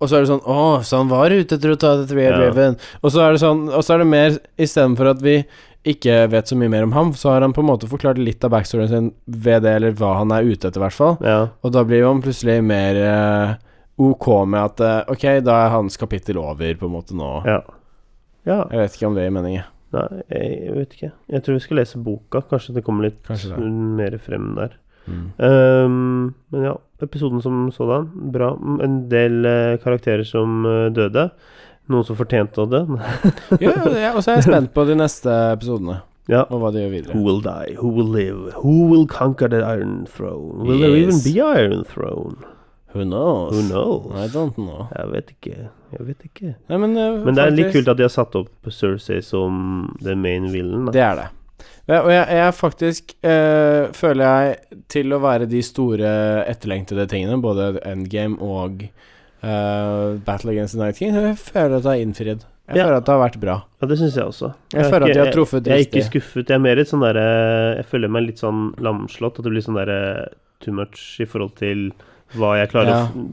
Speaker 3: Og så er det sånn Å, så han var ute etter å ta The Three-Eyed
Speaker 1: Ja.
Speaker 3: Raven. Og så er det sånn Og så er det mer Istedenfor at vi ikke vet så mye mer om ham, så har han på en måte forklart litt av backstoryen sin ved det, eller hva han er ute etter, i hvert fall.
Speaker 1: ja,
Speaker 3: Og da blir man plutselig mer eh, ok med at eh, Ok, da er hans kapittel over, på en måte, nå.
Speaker 1: ja. Ja,
Speaker 3: Jeg vet ikke om det gir mening, jeg.
Speaker 1: nei, jeg vet ikke. Jeg tror vi skal lese boka. Kanskje det kommer litt
Speaker 3: Kanskje det.
Speaker 1: mer frem der.
Speaker 3: Mm.
Speaker 1: Ehm, men ja, episoden som sådan, bra. En del eh, karakterer som eh, døde. Noen som fortjente å dø.
Speaker 3: Ja, ja, og så er jeg spent på de neste episodene,
Speaker 1: ja.
Speaker 3: og hva de gjør videre.
Speaker 1: Who will die? Who will live? Who will conquer the Iron Throne? Will there even
Speaker 3: Yes.
Speaker 1: be Iron Throne?
Speaker 3: Who knows?
Speaker 1: Who knows?
Speaker 3: I don't know.
Speaker 1: Jeg vet ikke. Jeg vet ikke.
Speaker 3: Nei, men, eh,
Speaker 1: Men det er litt
Speaker 3: faktisk-
Speaker 1: kult at de har satt opp Cersei som the main villain. Da.
Speaker 3: Det er det. Ja, Og jeg, jeg er faktisk eh, føler jeg til å være de store etterlengtede tingene, både Endgame og eh, Battle Against the Night King, jeg føler at det er innfridd. Jeg
Speaker 1: Ja.
Speaker 3: føler at det har vært bra.
Speaker 1: Ja, det syns jeg også.
Speaker 3: Jeg,
Speaker 1: er
Speaker 3: føler
Speaker 1: ikke-
Speaker 3: at de har truffet
Speaker 1: Jeg er
Speaker 3: riktig.
Speaker 1: ikke skuffet. Jeg er mer et sånn derre Jeg føler meg litt sånn lamslått. At det blir sånn derre too much i forhold til hva jeg klarer
Speaker 3: Ja.
Speaker 1: å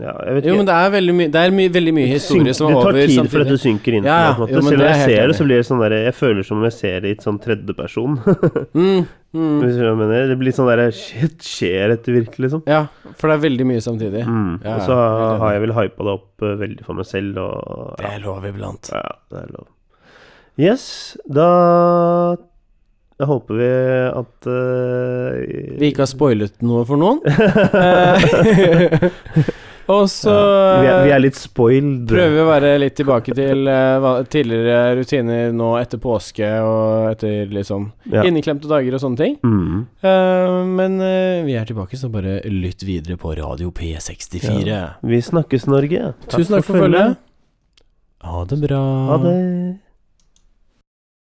Speaker 1: Ja, jeg vet ikke.
Speaker 3: Jo, men det er veldig mye Det er my, veldig mye historie
Speaker 1: Syn-
Speaker 3: som er over
Speaker 1: Det tar tid før
Speaker 3: samtidig.
Speaker 1: dette synker inn.
Speaker 3: Ja,
Speaker 1: på
Speaker 3: ja.
Speaker 1: en måte.
Speaker 3: Jo, men
Speaker 1: Selv
Speaker 3: det
Speaker 1: om
Speaker 3: er
Speaker 1: jeg
Speaker 3: jeg helt
Speaker 1: ser det,
Speaker 3: enig
Speaker 1: så blir det sånn derre Jeg føler som om jeg ser det i et sånn tredjeperson.
Speaker 3: Mm, mm,
Speaker 1: Hvis du skjønner hva jeg mener. Det blir sånn derre Shit, skjer dette virkelig, liksom?
Speaker 3: ja, for det er veldig mye samtidig.
Speaker 1: Mm.
Speaker 3: Ja,
Speaker 1: og så
Speaker 3: ja, helt enig.
Speaker 1: har jeg vel hypa det opp eh, veldig for meg selv, og
Speaker 3: Det
Speaker 1: ja,
Speaker 3: er lov iblant.
Speaker 1: ja, det er lov. Yes, da da håper vi at eh,
Speaker 3: Vi ikke har spoilet noe for noen. Eh, Og så
Speaker 1: Ja, vi, er,
Speaker 3: eh,
Speaker 1: vi er litt spoiled.
Speaker 3: Prøver å være litt tilbake til eh, hva- tidligere rutiner nå etter påske og etter litt sånn
Speaker 1: Ja.
Speaker 3: inneklemte dager og sånne ting.
Speaker 1: Mm.
Speaker 3: Eh, men eh, vi er tilbake, så bare lytt videre på Radio P64.
Speaker 1: Vi snakkes, Norge.
Speaker 3: Tusen takk for følget. Ha det bra.
Speaker 1: Ha det.